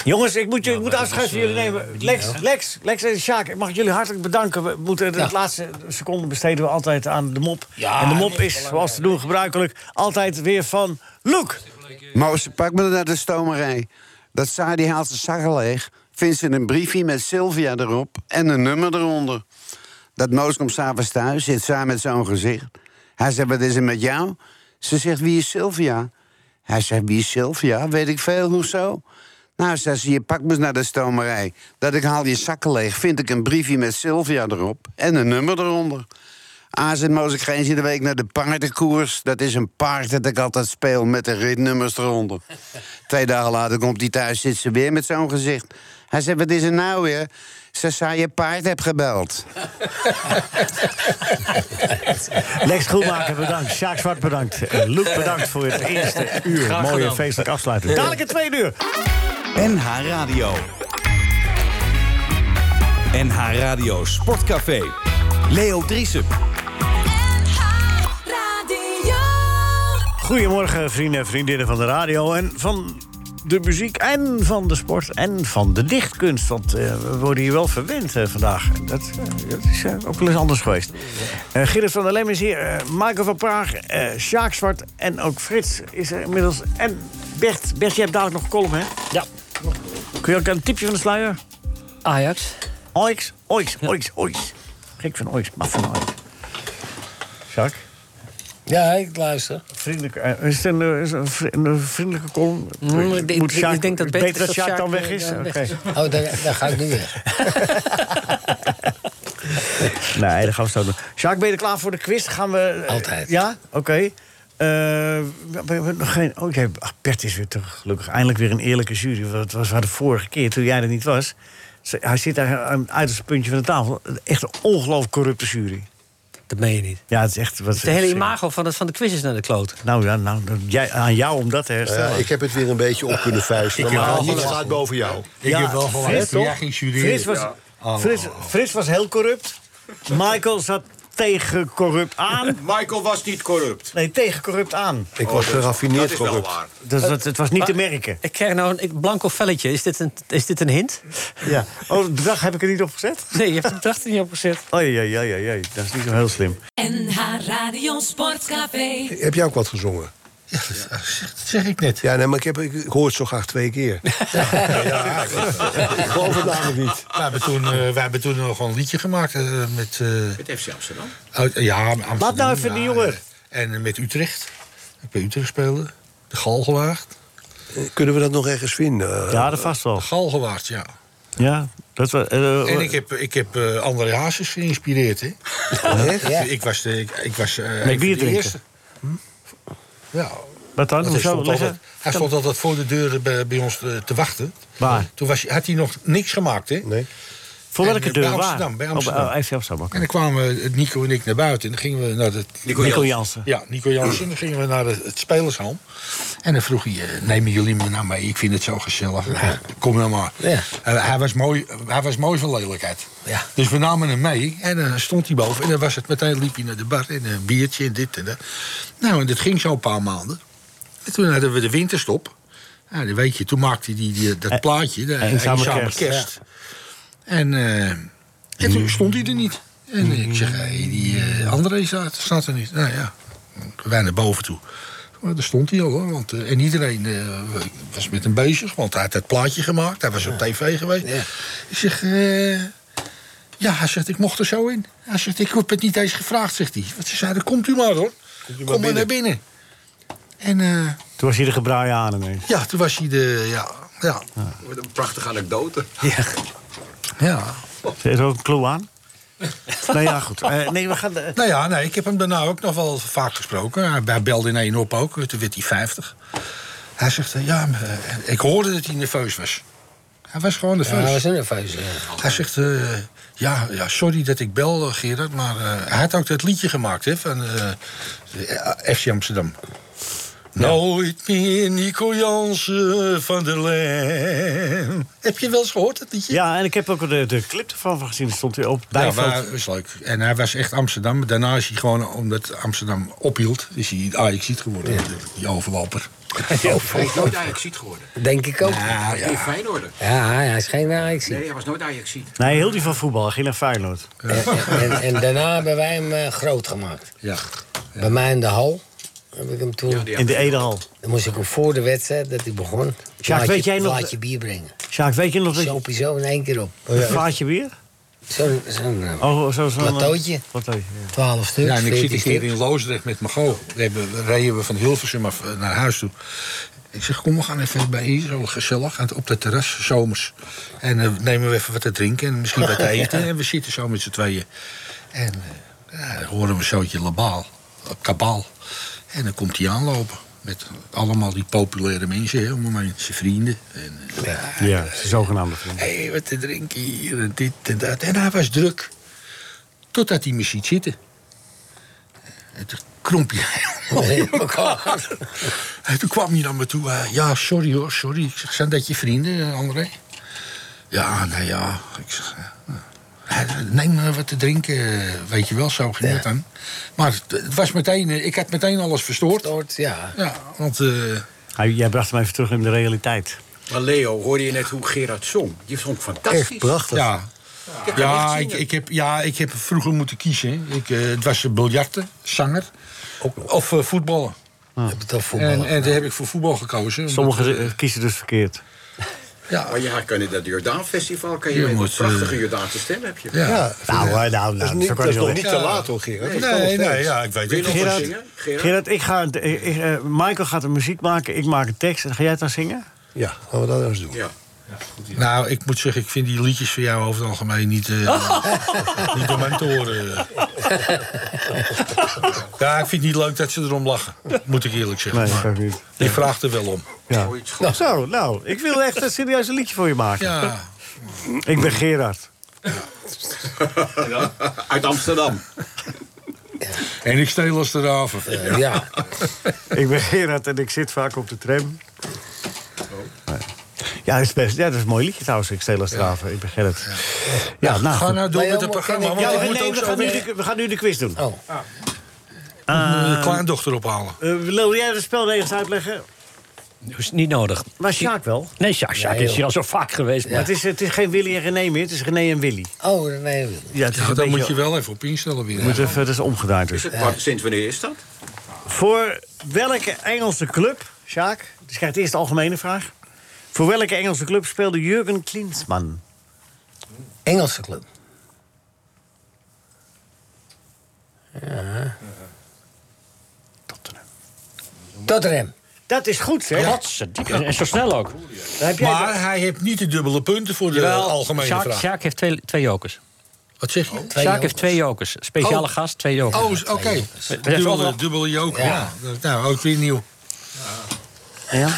Speaker 3: Jongens, ik moet, je, ik
Speaker 4: Ja,
Speaker 3: moet
Speaker 4: maar
Speaker 3: afscheid
Speaker 4: dat
Speaker 3: van
Speaker 4: is,
Speaker 3: jullie
Speaker 4: eh,
Speaker 3: nemen.
Speaker 4: die
Speaker 3: Lex,
Speaker 4: wel.
Speaker 3: Lex, Lex en Sjaak, ik mag jullie hartelijk bedanken. We moeten de
Speaker 5: Ja.
Speaker 3: laatste seconde besteden we altijd aan de mop.
Speaker 5: Ja,
Speaker 3: en de mop
Speaker 5: nee,
Speaker 3: is, zoals te doen gebruikelijk, altijd weer van Luke.
Speaker 13: Moos, pak me naar de stomerij. Dat Sadi haalt zijn zak leeg. Vindt ze een briefje met Sylvia erop en een nummer eronder. Dat Moos komt s'avonds thuis, zit samen met zo'n gezicht. Hij zegt, wat is er met jou? Ze zegt, wie is Sylvia? Hij zegt, wie is Sylvia? Weet ik veel, hoezo? Nou, zegt ze, je pakt me eens naar de stomerij. Dat ik haal je zakken leeg, vind ik een briefje met Sylvia erop... en een nummer eronder. AZ Moos, ik eens in de week naar de paardenkoers. Dat is een paard dat ik altijd speel met de ritnummers eronder. Twee dagen later komt hij thuis, zit ze weer met zo'n gezicht. Hij zegt, wat is er nou weer? Ze zei, je paard hebt gebeld.
Speaker 3: Lex Groenmaker bedankt, Sjaak Zwart bedankt. En Luke bedankt voor het eerste uur.
Speaker 4: Graag
Speaker 3: Mooie
Speaker 4: gedaan.
Speaker 3: feestelijk afsluiting. Dadelijk het tweede uur.
Speaker 2: NH Radio. NH Radio Sportcafé. Leo Driesen.
Speaker 1: Radio.
Speaker 3: Goedemorgen, vrienden en vriendinnen van de radio en van de muziek en van de sport en van de dichtkunst. Want eh, we worden hier wel verwend eh, vandaag. Dat, eh, dat is eh, ook wel eens anders geweest. Eh Gerrit van der Lem is hier, eh, Michael van Praag, eh Sjaak Zwart en ook Frits is er inmiddels. En Bert, Bert, jij hebt dadelijk nog een column, hè?
Speaker 9: Ja.
Speaker 3: Kun je ook een tipje van de sluier?
Speaker 9: Ajax.
Speaker 3: Oix, oix, oix, oix. Gek van oix, maar van oix. Sjaak?
Speaker 5: Ja, ik luister.
Speaker 3: Vriendelijk, eh, is het een, eh, is het een vri- een vriendelijke kolom?
Speaker 9: Mm, ik denk- ik denk dat beter
Speaker 3: beter dat
Speaker 9: dat
Speaker 3: Sjaak
Speaker 9: Sjaak,
Speaker 3: dan
Speaker 9: eh,
Speaker 3: weg is?
Speaker 9: dan weg
Speaker 3: Oké.
Speaker 9: is.
Speaker 5: Oh, daar, daar ga ik nu weg.
Speaker 3: Nee, dat gaan we zo doen. Sjaak, ben je er klaar voor de quiz? Gaan we... eh,
Speaker 5: Altijd.
Speaker 3: Ja? Oké. Eh, we hebben nog geen... Oh, jij- ach, Bert is weer terug, gelukkig. Eindelijk weer een eerlijke jury. Want het was waar de vorige keer, toen jij er niet was... Ze- Hij zit daar aan het uiterste puntje van de tafel. Echt een ongelooflijk corrupte jury.
Speaker 9: Dat meen je niet.
Speaker 3: Ja, het is echt... Wat
Speaker 9: De hele imago van, het, van de quiz is naar de kloot.
Speaker 3: Nou, ja, nou dat- jij, aan jou om dat te
Speaker 11: Ja,
Speaker 3: herstellen.
Speaker 11: Eh, ik heb het weer een beetje op kunnen vuisten.
Speaker 6: Ik heb
Speaker 11: Maar
Speaker 6: wel
Speaker 11: niets
Speaker 6: gelachen.
Speaker 11: gaat boven jou.
Speaker 6: Ik heb wel
Speaker 3: Frits,
Speaker 6: gelijk.
Speaker 3: toch?
Speaker 6: Ja, geen jury.
Speaker 3: Frits was,
Speaker 6: Ja. Oh.
Speaker 3: Frits, Frits was heel corrupt. Michael zat tegen corrupt aan.
Speaker 8: Michael was niet corrupt. Oh,
Speaker 3: Nee, tegen corrupt aan.
Speaker 11: Ik was geraffineerd
Speaker 8: Dat is
Speaker 11: corrupt.
Speaker 8: wel waar.
Speaker 3: Dus dat, het was niet te merken.
Speaker 9: Ik krijg nou een ik- blanco velletje. Is dit een, is dit een hint?
Speaker 3: Ja. Oh, de dag heb ik er niet op gezet?
Speaker 9: Nee, je hebt de dag er niet op gezet.
Speaker 3: Oei, oei, oei, oei, oei. Dat is niet zo heel slim.
Speaker 1: NH Radio Sportcafé.
Speaker 11: Heb jij ook wat gezongen?
Speaker 6: Dat zeg ik net.
Speaker 11: Ja, nee, maar ik, heb, ik, ik hoor het zo graag twee keer. Ja, ik geloof het namelijk niet.
Speaker 6: We hebben toen, eh, we hebben toen nog wel een liedje gemaakt eh, met... eh,
Speaker 8: Het FC Amsterdam.
Speaker 6: Uit- ja, Amsterdam,
Speaker 3: Laat nou even
Speaker 6: ja,
Speaker 3: die jongen.
Speaker 6: En eh, met Utrecht. Ik bij Utrecht speelde. De Galgenwaard.
Speaker 11: Kunnen we dat nog ergens vinden? Eh,
Speaker 3: Ja, dat vast wel.
Speaker 6: Galgenwaard, ja.
Speaker 3: Ja, dat was... eh,
Speaker 6: En ik heb, ik heb eh, André Hazes geïnspireerd, hè. Ik was de, ik, ik was, eh, een van de
Speaker 3: bier drinken.
Speaker 6: eerste. Hm? Ja,
Speaker 3: wat dan?
Speaker 6: want hij,
Speaker 3: Hoezo?
Speaker 6: stond altijd,
Speaker 3: Leggen?
Speaker 6: hij stond altijd voor de deuren bij, bij ons eh, te wachten.
Speaker 3: Waar?
Speaker 6: Toen was, hij- had hij nog niks gemaakt, hè.
Speaker 11: Nee.
Speaker 3: Voor
Speaker 6: en,
Speaker 3: welke
Speaker 6: eh, bij
Speaker 3: deur? waar?
Speaker 6: Amsterdam, bij
Speaker 3: Oh,
Speaker 6: Amsterdam.
Speaker 3: Oh, FC Amsterdam. oké.
Speaker 6: En dan kwamen eh, Nico en ik naar buiten. En dan gingen we naar het
Speaker 3: Nico Jansen.
Speaker 6: Ja, Nico Jansen. Dan gingen we naar het, het spelershalm. En dan vroeg hij, eh, nemen jullie me nou mee? Ik vind het zo gezellig. Nou, Kom nou maar.
Speaker 5: Ja.
Speaker 6: Eh, hij, was mooi, hij was mooi van lelijkheid.
Speaker 5: Ja.
Speaker 6: Dus we namen hem mee. En dan stond hij boven. En dan was het meteen liep hij naar de bar. En een biertje en dit en dat. Nou, en dat ging zo een paar maanden. En toen hadden we de winterstop. Ja, dan weet je, toen maakte hij die, die- dat plaatje. De,
Speaker 3: Eh, Eenzame
Speaker 6: Eenzame
Speaker 3: Kerst,
Speaker 6: Kerst. En, eh, en toen stond hij er niet. En ik zeg, hey, die eh André staat, staat er niet. Nou ja, wij naar boven toe. Maar daar stond hij al hoor. Want, eh, en iedereen eh, was met hem bezig, want hij had het plaatje gemaakt. Hij was op tv geweest. Ik zeg, eh, ja, hij zegt, ik mocht er zo in. Hij zegt, ik heb het niet eens gevraagd, zegt hij. Want ze zeiden, komt u maar hoor.
Speaker 3: u maar
Speaker 6: Kom maar naar binnen. En eh,
Speaker 3: Toen was hij de gebraaien aan ineens.
Speaker 6: ja, toen was hij de, ja, ja.
Speaker 14: Wat een prachtige anekdote.
Speaker 3: Ja.
Speaker 6: ja.
Speaker 3: Zit er ook een clue aan? nou ja, goed. Eh, nee, we gaan... eh,
Speaker 6: Nou ja, nee, ik heb hem daarna ook nog wel vaak gesproken. Hij- Hij belde in één op ook, toen werd hij 50. Hij zegt, eh, ja, maar, eh, ik hoorde dat hij nerveus was. Hij was gewoon nerveus.
Speaker 5: Ja, hij was een nerveus, ja.
Speaker 6: Hij zegt, eh, ja, ja, sorry dat ik bel, eh, Gerard, maar eh, hij had ook dat liedje gemaakt hè, van eh, FC Amsterdam. Nooit meer Nico Jansen Eh, van der Lem. Heb je wel eens gehoord, dat liedje?
Speaker 3: Ja, en ik heb ook de, de clip ervan gezien. Die stond weer op. Bijveld.
Speaker 6: Ja, maar is leuk. En hij was echt Amsterdam. Daarna is hij gewoon, omdat Amsterdam ophield, is hij ajax geworden. Die overloper.
Speaker 14: Hij is nooit Ajaxiet geworden.
Speaker 5: Denk ik ook.
Speaker 6: Ja,
Speaker 14: In Feyenoord.
Speaker 5: Ja, hij is geen Ajaxie.
Speaker 14: Nee, hij was nooit Ajaxiet.
Speaker 3: Nee, heel die van voetbal. Hij Ging naar Feyenoord.
Speaker 5: Eh, En, en daarna hebben wij hem eh, groot gemaakt.
Speaker 6: Ja.
Speaker 5: Bij mij in de hal heb ik hem toen...
Speaker 3: In de Edehal.
Speaker 5: Dan moest ik hem voor de wedstrijd, dat hij begon...
Speaker 3: Sjaak, weet jij nog-
Speaker 5: Laat je bier brengen.
Speaker 3: Sjaak, weet je nog dat...
Speaker 5: Sopie zo in één keer op.
Speaker 3: Een vaatje weer?
Speaker 5: Zo'n zo'n, eh,
Speaker 3: Oh, zo, zo'n... eh,
Speaker 5: plateautje.
Speaker 3: Plateautje, ja.
Speaker 5: Twaalf stuks.
Speaker 6: Ja, en ik zit
Speaker 5: 14
Speaker 6: een keer
Speaker 5: stuks.
Speaker 6: in Loosdrecht met Mago. We hebben- we reden we van Hilversum af eh, naar huis toe. Ik zeg, kom, we gaan even bij hier, zo gezellig, aan het- op het terras, zomers. En eh, nemen we even wat te drinken en misschien wat te eten. En we zitten zo met z'n tweeën. En eh, ja, dan horen we een zootje labaal, eh, kabaal. En dan komt hij aanlopen met allemaal die populaire mensen, hè, om hem heen, zijn vrienden. En, eh,
Speaker 3: Ja, zijn zogenaamde vriend.
Speaker 6: hé, wat te drinken hier en dit en dat. En hij was druk. Totdat hij me ziet zitten. En toen kromp hij
Speaker 3: Oh,
Speaker 6: helemaal in elkaar. En toen kwam hij naar me toe. eh, ja, sorry hoor, sorry. Ik zeg, zijn dat je vrienden, eh, André? Ja, nou ja. Ik zeg, eh, nou. Hij zei, neem maar wat te drinken. eh, Weet je wel, zo ging het dan. Maar het, het was meteen, eh, ik had meteen alles verstoord.
Speaker 5: Soort, ja.
Speaker 6: Ja, want... eh,
Speaker 3: Hij, jij bracht hem even terug in de realiteit.
Speaker 14: Maar Leo, hoorde je net hoe Gerard zong? Je zong fantastisch.
Speaker 6: Ja.
Speaker 14: Ik heb hem echt
Speaker 6: Ja,
Speaker 14: zingen.
Speaker 6: ik, ik heb, ja, ik heb vroeger moeten kiezen. hè. Ik, eh, het was biljarten, zanger of eh, voetballen.
Speaker 5: Heb het al
Speaker 6: En,
Speaker 5: voetballen.
Speaker 6: en daar heb ik voor voetbal gekozen.
Speaker 3: Ah. Sommigen
Speaker 6: omdat, eh,
Speaker 3: eh, kiezen dus verkeerd.
Speaker 6: ja,
Speaker 14: Maar ja, kan je dat Jordaan-festival, kan
Speaker 6: Je
Speaker 14: je,
Speaker 6: moet,
Speaker 14: een
Speaker 6: eh,
Speaker 14: prachtige Jordaanse stem heb je.
Speaker 6: ja.
Speaker 11: Ja,
Speaker 3: Nou, eh, nou, nou,
Speaker 11: dat is,
Speaker 3: zo
Speaker 11: niet,
Speaker 3: kan
Speaker 11: dat
Speaker 3: je
Speaker 11: is
Speaker 3: wel
Speaker 11: nog
Speaker 3: weg.
Speaker 11: niet te laat hoor, Gerard. Dat is nog
Speaker 6: Nee,
Speaker 11: steeds.
Speaker 6: nee, ja, ik weet
Speaker 14: Wil je nog
Speaker 6: het niet.
Speaker 14: wat
Speaker 3: Gerard-
Speaker 14: zingen, Gerard?
Speaker 3: Gerard, ik ga, een- ik, ik, eh, Michael gaat de muziek maken, ik maak een tekst. En ga jij het dan zingen?
Speaker 11: Ja, gaan we dat eens doen.
Speaker 14: Ja.
Speaker 6: Nou, ik moet zeggen, ik vind die liedjes van jou over het algemeen niet,
Speaker 1: Oh.
Speaker 6: eh niet door mijn toren. eh. ja, ik vind het niet leuk dat ze erom lachen. Moet ik eerlijk zeggen.
Speaker 3: Nee, dat
Speaker 6: maar
Speaker 3: kan ik niet.
Speaker 6: je vraagt er wel om.
Speaker 3: Ja.
Speaker 14: Zoiets
Speaker 3: Nou, zo, nou, ik wil echt een serieus een liedje voor je maken.
Speaker 6: Ja.
Speaker 3: Ik ben Gerard.
Speaker 14: Uit Amsterdam.
Speaker 6: En ik steel als de raven.
Speaker 5: Eh, ja.
Speaker 3: Ik ben Gerard en ik zit vaak op de tram. Ja, dat is best. Ja, dat is een mooi liedje trouwens. Ik steel als draven. Ik ben Gerrit. Ja, nou.
Speaker 6: Ga
Speaker 3: goed.
Speaker 6: nou door met het
Speaker 5: Maar jongen,
Speaker 6: programma,
Speaker 5: kan
Speaker 6: want
Speaker 5: ik-
Speaker 3: Ja,
Speaker 6: ik
Speaker 3: we,
Speaker 6: moet
Speaker 3: nee,
Speaker 6: ook
Speaker 3: we,
Speaker 6: zo
Speaker 3: gaan nu
Speaker 6: weer
Speaker 3: de, we gaan nu de quiz doen.
Speaker 5: Oh,
Speaker 6: mijn kleindochter ophalen.
Speaker 3: Eh, wil jij de spelregels uitleggen?
Speaker 9: Dus niet nodig.
Speaker 3: Maar Sjaak wel.
Speaker 9: Nee, Sjaak, Sjaak
Speaker 5: Nee,
Speaker 9: is
Speaker 5: joh.
Speaker 9: hier al zo vaak geweest.
Speaker 3: Maar
Speaker 9: Maar
Speaker 3: het is, het is geen Willy en René meer, het is René en Willy.
Speaker 5: oh nee. Wil.
Speaker 3: Ja, het is
Speaker 6: Ja, dan
Speaker 3: een beetje-
Speaker 6: moet je wel even op instellen
Speaker 3: Je
Speaker 6: weer.
Speaker 3: moet even, het is omgedraaid
Speaker 14: Is
Speaker 3: dus.
Speaker 14: het, maar sinds wanneer is dat?
Speaker 3: Voor welke Engelse club, Sjaak? Dus je krijgt eerst de algemene vraag. Voor welke Engelse club speelde Jurgen Klinsmann?
Speaker 5: Engelse club.
Speaker 3: Tottenham.
Speaker 5: Tottenham.
Speaker 3: Dat is goed, zeg.
Speaker 9: En, en zo snel ook.
Speaker 3: Dan heb jij
Speaker 6: Maar hij heeft niet de dubbele punten voor de algemene
Speaker 9: Sjaak,
Speaker 6: vraag.
Speaker 9: Sjaak heeft twee, twee jokers.
Speaker 6: Wat
Speaker 3: Oh.
Speaker 6: zeg je?
Speaker 5: Twee
Speaker 9: Sjaak heeft
Speaker 5: jokers.
Speaker 9: twee jokers. Speciale
Speaker 6: Oh.
Speaker 9: gast, twee jokers.
Speaker 6: Oh, oké. Dubbele, dubbele joker. Ja.
Speaker 5: Ja.
Speaker 6: Nou, ook weer nieuw.
Speaker 3: Ja.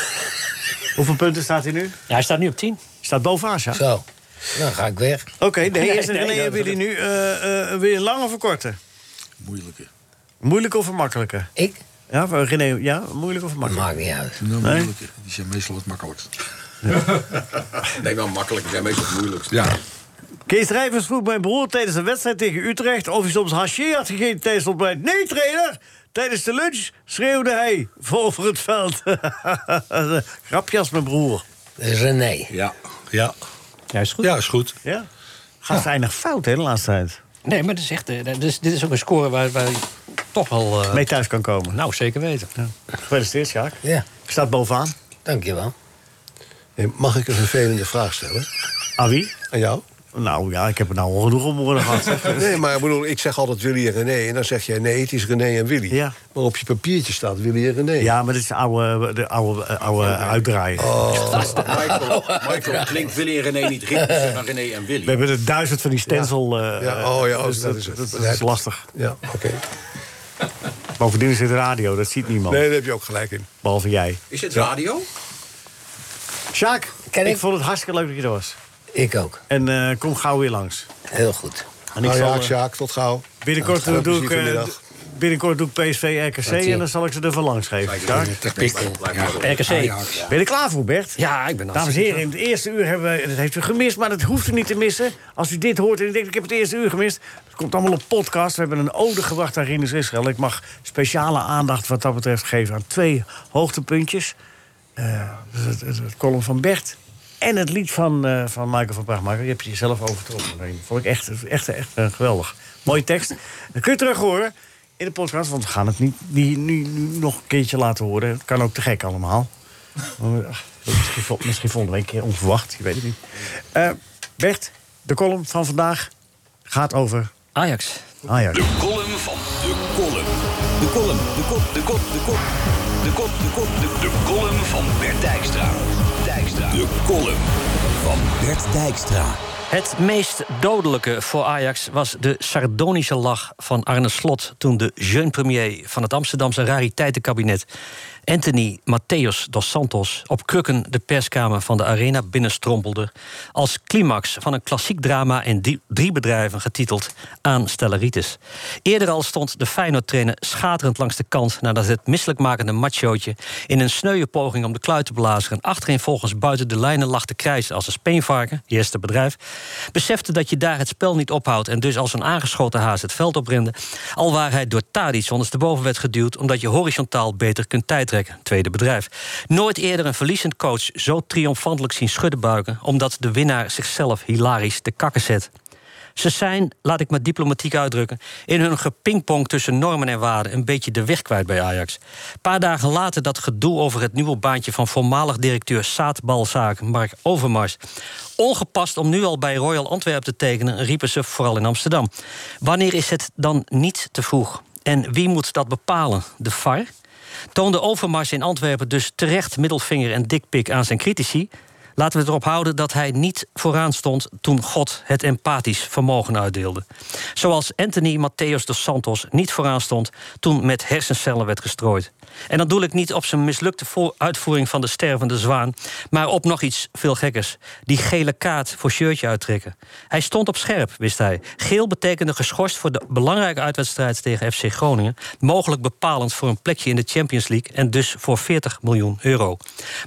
Speaker 3: Hoeveel punten staat hij nu?
Speaker 9: Ja, hij staat nu op tien.
Speaker 3: Staat bovenaan, Sjaak.
Speaker 5: Zo. Dan ga ik weg.
Speaker 3: Oké, nee, eerst
Speaker 9: nee,
Speaker 3: René
Speaker 9: nee,
Speaker 3: en
Speaker 9: dat-
Speaker 3: Willy nu. eh, eh, wil je lang of een korte?
Speaker 6: Moeilijke.
Speaker 3: Moeilijk of een makkelijke?
Speaker 5: Ik?
Speaker 3: Ja, voor René, ja, moeilijk of makkelijk?
Speaker 5: Maakt niet uit.
Speaker 6: Nou,
Speaker 3: Nee.
Speaker 6: moeilijke. Die zijn meestal het makkelijkst.
Speaker 14: Nee, wel makkelijk. Die zijn meestal het moeilijkst.
Speaker 6: Ja.
Speaker 3: Kees Drijvers vroeg mijn broer tijdens een wedstrijd tegen Utrecht... of hij soms haché had gegeten tijdens het ontbijt. Nee, trainer! Tijdens de lunch schreeuwde hij voor over het veld. Grapje als mijn broer.
Speaker 5: Dat is René.
Speaker 6: Ja. Ja.
Speaker 9: Ja, is goed.
Speaker 6: Ja, is goed.
Speaker 3: Ja? Gaat weinig fout, hè, de laatste tijd.
Speaker 9: Nee, maar dat is echt, eh, dat is- dit is ook een score waar, waar toch wel...
Speaker 3: mee thuis kan komen.
Speaker 9: Nou, zeker weten.
Speaker 3: Gefeliciteerd, Sjaak.
Speaker 5: Ja.
Speaker 3: Staat bovenaan.
Speaker 5: Dankjewel.
Speaker 11: Mag ik een vervelende vraag stellen?
Speaker 3: Aan wie?
Speaker 11: Aan jou?
Speaker 3: Nou ja, ik heb er nou al genoeg om worden gehad. zeg.
Speaker 11: nee, maar ik bedoel, ik zeg altijd Willy en René. En dan zeg jij nee, het is René en Willy. Maar op je papiertje staat Willy en René.
Speaker 3: Ja, maar dit is oude, de oude, eh, oude
Speaker 11: Oh.
Speaker 3: uitdraaien.
Speaker 14: Michael, Michael klinkt Willy en René niet ritmisch, maar René en Willy.
Speaker 3: We hebben er duizend van die stencil. eh,
Speaker 14: Ja, oh ja, oh,
Speaker 3: dus
Speaker 14: dat
Speaker 3: dat,
Speaker 14: is het.
Speaker 3: dat- dat
Speaker 14: Ja,
Speaker 3: is
Speaker 14: dat-
Speaker 3: lastig.
Speaker 11: Ja, oké.
Speaker 3: Bovendien is dit radio, dat ziet niemand.
Speaker 11: Nee, daar heb je ook gelijk in.
Speaker 3: Behalve jij.
Speaker 14: Is het
Speaker 3: Ja.
Speaker 14: radio?
Speaker 3: Sjaak, ik?
Speaker 14: Ken ik?
Speaker 3: vond het hartstikke leuk dat je er was.
Speaker 5: Ik ook.
Speaker 3: En eh, kom gauw weer langs.
Speaker 5: Heel goed.
Speaker 3: En ik
Speaker 11: Nou,
Speaker 3: zal,
Speaker 11: ja,
Speaker 3: eh,
Speaker 11: Sjaak, tot gauw.
Speaker 3: Binnenkort,
Speaker 11: Veel
Speaker 3: doe, ik,
Speaker 11: plezier
Speaker 3: eh,
Speaker 11: vanmiddag.
Speaker 3: binnenkort doe ik PSV RKC
Speaker 11: Dat zie
Speaker 3: en
Speaker 11: ik.
Speaker 3: dan zal ik ze ervan langs geven.
Speaker 11: Sjaak?
Speaker 3: RKC. Ben je er klaar voor, Bert?
Speaker 9: Ja, ik ben al.
Speaker 3: Dames en heren, in het eerste uur hebben wij, en dat heeft u gemist, maar dat hoeft u niet te missen. Als u dit hoort en u denkt, ik heb het eerste uur gemist, dat komt allemaal op podcast. We hebben een ode gebracht aan Rinus Israël. Ik mag speciale aandacht wat dat betreft geven aan twee hoogtepuntjes. Eh, dat is het, het, het column van Bert en het lied van, eh, van Michael van Praagmaker. Je hebt jezelf overtroffen. Dat vond ik echt, echt, echt eh, geweldig. Mooie tekst. Dat kun je terug horen in de podcast, want we gaan het niet, niet, nu, nu nog een keertje laten horen. Het kan ook te gek allemaal. Maar, ach, Misschien, vol- misschien volgende week een keer onverwacht, je weet het niet. Eh, Bert, de column van vandaag gaat over...
Speaker 9: Ajax.
Speaker 3: Ajax.
Speaker 2: De column van de column. De column, de kop, de kop, de kop. De kop, de kop, de De column van Bert Dijkstra. Dijkstra. De column van Bert Dijkstra.
Speaker 9: Het meest dodelijke voor Ajax was de sardonische lach van Arne Slot... toen de jeune premier van het Amsterdamse rariteitenkabinet... Anthony Matthäus dos Santos op krukken de perskamer van de Arena binnenstrompelde... als climax van een klassiek drama in die- drie bedrijven getiteld Aanstelleritis. Eerder al stond de Feyenoord-trainer schaterend langs de kant... nadat het misselijkmakende machootje in een sneuwe poging om de kluit te blazen... achtereenvolgens buiten de lijnen lag te krijsen als een speenvarken... eerste bedrijf, besefte dat je daar het spel niet ophoudt... en dus als een aangeschoten haas het veld oprende... al waar hij door Tadic ondersteboven werd geduwd... omdat je horizontaal beter kunt tijdrekken, tweede bedrijf. Nooit eerder een verliezend coach zo triomfantelijk zien schudden buiken... omdat de winnaar zichzelf hilarisch de kakken zet. Ze zijn, laat ik maar diplomatiek uitdrukken, in hun gepingpong tussen normen en waarden een beetje de weg kwijt bij Ajax. Een paar dagen later dat gedoe over het nieuwe baantje van voormalig directeur zaadbalzaak Mark Overmars. Ongepast om nu al bij Royal Antwerpen te tekenen, riepen ze vooral in Amsterdam. Wanneer is het dan niet te vroeg? En wie moet dat bepalen? De VAR? Toonde Overmars in Antwerpen dus terecht middelvinger en dikpik aan zijn critici, Laten we het erop houden dat hij niet vooraan stond toen God het empathisch vermogen uitdeelde. Zoals Anthony Matthäus dos Santos niet vooraan stond toen met hersencellen werd gestrooid. En dan doe ik niet op zijn mislukte vo- uitvoering van de stervende zwaan, maar op nog iets veel gekkers: die gele kaart voor shirtje uittrekken. Hij stond op scherp, wist hij. Geel betekende geschorst voor de belangrijke uitwedstrijd tegen FC Groningen, mogelijk bepalend voor een plekje in de Champions League en dus voor 40 miljoen euro.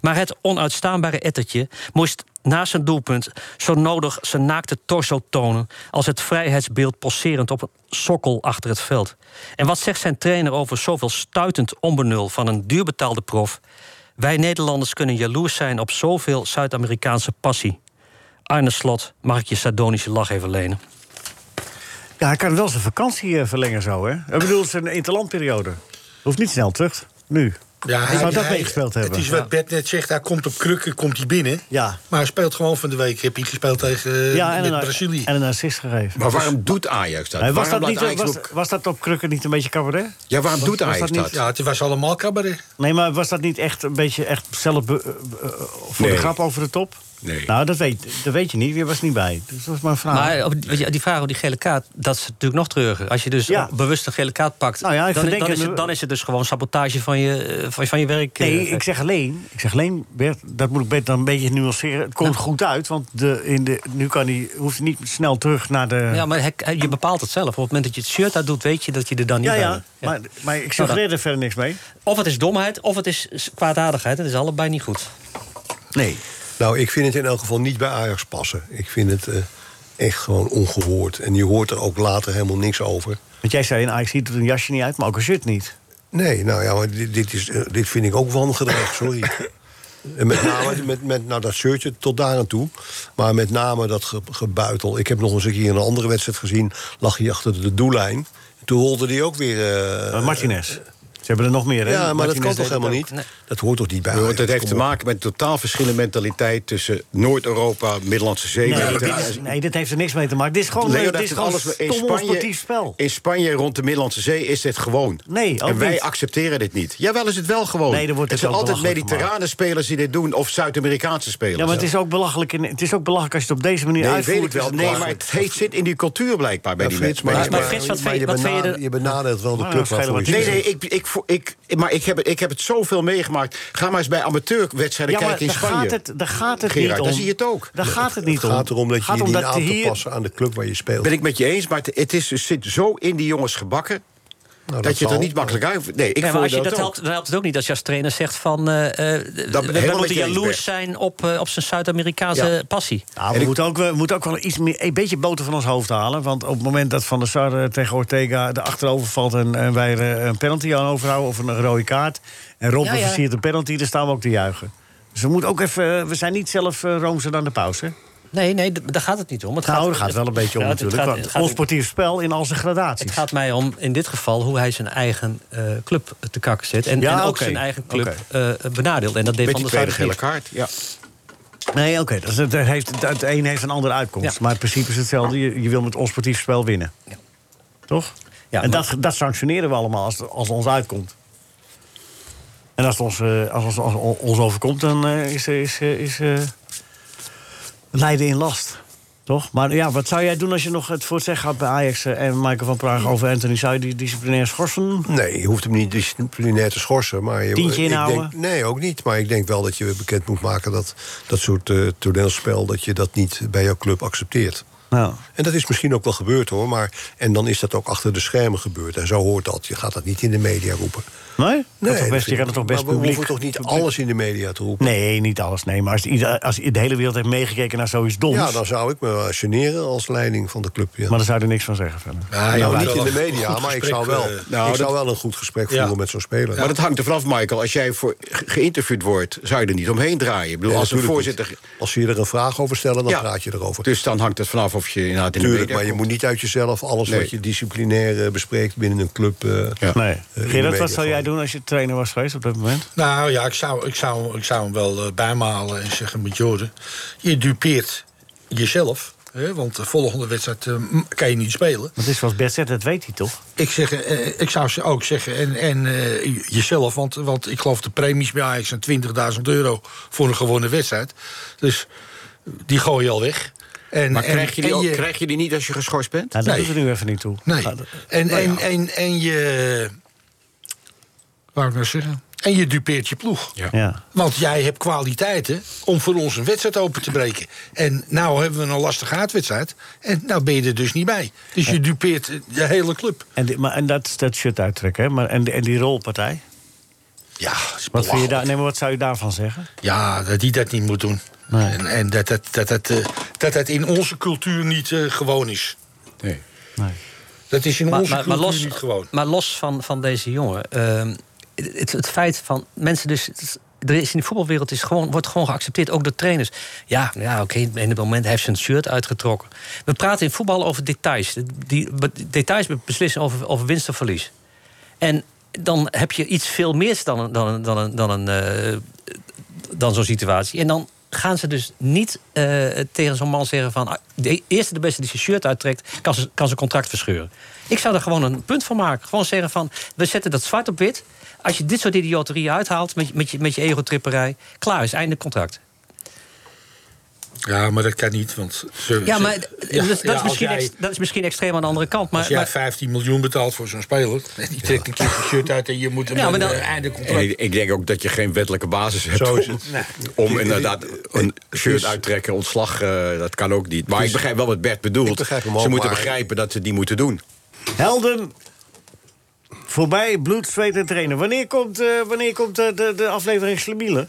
Speaker 9: Maar het onuitstaanbare ettertje moest na zijn doelpunt zo nodig zijn naakte torso tonen als het vrijheidsbeeld poserend op een sokkel achter het veld. En wat zegt zijn trainer over zoveel stuitend onbenul van een duurbetaalde prof? Wij Nederlanders kunnen jaloers zijn op zoveel Zuid-Amerikaanse passie. Arne Slot, mag ik je sardonische lach even lenen?
Speaker 3: Ja, hij kan wel zijn vakantie eh, verlengen zo, hè? Ik bedoel, zijn interlandperiode. Hoeft niet snel terug, nu. Ja, hij zou dat meegespeeld hebben.
Speaker 6: Het is wat Bert net zegt, hij komt op krukken, komt hij binnen.
Speaker 3: Ja.
Speaker 6: Maar hij speelt gewoon van de week. Heb je gespeeld tegen eh,
Speaker 3: ja, en
Speaker 6: met
Speaker 3: een,
Speaker 6: Brazilië.
Speaker 3: en een assist gegeven.
Speaker 6: Maar waarom
Speaker 14: doet Ajax
Speaker 3: Hey, was,
Speaker 6: Waarom
Speaker 3: dat
Speaker 6: laat
Speaker 3: niet,
Speaker 6: Ajax
Speaker 3: was,
Speaker 6: ook-
Speaker 3: was dat op krukken niet een beetje cabaret?
Speaker 6: Ja,
Speaker 14: waarom
Speaker 3: Was-
Speaker 14: doet
Speaker 3: was
Speaker 14: Ajax dat?
Speaker 6: Ja, het was allemaal cabaret.
Speaker 3: Nee, maar was dat niet echt een beetje echt zelf be- eh, eh, voor
Speaker 14: Nee.
Speaker 3: de grap over de top?
Speaker 14: Nee.
Speaker 3: Nou, dat weet, dat weet je niet. Je was niet bij. Dus dat was maar een vraag.
Speaker 9: Maar op- weet je, die vraag over die gele kaart, dat is natuurlijk nog treuriger. Als je dus
Speaker 3: Ja.
Speaker 9: bewust een gele kaart pakt,
Speaker 3: Nou ja, ik
Speaker 9: dan,
Speaker 3: verdenk
Speaker 9: dan, is
Speaker 3: hem-
Speaker 9: het, dan is het dus gewoon sabotage van je, eh, van, van je werk. eh,
Speaker 3: Nee, ik zeg alleen, ik zeg alleen Bert, dat moet ik Bert dan een beetje nuanceren. Het komt goed uit, want de, in de, nu kan hij, hoeft hij niet snel terug naar de...
Speaker 9: Ja, maar hek- je bepaalt het zelf. Op het moment dat je het shirt uit doet, weet je dat je er dan niet
Speaker 3: Ja,
Speaker 9: bij
Speaker 3: ja,
Speaker 9: bent.
Speaker 3: maar- maar ik
Speaker 9: Nou,
Speaker 3: suggereer
Speaker 9: dan-
Speaker 3: er verder niks mee.
Speaker 9: Of het is domheid, of het is s- kwaadaardigheid. Het is allebei niet goed.
Speaker 3: Nee.
Speaker 11: Nou, ik vind het in elk geval niet bij Ajax passen. Ik vind het eh, echt gewoon ongehoord. En je hoort er ook later helemaal niks over.
Speaker 3: Want jij zei in Ajax ziet doet een jasje niet uit, maar ook een shirt niet.
Speaker 11: Nee, nou ja, maar dit, dit is, eh, dit vind ik ook wangedrag, sorry. En met name met, met, nou, dat shirtje tot daar aan toe. Maar met name dat ge- gebuitel. Ik heb nog eens een keer in een andere wedstrijd gezien. lag hij achter de doellijn. Toen rolde die ook weer... eh,
Speaker 3: Martinez. Ze hebben er nog meer, hè?
Speaker 11: Ja, maar dat
Speaker 3: Martinez
Speaker 11: kan
Speaker 3: deed
Speaker 11: toch helemaal
Speaker 3: ook.
Speaker 11: niet? Dat hoort toch niet bij?
Speaker 15: Hoor, dat heeft
Speaker 11: Kom
Speaker 15: te
Speaker 11: op.
Speaker 15: maken met een totaal verschillende mentaliteit tussen Noord-Europa, Middellandse Zee.
Speaker 3: Nee,
Speaker 15: en-
Speaker 3: dit is- nee, dit heeft er niks mee te maken. Dit is gewoon,
Speaker 15: Leo, dat
Speaker 3: dit is
Speaker 15: heeft
Speaker 3: gewoon
Speaker 15: alles- in
Speaker 3: stom
Speaker 15: Spanje-
Speaker 3: sportief spel.
Speaker 15: In Spanje rond de Middellandse Zee is dit gewoon.
Speaker 3: Nee, ook
Speaker 15: En wij
Speaker 3: niet.
Speaker 15: accepteren dit niet. Jawel is het wel gewoon.
Speaker 3: Nee, dan
Speaker 15: het
Speaker 3: wordt het
Speaker 15: zijn
Speaker 3: ook
Speaker 15: altijd
Speaker 3: belachelijk
Speaker 15: mediterrane spelers die dit doen of Zuid-Amerikaanse spelers.
Speaker 3: Ja, maar het is ook belachelijk, in, het is ook belachelijk als je het op deze manier
Speaker 15: Nee,
Speaker 3: uitvoert.
Speaker 15: weet ik wel.
Speaker 3: is het
Speaker 15: Nee, maar
Speaker 3: belachelijk.
Speaker 15: het heet, zit in die cultuur blijkbaar bij
Speaker 3: Ja,
Speaker 15: die
Speaker 3: Frits,
Speaker 15: mensen.
Speaker 3: maar- Maar Frits, maar- wat maar vind je- je wat vind je benade- er- je benadeelt wel de
Speaker 15: Oh,
Speaker 3: Nou, club dat is waarvoor geen je-
Speaker 15: Nee, nee, ik, ik, vo- ik, maar ik heb, het- ik heb het zoveel meegemaakt. Ga maar eens bij amateurwedstrijden
Speaker 3: Ja, maar
Speaker 15: kijken in
Speaker 3: daar
Speaker 15: Spanje.
Speaker 3: gaat het, daar gaat het
Speaker 15: Gerard,
Speaker 3: niet om.
Speaker 15: daar zie je het ook.
Speaker 3: Daar gaat het niet om.
Speaker 11: gaat erom dat je
Speaker 3: Gaat
Speaker 11: je
Speaker 3: om
Speaker 11: dient
Speaker 3: dat
Speaker 11: aan te
Speaker 3: hier-
Speaker 11: passen aan de club waar je speelt.
Speaker 15: Ben ik met je eens, maar het, het is, het zit zo in die jongens gebakken... dat,
Speaker 11: Nou, dat
Speaker 15: je er
Speaker 11: zal.
Speaker 15: niet makkelijk uit... Nee, ik
Speaker 9: Nee, maar
Speaker 15: voel
Speaker 9: als je
Speaker 15: dat
Speaker 9: dat
Speaker 15: ook.
Speaker 9: helpt, dan helpt het ook niet als je als trainer zegt van... eh, eh, we
Speaker 15: helemaal met
Speaker 9: moeten
Speaker 15: je eens, Bert.
Speaker 9: jaloers zijn op, eh, op zijn Zuid-Amerikaanse
Speaker 3: Ja.
Speaker 9: passie.
Speaker 3: Ja, we, moeten ook, we moeten ook wel iets meer, een beetje boter van ons hoofd halen. Want op het moment dat Van der Sar eh, tegen Ortega de achterover valt... en, en wij er eh, een penalty aan overhouden of een rode kaart... en Robben
Speaker 9: Ja, ja.
Speaker 3: versiert een penalty, dan staan we ook te juichen. Dus we, moeten ook even, eh, we zijn niet zelf eh, roomser dan de paus, hè?
Speaker 9: Nee, nee, d- daar gaat het niet om. Het
Speaker 3: Nou,
Speaker 9: gaat,
Speaker 3: daar gaat het wel een beetje om
Speaker 9: Ja, het
Speaker 3: natuurlijk.
Speaker 9: gaat-
Speaker 3: want
Speaker 9: het gaat-
Speaker 3: onsportief spel in al zijn gradaties.
Speaker 9: Het gaat mij om, in dit geval, hoe hij zijn eigen eh, club te kakken zet. En,
Speaker 3: Ja,
Speaker 9: en ook
Speaker 3: oké.
Speaker 9: zijn eigen club
Speaker 3: Oké.
Speaker 9: eh benadeelt. En dat deed
Speaker 3: Met
Speaker 9: Van
Speaker 3: die
Speaker 9: der Sar
Speaker 3: tweede
Speaker 9: dus
Speaker 3: gele
Speaker 9: niet.
Speaker 15: kaart, ja.
Speaker 3: Nee, oké. dat is- dat heeft, het een heeft een andere uitkomst. Maar het principe is hetzelfde. Je, je wil met onsportief spel winnen. Toch? en dat, dat sanctioneren we allemaal als, als het ons uitkomt. En als het ons, eh, als, ons- als on- ons overkomt, dan eh, is, is, eh, is eh, lijden in last. Toch? Maar ja, wat zou jij doen als je nog het voor het zeggen had bij Ajax eh, en Michael van Praag over Anthony? Zou je die disciplinair schorsen?
Speaker 11: Nee, je hoeft hem niet disciplinair te schorsen. Maar je,
Speaker 3: Tientje
Speaker 11: ik
Speaker 3: inhouden?
Speaker 11: denk- nee, ook niet. Maar ik denk wel dat je bekend moet maken dat dat soort eh, toneelspel... dat je dat niet bij jouw club accepteert. En dat is misschien ook wel gebeurd hoor. Maar, en dan is dat ook achter de schermen gebeurd. En zo hoort dat. Je gaat dat niet in de media roepen.
Speaker 3: Nee?
Speaker 11: Nee, dat
Speaker 3: toch best,
Speaker 11: vind
Speaker 3: je
Speaker 11: ik
Speaker 3: kan het toch best
Speaker 11: Maar we
Speaker 3: publiek...
Speaker 11: hoeven toch niet alles in de media te roepen?
Speaker 3: Nee, niet alles. Nee, maar als, ieder- als de hele wereld heeft meegekeken naar zoiets doms...
Speaker 11: Ja, dan zou ik me wel generen als leiding van de club. Ja.
Speaker 3: Maar daar zou je er niks van zeggen verder.
Speaker 11: nou,
Speaker 15: ja,
Speaker 11: niet
Speaker 15: wel
Speaker 11: in de
Speaker 15: een
Speaker 11: media,
Speaker 15: goed
Speaker 11: maar ik
Speaker 15: gesprek,
Speaker 11: zou wel,
Speaker 15: eh, nou,
Speaker 11: ik zou
Speaker 15: dat-
Speaker 11: wel een goed gesprek voeren met zo'n speler.
Speaker 15: Maar dat hangt er vanaf, Michael. Als jij voor ge- geïnterviewd wordt, zou je er niet omheen draaien. Ik bedoel,
Speaker 11: Nee,
Speaker 15: als een
Speaker 11: natuurlijk
Speaker 15: voorzitter...
Speaker 11: Als ze je er een vraag over stellen, dan
Speaker 15: Ja.
Speaker 11: praat je erover.
Speaker 15: Dus dan hangt het vanaf of je inderdaad in de
Speaker 11: Tuurlijk,
Speaker 15: media
Speaker 11: maar je
Speaker 15: komt.
Speaker 11: moet niet uit jezelf alles
Speaker 15: Nee.
Speaker 11: wat je disciplinair eh, bespreekt binnen een club. eh, eh,
Speaker 3: Nee.
Speaker 11: in de
Speaker 3: Gerard,
Speaker 11: media
Speaker 3: wat zou jij doen als je trainer was geweest op dat moment?
Speaker 6: Nou ja, ik zou, ik zou, ik zou hem wel eh, bijmalen en zeggen met Jorden... je dupeert jezelf, hè, want de volgende wedstrijd eh, m- kan je niet spelen.
Speaker 3: Want het is zoals Bert zegt, dat weet hij toch?
Speaker 6: Ik, zeg, eh, ik zou ze ook zeggen, en, en eh, j- jezelf, want, want ik geloof de premies bij Ajax zijn 20.000 euro voor een gewonnen wedstrijd. Dus die gooi je al weg. En,
Speaker 15: maar
Speaker 6: en-
Speaker 15: krijg, je die
Speaker 6: en
Speaker 15: ook, krijg je die niet als je geschorst bent?
Speaker 3: Nou, dat
Speaker 6: Nee.
Speaker 3: doet er nu even niet toe.
Speaker 6: Nee.
Speaker 3: Nou, dat-
Speaker 6: En,
Speaker 3: Nou
Speaker 6: en,
Speaker 3: ja.
Speaker 6: en, en je. Wou ik nou zeggen? En je dupeert je ploeg.
Speaker 3: Ja.
Speaker 6: Want jij hebt kwaliteiten om voor ons een wedstrijd open te breken. En nou hebben we een lastige uitwedstrijd. En nou ben je er dus niet bij. Dus je dupeert de hele club.
Speaker 3: En, die- maar, en dat, dat shirt uittrekken, hè? Maar, en, die- en die rolpartij?
Speaker 6: Ja,
Speaker 3: Wat, vind je daar, nee, maar wat zou je daarvan zeggen?
Speaker 6: Ja, dat die dat niet moet doen. En, en dat, dat, dat, dat, eh, dat dat in onze cultuur niet eh, gewoon is.
Speaker 15: Nee.
Speaker 6: Dat is in
Speaker 9: Maar,
Speaker 6: onze
Speaker 9: maar, maar
Speaker 6: cultuur
Speaker 9: los,
Speaker 6: niet gewoon.
Speaker 9: maar los van, van deze jongen. ehm, het, het feit van mensen dus. het is- er is in de voetbalwereld is gewoon, wordt gewoon geaccepteerd, ook door trainers. Ja, nou ja oké, in het moment heeft zijn shirt uitgetrokken. We praten in voetbal over details. Die, be- details beslissen over, over winst of verlies. En dan heb je iets veel meer dan, een- dan, een- dan, een- dan, een, eh, dan zo'n situatie. En dan gaan ze dus niet eh, tegen zo'n man zeggen van... ah, de eerste de beste die zijn shirt uittrekt, kan, ze, kan zijn contract verscheuren. Ik zou daar gewoon een punt van maken. Gewoon zeggen van, we zetten dat zwart op wit. Als je dit soort idioterie uithaalt met, je- met je, met je egotripperij... klaar is, einde contract.
Speaker 6: Ja, maar dat kan niet. Want ze-
Speaker 9: Ja,
Speaker 6: ze-
Speaker 9: maar
Speaker 6: Ja,
Speaker 9: dat, is-
Speaker 6: ja,
Speaker 9: dat, is
Speaker 6: als
Speaker 9: misschien
Speaker 6: jij-
Speaker 9: ex- dat is misschien extreem aan de andere kant. Maar,
Speaker 6: als jij
Speaker 9: maar-
Speaker 6: 15 miljoen betaalt voor zo'n speler... en die trekt een keer zijn shirt uit en je moet hem
Speaker 9: Ja, maar
Speaker 6: een
Speaker 9: dan-
Speaker 6: eh, einde contract...
Speaker 15: En ik, ik denk ook dat je geen wettelijke basis hebt
Speaker 6: Zo is
Speaker 15: om,
Speaker 6: het. Nee.
Speaker 15: om inderdaad een shirt uittrekken, ontslag, eh, dat kan ook niet. Maar ik begrijp wel wat Bert bedoelt.
Speaker 11: ook,
Speaker 15: ze moeten
Speaker 11: maar-
Speaker 15: begrijpen dat ze die moeten doen.
Speaker 3: Helden, voorbij bloed, zweet en trainen. Wanneer komt, eh, wanneer komt eh, de, de aflevering Slemiele?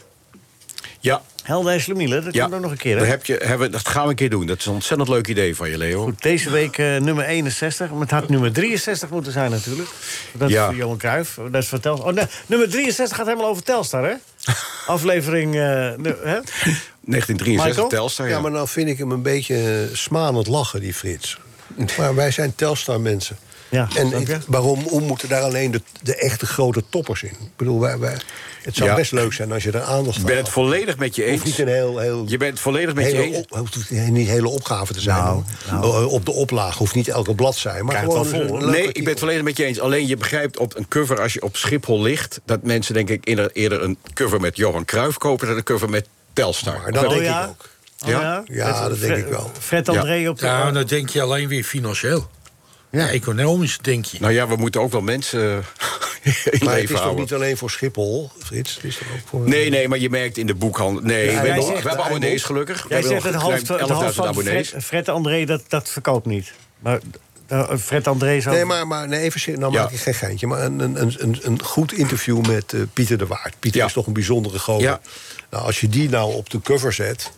Speaker 15: Ja.
Speaker 3: Helden en Slemiele, dat komt ook nog een keer, hè?
Speaker 15: Dat, heb je, hebben, dat gaan we een keer doen. Dat is een ontzettend leuk idee van je, Leo.
Speaker 3: Deze week eh, nummer 61, maar het had nummer 63 moeten zijn natuurlijk. Dat
Speaker 15: Ja.
Speaker 3: is voor Johan Cruijff, dat is voor Telstar. Oh, nee, nummer 63 gaat helemaal over Telstar, hè? Aflevering... eh, nu- hè?
Speaker 15: 1963
Speaker 11: Michael?
Speaker 15: Telstar, ja.
Speaker 11: maar nou vind ik hem een beetje eh, smanend lachen, die Frits. Maar wij zijn Telstar-mensen.
Speaker 3: Ja,
Speaker 11: en
Speaker 3: snap je?
Speaker 11: het- waarom om moeten daar alleen de, de echte grote toppers in? Ik bedoel, wij, wij- het zou
Speaker 15: Ja.
Speaker 11: best leuk zijn als je daar aandacht
Speaker 15: Ik
Speaker 11: aan
Speaker 15: ben het
Speaker 11: had.
Speaker 15: volledig met je
Speaker 11: Hoeft
Speaker 15: eens.
Speaker 11: niet een heel, heel,
Speaker 15: je bent het volledig met je
Speaker 11: hele
Speaker 15: eens.
Speaker 11: op- hoeft niet hele opgave te zijn.
Speaker 3: Nou,
Speaker 11: hoor. Eh, Op de oplage hoeft niet elke bladzij. Maar
Speaker 15: Krijg het
Speaker 11: gewoon
Speaker 15: wel
Speaker 11: eens
Speaker 15: vol,
Speaker 11: een
Speaker 15: hoor.
Speaker 11: leuk
Speaker 15: Nee, ik ben het volledig met je eens. Alleen je begrijpt op een cover als je op Schiphol ligt... dat mensen denk ik eerder, eerder een cover met Johan Cruijff kopen... dan een cover met Telstar.
Speaker 11: Maar dat
Speaker 15: Oh,
Speaker 11: denk
Speaker 15: ja?
Speaker 11: ik ook.
Speaker 15: Oh, ja?
Speaker 11: Ja, dat denk ik wel.
Speaker 3: Fred
Speaker 11: André op de-
Speaker 6: Ja, dan denk je alleen weer financieel. Ja. Economisch denk je.
Speaker 15: Nou ja, we moeten ook wel mensen eh, in leven
Speaker 11: Maar het is toch
Speaker 15: houden.
Speaker 11: niet alleen voor Schiphol, Frits? Het is toch ook voor...
Speaker 15: Nee, nee, maar je merkt in de boekhandel... Nee,
Speaker 11: Ja,
Speaker 15: we,
Speaker 11: jij
Speaker 15: hebben,
Speaker 11: zegt-
Speaker 15: we hebben abonnees
Speaker 11: Eimond.
Speaker 15: gelukkig. We
Speaker 3: Jij
Speaker 15: hebben
Speaker 3: zegt het
Speaker 15: nog
Speaker 3: half,
Speaker 15: ruim
Speaker 3: het half
Speaker 15: 11.000
Speaker 3: van
Speaker 15: abonnees.
Speaker 3: Fred, Fred André, dat, dat verkoopt niet. Maar eh, Fred André zou...
Speaker 11: Nee, maar, maar nee, even serieus, nou maak ik geen geintje. Maar een, een, een, een goed interview met eh, Pieter de Waard. Pieter is toch een bijzondere gozer. Nou, als je die nou op de cover zet...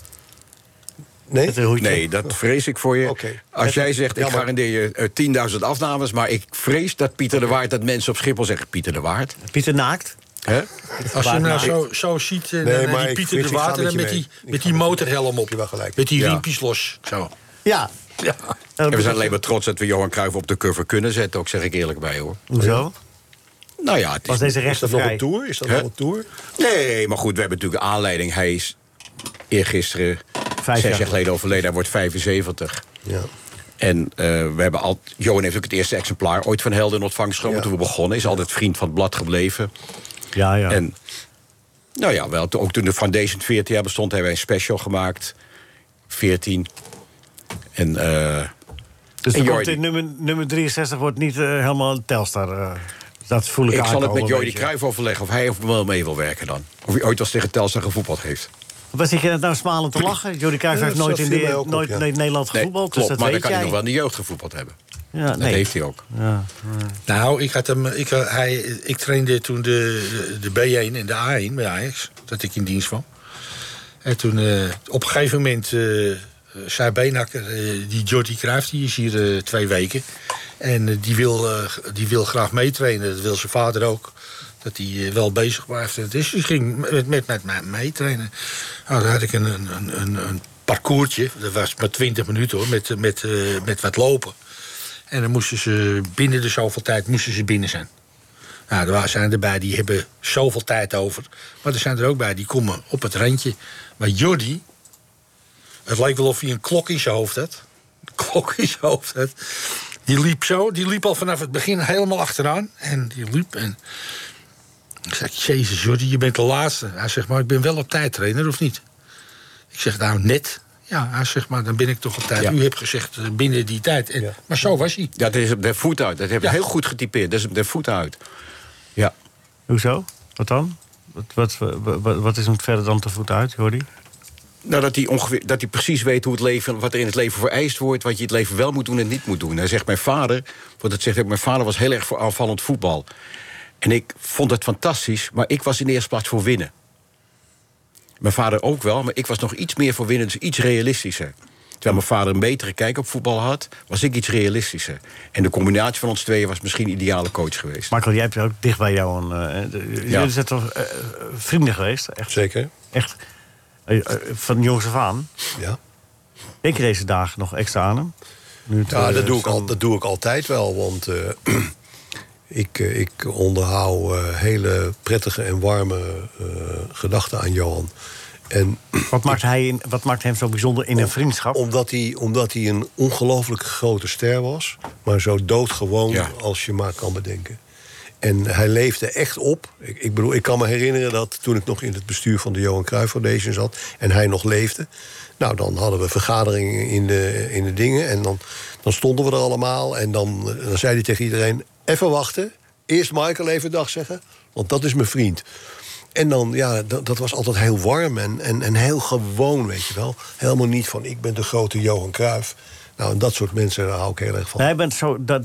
Speaker 11: Nee? Oh.
Speaker 15: Nee, dat vrees ik voor je. Als jij zegt, ik
Speaker 11: Ja, maar-
Speaker 15: garandeer je eh, 10.000 afnames... maar ik vrees dat Pieter de Waard, dat mensen op Schiphol zeggen... Pieter de Waard.
Speaker 3: Pieter naakt?
Speaker 15: Hè?
Speaker 6: Als je hem nou zo, zo ziet, eh,
Speaker 15: Nee,
Speaker 6: dan, eh,
Speaker 15: maar
Speaker 6: die
Speaker 15: ik-
Speaker 6: Pieter
Speaker 15: Frits,
Speaker 6: de
Speaker 15: ik ga
Speaker 6: Water dan
Speaker 15: met je
Speaker 6: met
Speaker 15: mee.
Speaker 6: die, met die motorhelm op. Met die
Speaker 15: Ja.
Speaker 6: riempjes los. Zo.
Speaker 3: Ja.
Speaker 6: ja.
Speaker 15: En we zijn alleen maar trots dat we Johan Cruijff op de cover kunnen zetten... ook zeg ik eerlijk bij, hoor.
Speaker 3: Hoezo?
Speaker 15: Nou ja, het is,
Speaker 3: Was deze
Speaker 15: is
Speaker 3: rechter
Speaker 15: dat nog
Speaker 3: vrij?
Speaker 15: een
Speaker 11: tour? Is dat
Speaker 15: Hè?
Speaker 11: wel een tour?
Speaker 15: Nee, maar goed, we hebben natuurlijk een aanleiding. Hij is eergisteren,
Speaker 3: jaar
Speaker 15: zes jaar,
Speaker 3: geleden.
Speaker 15: geleden overleden. Hij wordt 75.
Speaker 11: Ja.
Speaker 15: En eh, we hebben al, Johan heeft ook het eerste exemplaar ooit van Helden in ontvangst genomen. Toen we begonnen, is altijd vriend van het blad gebleven.
Speaker 3: Ja, ja.
Speaker 15: En nou ja, wel, ook toen de Foundation 14 jaar bestond, hebben wij een special gemaakt. 14. En, eh
Speaker 3: Dus
Speaker 15: en
Speaker 3: er komt
Speaker 15: Jordi-
Speaker 3: in nummer, nummer 63 wordt niet eh, helemaal een Telstar. eh, dat voel ik
Speaker 15: ik zal het
Speaker 3: aankomen,
Speaker 15: met Jordi
Speaker 3: weet je.
Speaker 15: Cruijff overleggen of hij of wel mee wil werken dan. Of hij ooit als tegen Telstar gevoetbald heeft.
Speaker 3: Waar zit je nou smalend te lachen? Jordi Cruijff
Speaker 15: Ja,
Speaker 3: heeft
Speaker 15: dat
Speaker 3: nooit
Speaker 15: viel
Speaker 3: in de-
Speaker 15: mij ook op,
Speaker 3: nooit
Speaker 15: ja.
Speaker 3: in Nederland
Speaker 15: Nee,
Speaker 3: gevoetbald.
Speaker 15: klopt, maar
Speaker 3: dus dat
Speaker 15: dan
Speaker 3: weet
Speaker 15: kan
Speaker 3: jij.
Speaker 15: hij nog wel in de jeugd gevoetbald hebben.
Speaker 3: Ja,
Speaker 15: dat
Speaker 3: nee.
Speaker 15: heeft hij ook.
Speaker 3: Ja.
Speaker 6: Nou, ik, had hem, ik, had- hij, ik trainde toen de, de B1 en de A1 bij Ajax. Dat ik in dienst kwam. En toen eh, op een gegeven moment eh, zei Beenhakker... eh, die Jordi Cruijff, die is hier eh, twee weken. En eh, die, wil, eh, die wil graag meetrainen. Dat wil zijn vader ook. Dat hij eh, wel bezig blijft. Dus die ging met, met, met mij meetrainen. Nou, daar had ik een, een, een, een- een parcoursje. Dat was maar 20 minuten hoor. Met, eh, met, eh, met wat lopen. En dan moesten ze binnen de zoveel tijd moesten ze binnen zijn. Nou, er wa- zijn er bij die hebben zoveel tijd over. Maar er zijn er ook bij die komen op het randje. Maar Jordi, het leek wel of hij een klok in zijn hoofd had. Een klok in zijn hoofd had. Die liep zo, die liep al vanaf het begin helemaal achteraan. En die liep en... Ik zeg, jezus Jordi, je bent de laatste. Hij zegt, maar ik ben wel op tijd trainer, of niet? Ik zeg, nou, net. Ja, hij zegt, maar dan ben ik toch op tijd. U hebt gezegd eh, binnen die tijd. En, Maar zo was hij.
Speaker 15: Ja, dat is op de voet uit. Dat heb je
Speaker 6: Ja.
Speaker 15: heel goed getypeerd. Dat is op de voet uit.
Speaker 3: Hoezo? Wat dan? Wat, wat, wat, wat- wat is hem verder dan te voet uit, Jordi?
Speaker 15: Nou, dat hij, ongeveer, dat hij precies weet hoe het leven, wat er in het leven vereist wordt... wat je het leven wel moet doen en niet moet doen. Hij zegt, mijn vader, want dat zegt hij ook, mijn vader was heel erg voor aanvallend voetbal. En ik vond dat fantastisch, maar ik was in de eerste plaats voor winnen. Mijn vader ook wel, maar ik was nog iets meer voor winnen, dus iets realistischer. Terwijl mijn vader een betere kijk op voetbal had, was ik iets realistischer. En de combinatie van ons tweeën was misschien een ideale coach geweest.
Speaker 3: Marco, jij hebt ook dicht bij jou een... eh, de- Jullie zijn toch eh, vrienden geweest? Echt,
Speaker 11: Zeker.
Speaker 3: Echt. eh, eh, van jongs af aan?
Speaker 11: Ja.
Speaker 3: Denk je deze dagen nog extra aan hem? Nu het,
Speaker 11: Ja,
Speaker 3: eh,
Speaker 11: dat doe, ik
Speaker 3: zo'n-
Speaker 11: al, dat doe ik altijd wel. Want eh, ik, eh, ik onderhoud eh, hele prettige en warme eh, gedachten aan Johan. En
Speaker 3: wat, maakt hij in, wat maakt hem zo bijzonder in een vriendschap?
Speaker 11: Omdat hij, omdat hij een ongelooflijk grote ster was. Maar zo doodgewoon als je maar kan bedenken. En hij leefde echt op. Ik, ik bedoel, ik kan me herinneren dat toen ik nog in het bestuur van de Johan Cruijff Foundation zat en hij nog leefde. Nou, dan hadden we vergaderingen in de, in de dingen en dan, dan stonden we er allemaal. En dan, eh, dan zei hij tegen iedereen: even wachten. Eerst Michael even dag zeggen, want dat is mijn vriend. En dan, ja, dat, dat was altijd heel warm en, en, en heel gewoon, weet je wel. Helemaal niet van ik ben de grote Johan Cruijff. Nou, en dat soort mensen daar hou ik heel erg van.
Speaker 3: Nee, hij bent zo... Dat,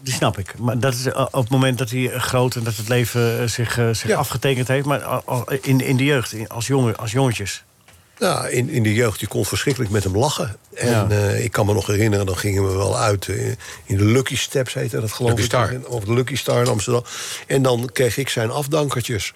Speaker 3: die snap ik. Maar dat is eh, op het moment dat hij eh, groot en dat het leven eh, zich, eh, zich afgetekend heeft. Maar al- al- eh, in, in de jeugd, in- als, jongen, als jongetjes.
Speaker 11: Ja, in, in de jeugd, je kon verschrikkelijk met hem lachen. En eh, ik kan me nog herinneren, dan gingen we wel uit eh, in de Lucky Steps, heette dat geloof
Speaker 15: Lucky
Speaker 11: ik.
Speaker 15: Star.
Speaker 11: Of de Lucky Star in Amsterdam. En dan kreeg ik zijn afdankertjes.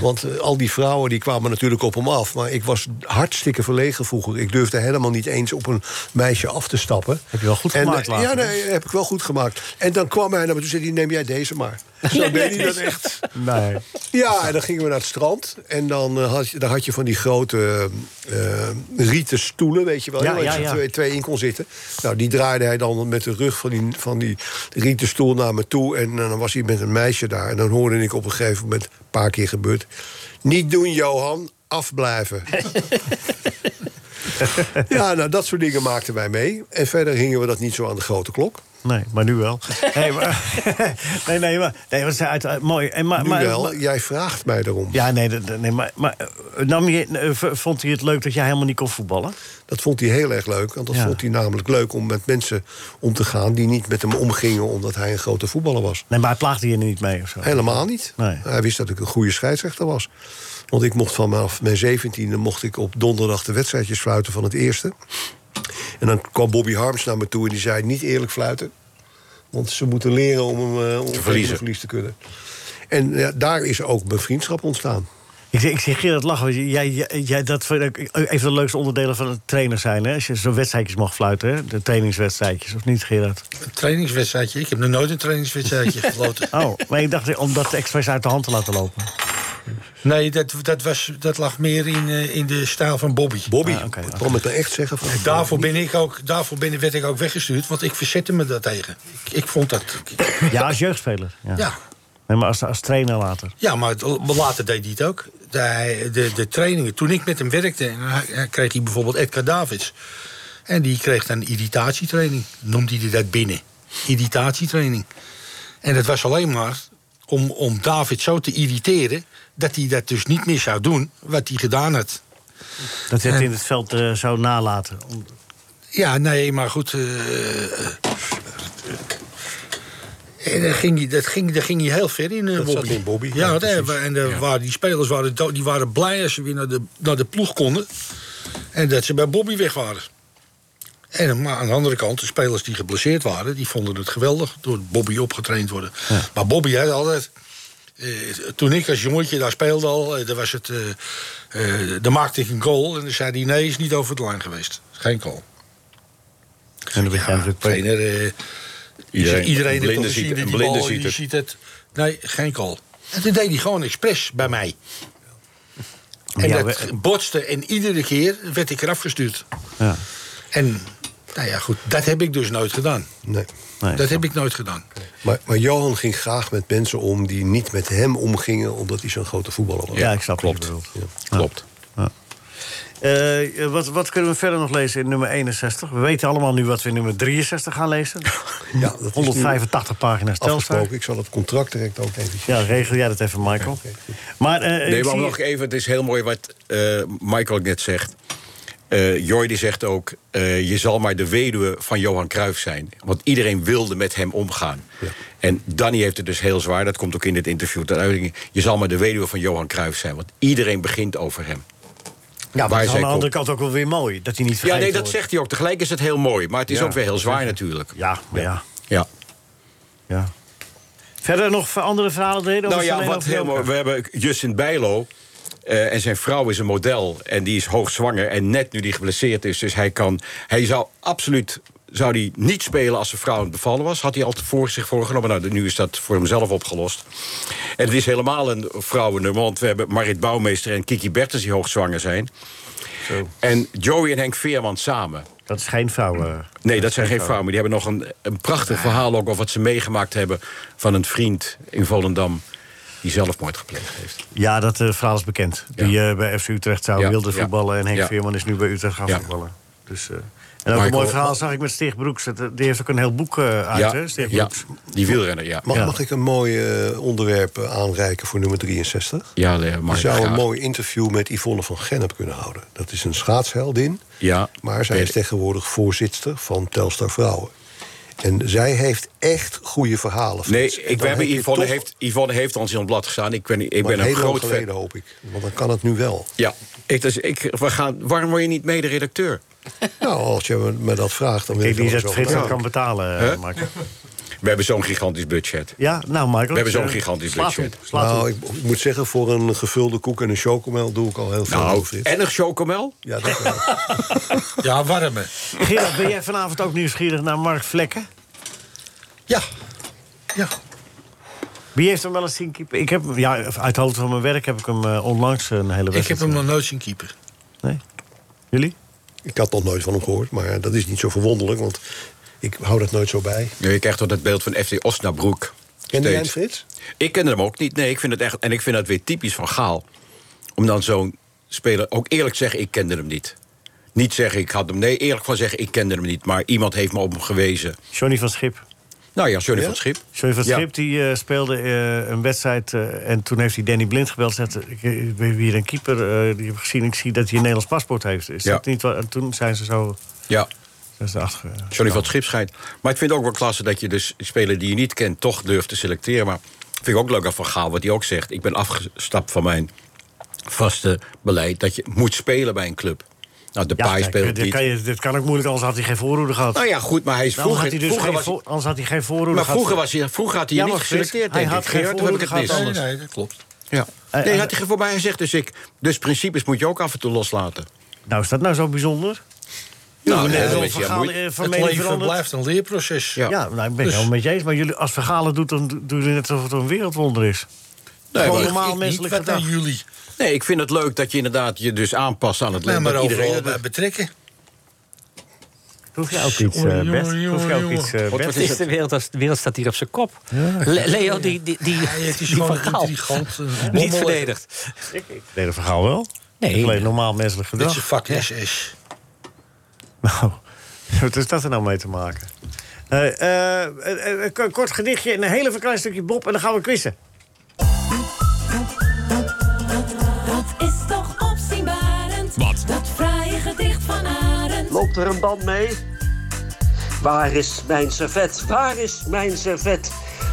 Speaker 11: Want eh, al die vrouwen die kwamen natuurlijk op hem af. Maar ik was hartstikke verlegen vroeger. Ik durfde helemaal niet eens op een meisje af te stappen. Heb je wel goed
Speaker 8: gemaakt later,
Speaker 11: eh, Ja,
Speaker 8: hè?
Speaker 11: nee, heb ik wel goed gemaakt. En dan kwam hij naar me toe en zei hij, neem jij deze maar. Zo deed hij dat echt.
Speaker 8: Nee.
Speaker 11: Ja, en dan gingen we naar het strand. En dan eh, had je, dan had je van die grote eh, eh, rieten stoelen, weet je wel.
Speaker 8: Ja,
Speaker 11: waar
Speaker 8: ja,
Speaker 11: je
Speaker 8: ja.
Speaker 11: Twee, twee in kon zitten. Nou, die draaide hij dan met de rug van die, van die rieten stoel naar me toe. En, eh, dan was hij met een meisje daar. En dan hoorde ik op een gegeven moment, een paar keer gebeurd... Niet doen, Johan. Afblijven. ja, nou, dat soort dingen maakten wij mee. En verder hingen we dat niet zo aan de grote klok.
Speaker 3: Nee, maar nu wel. Nee, maar, nee, nee, maar, nee, dat is uit, uit- mooi. En, maar,
Speaker 11: Nu
Speaker 3: maar,
Speaker 11: wel,
Speaker 3: maar-
Speaker 11: jij vraagt mij daarom.
Speaker 3: ja, nee, dat- dat- nee maar, maar eh, nam je, eh, v- vond hij het leuk dat jij helemaal niet kon voetballen?
Speaker 11: Dat vond hij heel erg leuk. Want dat
Speaker 3: Ja.
Speaker 11: vond hij namelijk leuk om met mensen om te gaan... die niet met hem omgingen omdat hij een grote voetballer was.
Speaker 3: Nee, maar hij plaagde je er niet mee of zo?
Speaker 11: Helemaal niet. Hij wist dat ik een goede scheidsrechter was. Want ik mocht vanaf mijn zeventiende mocht ik op donderdag de wedstrijdjes fluiten van het eerste. En dan kwam Bobby Harms naar me toe en die zei... niet eerlijk fluiten, want ze moeten leren om hem eh, om tegen een
Speaker 15: verliezen.
Speaker 11: verlies te kunnen. En ja, daar is ook mijn vriendschap ontstaan.
Speaker 3: Ik, zeg- ik zie Gerard lachen. want Jij, jij, jij- dat vind ik eh, een van de leukste onderdelen van het trainer zijn. Hè? Als je zo'n wedstrijdjes mag fluiten, hè? de trainingswedstrijdjes. Of niet, Gerard?
Speaker 6: Een trainingswedstrijdje. Ik heb nog nooit een trainingswedstrijdje gefloten.
Speaker 3: Oh, maar ik dacht om dat expres uit de hand te laten lopen.
Speaker 6: Nee, dat, dat, was, dat lag meer in, eh, in de stijl van Bobby.
Speaker 11: Bobby, ah, ik kan het nou echt zeggen. Van,
Speaker 6: Daarvoor, ben ik ook, daarvoor ben, werd ik ook weggestuurd, want ik verzette me daartegen. Ik, ik vond dat...
Speaker 3: Ja, als jeugdspeler. Ja.
Speaker 6: Ja.
Speaker 3: Nee, maar als, als trainer later.
Speaker 6: Ja, maar het- maar later deed hij het ook. De, hij- de, de trainingen, toen ik met hem werkte, en hij- hij kreeg hij bijvoorbeeld Edgar Davids. En die kreeg dan irritatietraining, noemde hij dat binnen. Irritatietraining. En dat was alleen maar om, om David zo te irriteren... dat hij dat dus niet meer zou doen, wat hij gedaan had.
Speaker 3: Dat zit
Speaker 6: En-
Speaker 3: in het veld eh, zo nalaten. Om-
Speaker 6: Ja, nee, maar goed. eh, eh, en daar ging, hij, dat ging, daar ging hij heel ver in, eh,
Speaker 11: Dat zat
Speaker 6: Bobby.
Speaker 11: in Bobby,
Speaker 6: Ja,
Speaker 11: ja,
Speaker 6: daar-
Speaker 11: precies.
Speaker 6: en daar waren, die spelers waren, do- die waren blij als ze weer naar de, naar de ploeg konden. En dat ze bij Bobby weg waren. En, maar aan de andere kant, de spelers die geblesseerd waren... die vonden het geweldig door Bobby opgetraind worden. Maar Bobby had altijd... eh, toen ik als jongetje daar speelde al, eh, daar was het, eh, eh, dan maakte ik een goal... en dan zei hij, nee, is niet over het lijn geweest. Geen goal.
Speaker 3: En dan begint het
Speaker 6: trainer. eh,
Speaker 15: Iedereen-
Speaker 6: iedereen
Speaker 15: een blinde
Speaker 6: heeft toch gezien
Speaker 15: ziet-
Speaker 6: dat
Speaker 15: een
Speaker 6: die
Speaker 15: blinde
Speaker 6: bal-
Speaker 15: ziet
Speaker 6: die
Speaker 15: het.
Speaker 6: ziet het. Nee, geen call. En toen deed hij gewoon expres bij mij. En
Speaker 3: Ja,
Speaker 6: dat
Speaker 3: we-
Speaker 6: botste en iedere keer werd ik eraf gestuurd.
Speaker 3: Ja.
Speaker 6: En nou ja, goed, dat heb ik dus nooit gedaan.
Speaker 11: Nee.
Speaker 6: dat heb ik nooit gedaan.
Speaker 11: Maar, maar Johan ging graag met mensen om die niet met hem omgingen... omdat hij zo'n grote voetballer was.
Speaker 3: Ja, ik snap
Speaker 11: klopt.
Speaker 15: Klopt.
Speaker 3: Eh, eh, wat, wat kunnen we verder nog lezen in nummer 61? We weten allemaal nu wat we in nummer 63 gaan lezen.
Speaker 11: Ja, dat is nu
Speaker 3: 185 pagina's telstar.
Speaker 11: afgesproken. Ik zal het contract direct ook even...
Speaker 3: Ja, regel jij dat even, Michael. Maar, eh, ik
Speaker 15: nee, maar
Speaker 3: zie-
Speaker 15: nog even, het is heel mooi wat eh, Michael ook net zegt. Eh Joy die zegt ook, eh, je zal maar de weduwe van Johan Cruijff zijn. Want iedereen wilde met hem omgaan. En Danny heeft het dus heel zwaar, dat komt ook in dit interview ter uiting. Je zal maar de weduwe van Johan Cruijff zijn, want iedereen begint over hem.
Speaker 3: Ja, maar
Speaker 15: Waar
Speaker 3: dat is aan
Speaker 15: zij
Speaker 3: de andere
Speaker 15: komt.
Speaker 3: kant ook wel weer mooi. Dat hij niet
Speaker 15: Ja,
Speaker 3: vergeten
Speaker 15: nee, dat
Speaker 3: wordt.
Speaker 15: zegt hij ook. Tegelijk is het heel mooi, maar het is
Speaker 3: Ja,
Speaker 15: ook weer heel
Speaker 3: dat
Speaker 15: zwaar
Speaker 3: is het.
Speaker 15: natuurlijk.
Speaker 3: Ja, maar ja.
Speaker 15: Ja.
Speaker 3: ja. Verder nog v- andere verhalen te reden?
Speaker 15: Nou ja, wat heel mooi. We hebben Justin Bijlo. eh, en zijn vrouw is een model. En die is hoogzwanger. En net nu die geblesseerd is. Dus hij kan. Hij zou absoluut. Zou die niet spelen als zijn vrouw aan het bevallen was? Had hij al voor zich voorgenomen. Nou, nu is dat voor hemzelf opgelost. En het is helemaal een vrouwennummer. Want we hebben Marit Bouwmeester en Kiki Bertens die hoogzwanger zijn. En Joey en Henk Veerman samen.
Speaker 3: Dat is geen eh. vrouwen.
Speaker 15: Nee, dat zijn geen vrouwen. Maar die hebben nog een, een prachtig verhaal ook over wat ze meegemaakt hebben van een vriend in Volendam die zelfmoord gepleegd heeft.
Speaker 3: Ja, dat eh, verhaal is bekend. Die eh, bij FC Utrecht zou
Speaker 15: Ja,
Speaker 3: wilde
Speaker 15: ja.
Speaker 3: voetballen... en Henk
Speaker 15: Ja.
Speaker 3: Veerman is nu bij Utrecht gaan
Speaker 15: Ja.
Speaker 3: voetballen. Dus, eh, en ook een
Speaker 15: Michael-
Speaker 3: mooi verhaal zag ik met Stig Broeks. Dat- Die heeft ook een heel boek eh, uit, hè, Stig Broeks.
Speaker 15: die wielrenner, ja.
Speaker 11: Mag,
Speaker 3: Ja.
Speaker 11: mag ik een mooi eh, onderwerp eh, aanreiken voor nummer 63?
Speaker 15: Ja, nee, mag
Speaker 11: Je
Speaker 15: ik
Speaker 11: zou een
Speaker 15: graag.
Speaker 11: mooi interview met Yvonne van Gennep kunnen houden. Dat is een schaatsheldin,
Speaker 15: Ja,
Speaker 11: maar zij is tegenwoordig voorzitter van Telstar Vrouwen. En zij heeft echt goede verhalen.
Speaker 15: Nee,
Speaker 11: Frits. En
Speaker 15: ik, we
Speaker 11: dan
Speaker 15: hebben
Speaker 11: heb je
Speaker 15: Yvonne,
Speaker 11: toch-
Speaker 15: heeft, Yvonne heeft ons in het blad gestaan. Ik ben, ik
Speaker 11: maar
Speaker 15: ben een
Speaker 11: heel lang
Speaker 15: groot
Speaker 11: geleden,
Speaker 15: fan.
Speaker 11: hoop ik. Want dan kan het nu wel.
Speaker 15: Ja, ik, dus, ik, we gaan, waarom word je niet mede-redacteur?
Speaker 11: Nou, als je me dat vraagt, dan wil
Speaker 3: Kijk,
Speaker 11: ik
Speaker 3: die
Speaker 11: er
Speaker 3: zegt
Speaker 11: wel zo
Speaker 3: Frits dat
Speaker 11: over
Speaker 3: kan
Speaker 11: nadenken.
Speaker 3: betalen, eh,
Speaker 11: Huh?
Speaker 3: Mark.
Speaker 15: We hebben zo'n gigantisch budget.
Speaker 3: Ja, nou, Michael.
Speaker 15: We hebben zo'n
Speaker 3: eh,
Speaker 15: gigantisch
Speaker 3: slaat
Speaker 15: budget.
Speaker 3: Op, slaat
Speaker 11: nou,
Speaker 3: op.
Speaker 11: ik, ik moet zeggen, voor een gevulde koek en een chocomel doe ik al heel veel.
Speaker 15: Nou,
Speaker 11: over dit.
Speaker 15: en een
Speaker 3: Oh.
Speaker 15: chocomel?
Speaker 11: Ja, dat
Speaker 6: Ja, warme.
Speaker 3: Gerard, ben jij vanavond ook nieuwsgierig naar Mark Vlekken?
Speaker 6: Ja. Ja.
Speaker 3: Wie heeft hem wel eens zien keeper? Ik heb, hem- ja, uit hoofd van mijn werk heb ik hem eh, onlangs een hele
Speaker 6: Ik
Speaker 3: wedstrijd.
Speaker 6: heb hem nog nooit zien keeper.
Speaker 3: Jullie?
Speaker 11: Ik had nog nooit van hem gehoord, maar dat is niet zo verwonderlijk, want ik hou dat nooit zo bij.
Speaker 15: Ja, je krijgt toch dat beeld van FC Osnabroek.
Speaker 11: Ken jij hem,
Speaker 15: Steeds.
Speaker 11: Frits?
Speaker 15: Ik ken hem ook niet. Nee, ik vind het echt. En ik vind dat weer typisch van Gaal. Om dan zo'n speler ook eerlijk te zeggen: ik kende hem niet. Niet zeggen ik had hem. Nee, eerlijk van zeggen: ik kende hem niet. Maar iemand heeft me op hem gewezen.
Speaker 3: Johnny van Schip.
Speaker 15: Nou ja, Johnny
Speaker 3: Ja?
Speaker 15: van Schip.
Speaker 3: Johnny van
Speaker 15: Ja.
Speaker 3: Schip die, eh, speelde eh, een wedstrijd eh, en toen heeft hij Danny Blind gebeld. Zegt, ik eh, ik ben hier een keeper eh, die heb ik gezien. Ik zie dat hij een Nederlands paspoort heeft. Is
Speaker 15: Ja.
Speaker 3: dat niet wat? En toen zijn ze zo.
Speaker 15: Ja.
Speaker 3: Zijn ze achter, eh,
Speaker 15: Johnny van het Schip schijnt. Maar ik vind het ook wel klasse dat je dus spelers die je niet kent... toch durft te selecteren. Maar vind ik ook leuk aan Van Gaal wat hij ook zegt. Ik ben afgestapt van mijn vaste beleid... dat je moet spelen bij een club. Nou, de
Speaker 3: Ja,
Speaker 15: paai
Speaker 3: kijk,
Speaker 15: speelt
Speaker 3: dit,
Speaker 15: niet.
Speaker 3: Kan je, dit kan ook moeilijk, anders had hij geen voorroede gehad.
Speaker 15: Nou ja, goed, maar hij is
Speaker 3: Nou, anders
Speaker 15: vroeger-
Speaker 3: had hij dus
Speaker 15: vroeger
Speaker 3: geen
Speaker 15: was hij-
Speaker 3: voor- anders had hij geen voorroede
Speaker 15: Maar
Speaker 3: gehad.
Speaker 15: vroeger, was hij, vroeger had hij
Speaker 3: Ja,
Speaker 15: niet
Speaker 3: maar Frits,
Speaker 15: geselecteerd,
Speaker 3: hij
Speaker 15: denk
Speaker 3: had
Speaker 15: ik.
Speaker 3: geen
Speaker 15: Gerard, of heb ik het
Speaker 3: voorroede
Speaker 15: mis?
Speaker 3: gehad anders. Nee, nee,
Speaker 6: dat klopt.
Speaker 15: Ja.
Speaker 3: Eh,
Speaker 15: Nee,
Speaker 3: eh,
Speaker 15: had hij geen voorbij gezegd. Dus, ik, dus principes moet je ook af en toe loslaten.
Speaker 3: Nou, is dat nou zo bijzonder?
Speaker 15: Nou, nee,
Speaker 3: net
Speaker 15: dat
Speaker 3: wel
Speaker 15: weet je,
Speaker 3: Van
Speaker 15: ja,
Speaker 3: Gaal,
Speaker 15: moet-
Speaker 3: eh, van
Speaker 6: Het
Speaker 3: mening
Speaker 6: leven
Speaker 3: veranderd.
Speaker 6: blijft een leerproces.
Speaker 3: Ja, nou, ik ben het helemaal met je eens. Maar jullie, als verhalen doet, dan do- doen jullie net alsof het een wereldwonder is. Gewoon
Speaker 15: maar-
Speaker 3: normaal
Speaker 15: Ik niet,
Speaker 3: menselijk
Speaker 15: wat
Speaker 3: gedrag.
Speaker 15: aan Nee, ik vind het leuk dat je inderdaad je dus aanpast aan het
Speaker 6: Laat
Speaker 15: leven.
Speaker 6: maar
Speaker 15: dat iedereen
Speaker 6: overal
Speaker 15: dat
Speaker 6: bij betrekken.
Speaker 3: Hoef je ook iets, eh, Bert? Hoef je ook iets, eh,
Speaker 9: Wat
Speaker 3: Bert?
Speaker 9: is de wereld, als- de wereld staat hier op zijn kop. Le- Leo, die, die, die,
Speaker 6: het is
Speaker 9: die
Speaker 6: gewoon
Speaker 9: van
Speaker 6: een
Speaker 9: Gaal.
Speaker 6: intrigant, eh,
Speaker 9: Niet
Speaker 6: bommel.
Speaker 9: verdedigd.
Speaker 3: Nee, dat verhaal wel.
Speaker 9: Nee.
Speaker 3: Alleen normaal menselijk
Speaker 6: Dit
Speaker 3: gedrag.
Speaker 6: is vak SS.
Speaker 3: Nou, wat is dat er nou mee te maken? Eh, eh, eh, eh, een kort gedichtje en een heel even klein stukje Bob en dan gaan we quizzen.
Speaker 1: Dat is toch opzienbarend. Wat? Dat fraaie gedicht van Arend.
Speaker 16: Loopt er een band mee? Waar is mijn servet? Waar is mijn servet?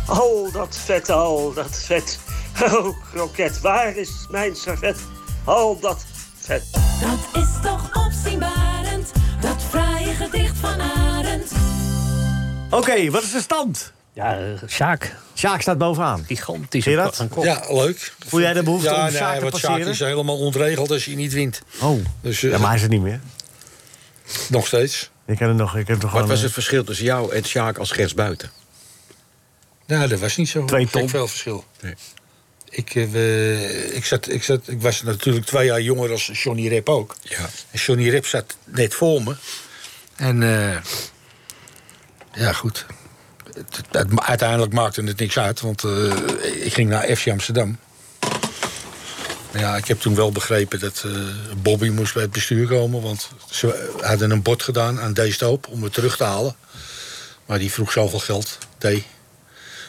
Speaker 16: Oh, dat vet, oh, dat vet. Oh, kroket, waar is mijn servet? Oh, dat vet.
Speaker 1: Dat is toch opzienbarend. Dat fraaie gedicht van Arend.
Speaker 3: Oké, wat is de stand?
Speaker 9: Ja, Sjaak.
Speaker 3: Sjaak staat bovenaan.
Speaker 9: Gigantisch.
Speaker 3: Gerard?
Speaker 6: Ja, leuk.
Speaker 3: Voel jij de behoefte om Sjaak te
Speaker 6: want Sjaak
Speaker 3: passeren?
Speaker 6: is helemaal ontregeld als je niet wint.
Speaker 3: Oh,
Speaker 6: Dus, eh,
Speaker 3: ja, maar hij is het niet meer.
Speaker 6: Nog steeds.
Speaker 3: Ik heb het nog, ik heb toch
Speaker 15: Wat
Speaker 3: gewoon,
Speaker 15: was
Speaker 3: eh,
Speaker 15: het verschil tussen jou en Sjaak als rechtsbuiten?
Speaker 6: Nou, dat was niet zo
Speaker 3: Twee
Speaker 6: gek
Speaker 3: ton.
Speaker 6: veel verschil.
Speaker 15: Nee.
Speaker 6: Ik, eh, we- ik, zat, ik, zat, ik was natuurlijk twee jaar jonger als Johnny Rep ook.
Speaker 15: Ja.
Speaker 6: En Johnny Rep zat net voor me. En eh, ja, goed. Het- het- het- uiteindelijk maakte het niks uit, want eh, ik ging naar FC Amsterdam. Ja, ik heb toen wel begrepen dat eh, Bobby moest bij het bestuur komen. Want ze hadden een bod gedaan aan deze hoop om het terug te halen. Maar die vroeg zoveel geld, D.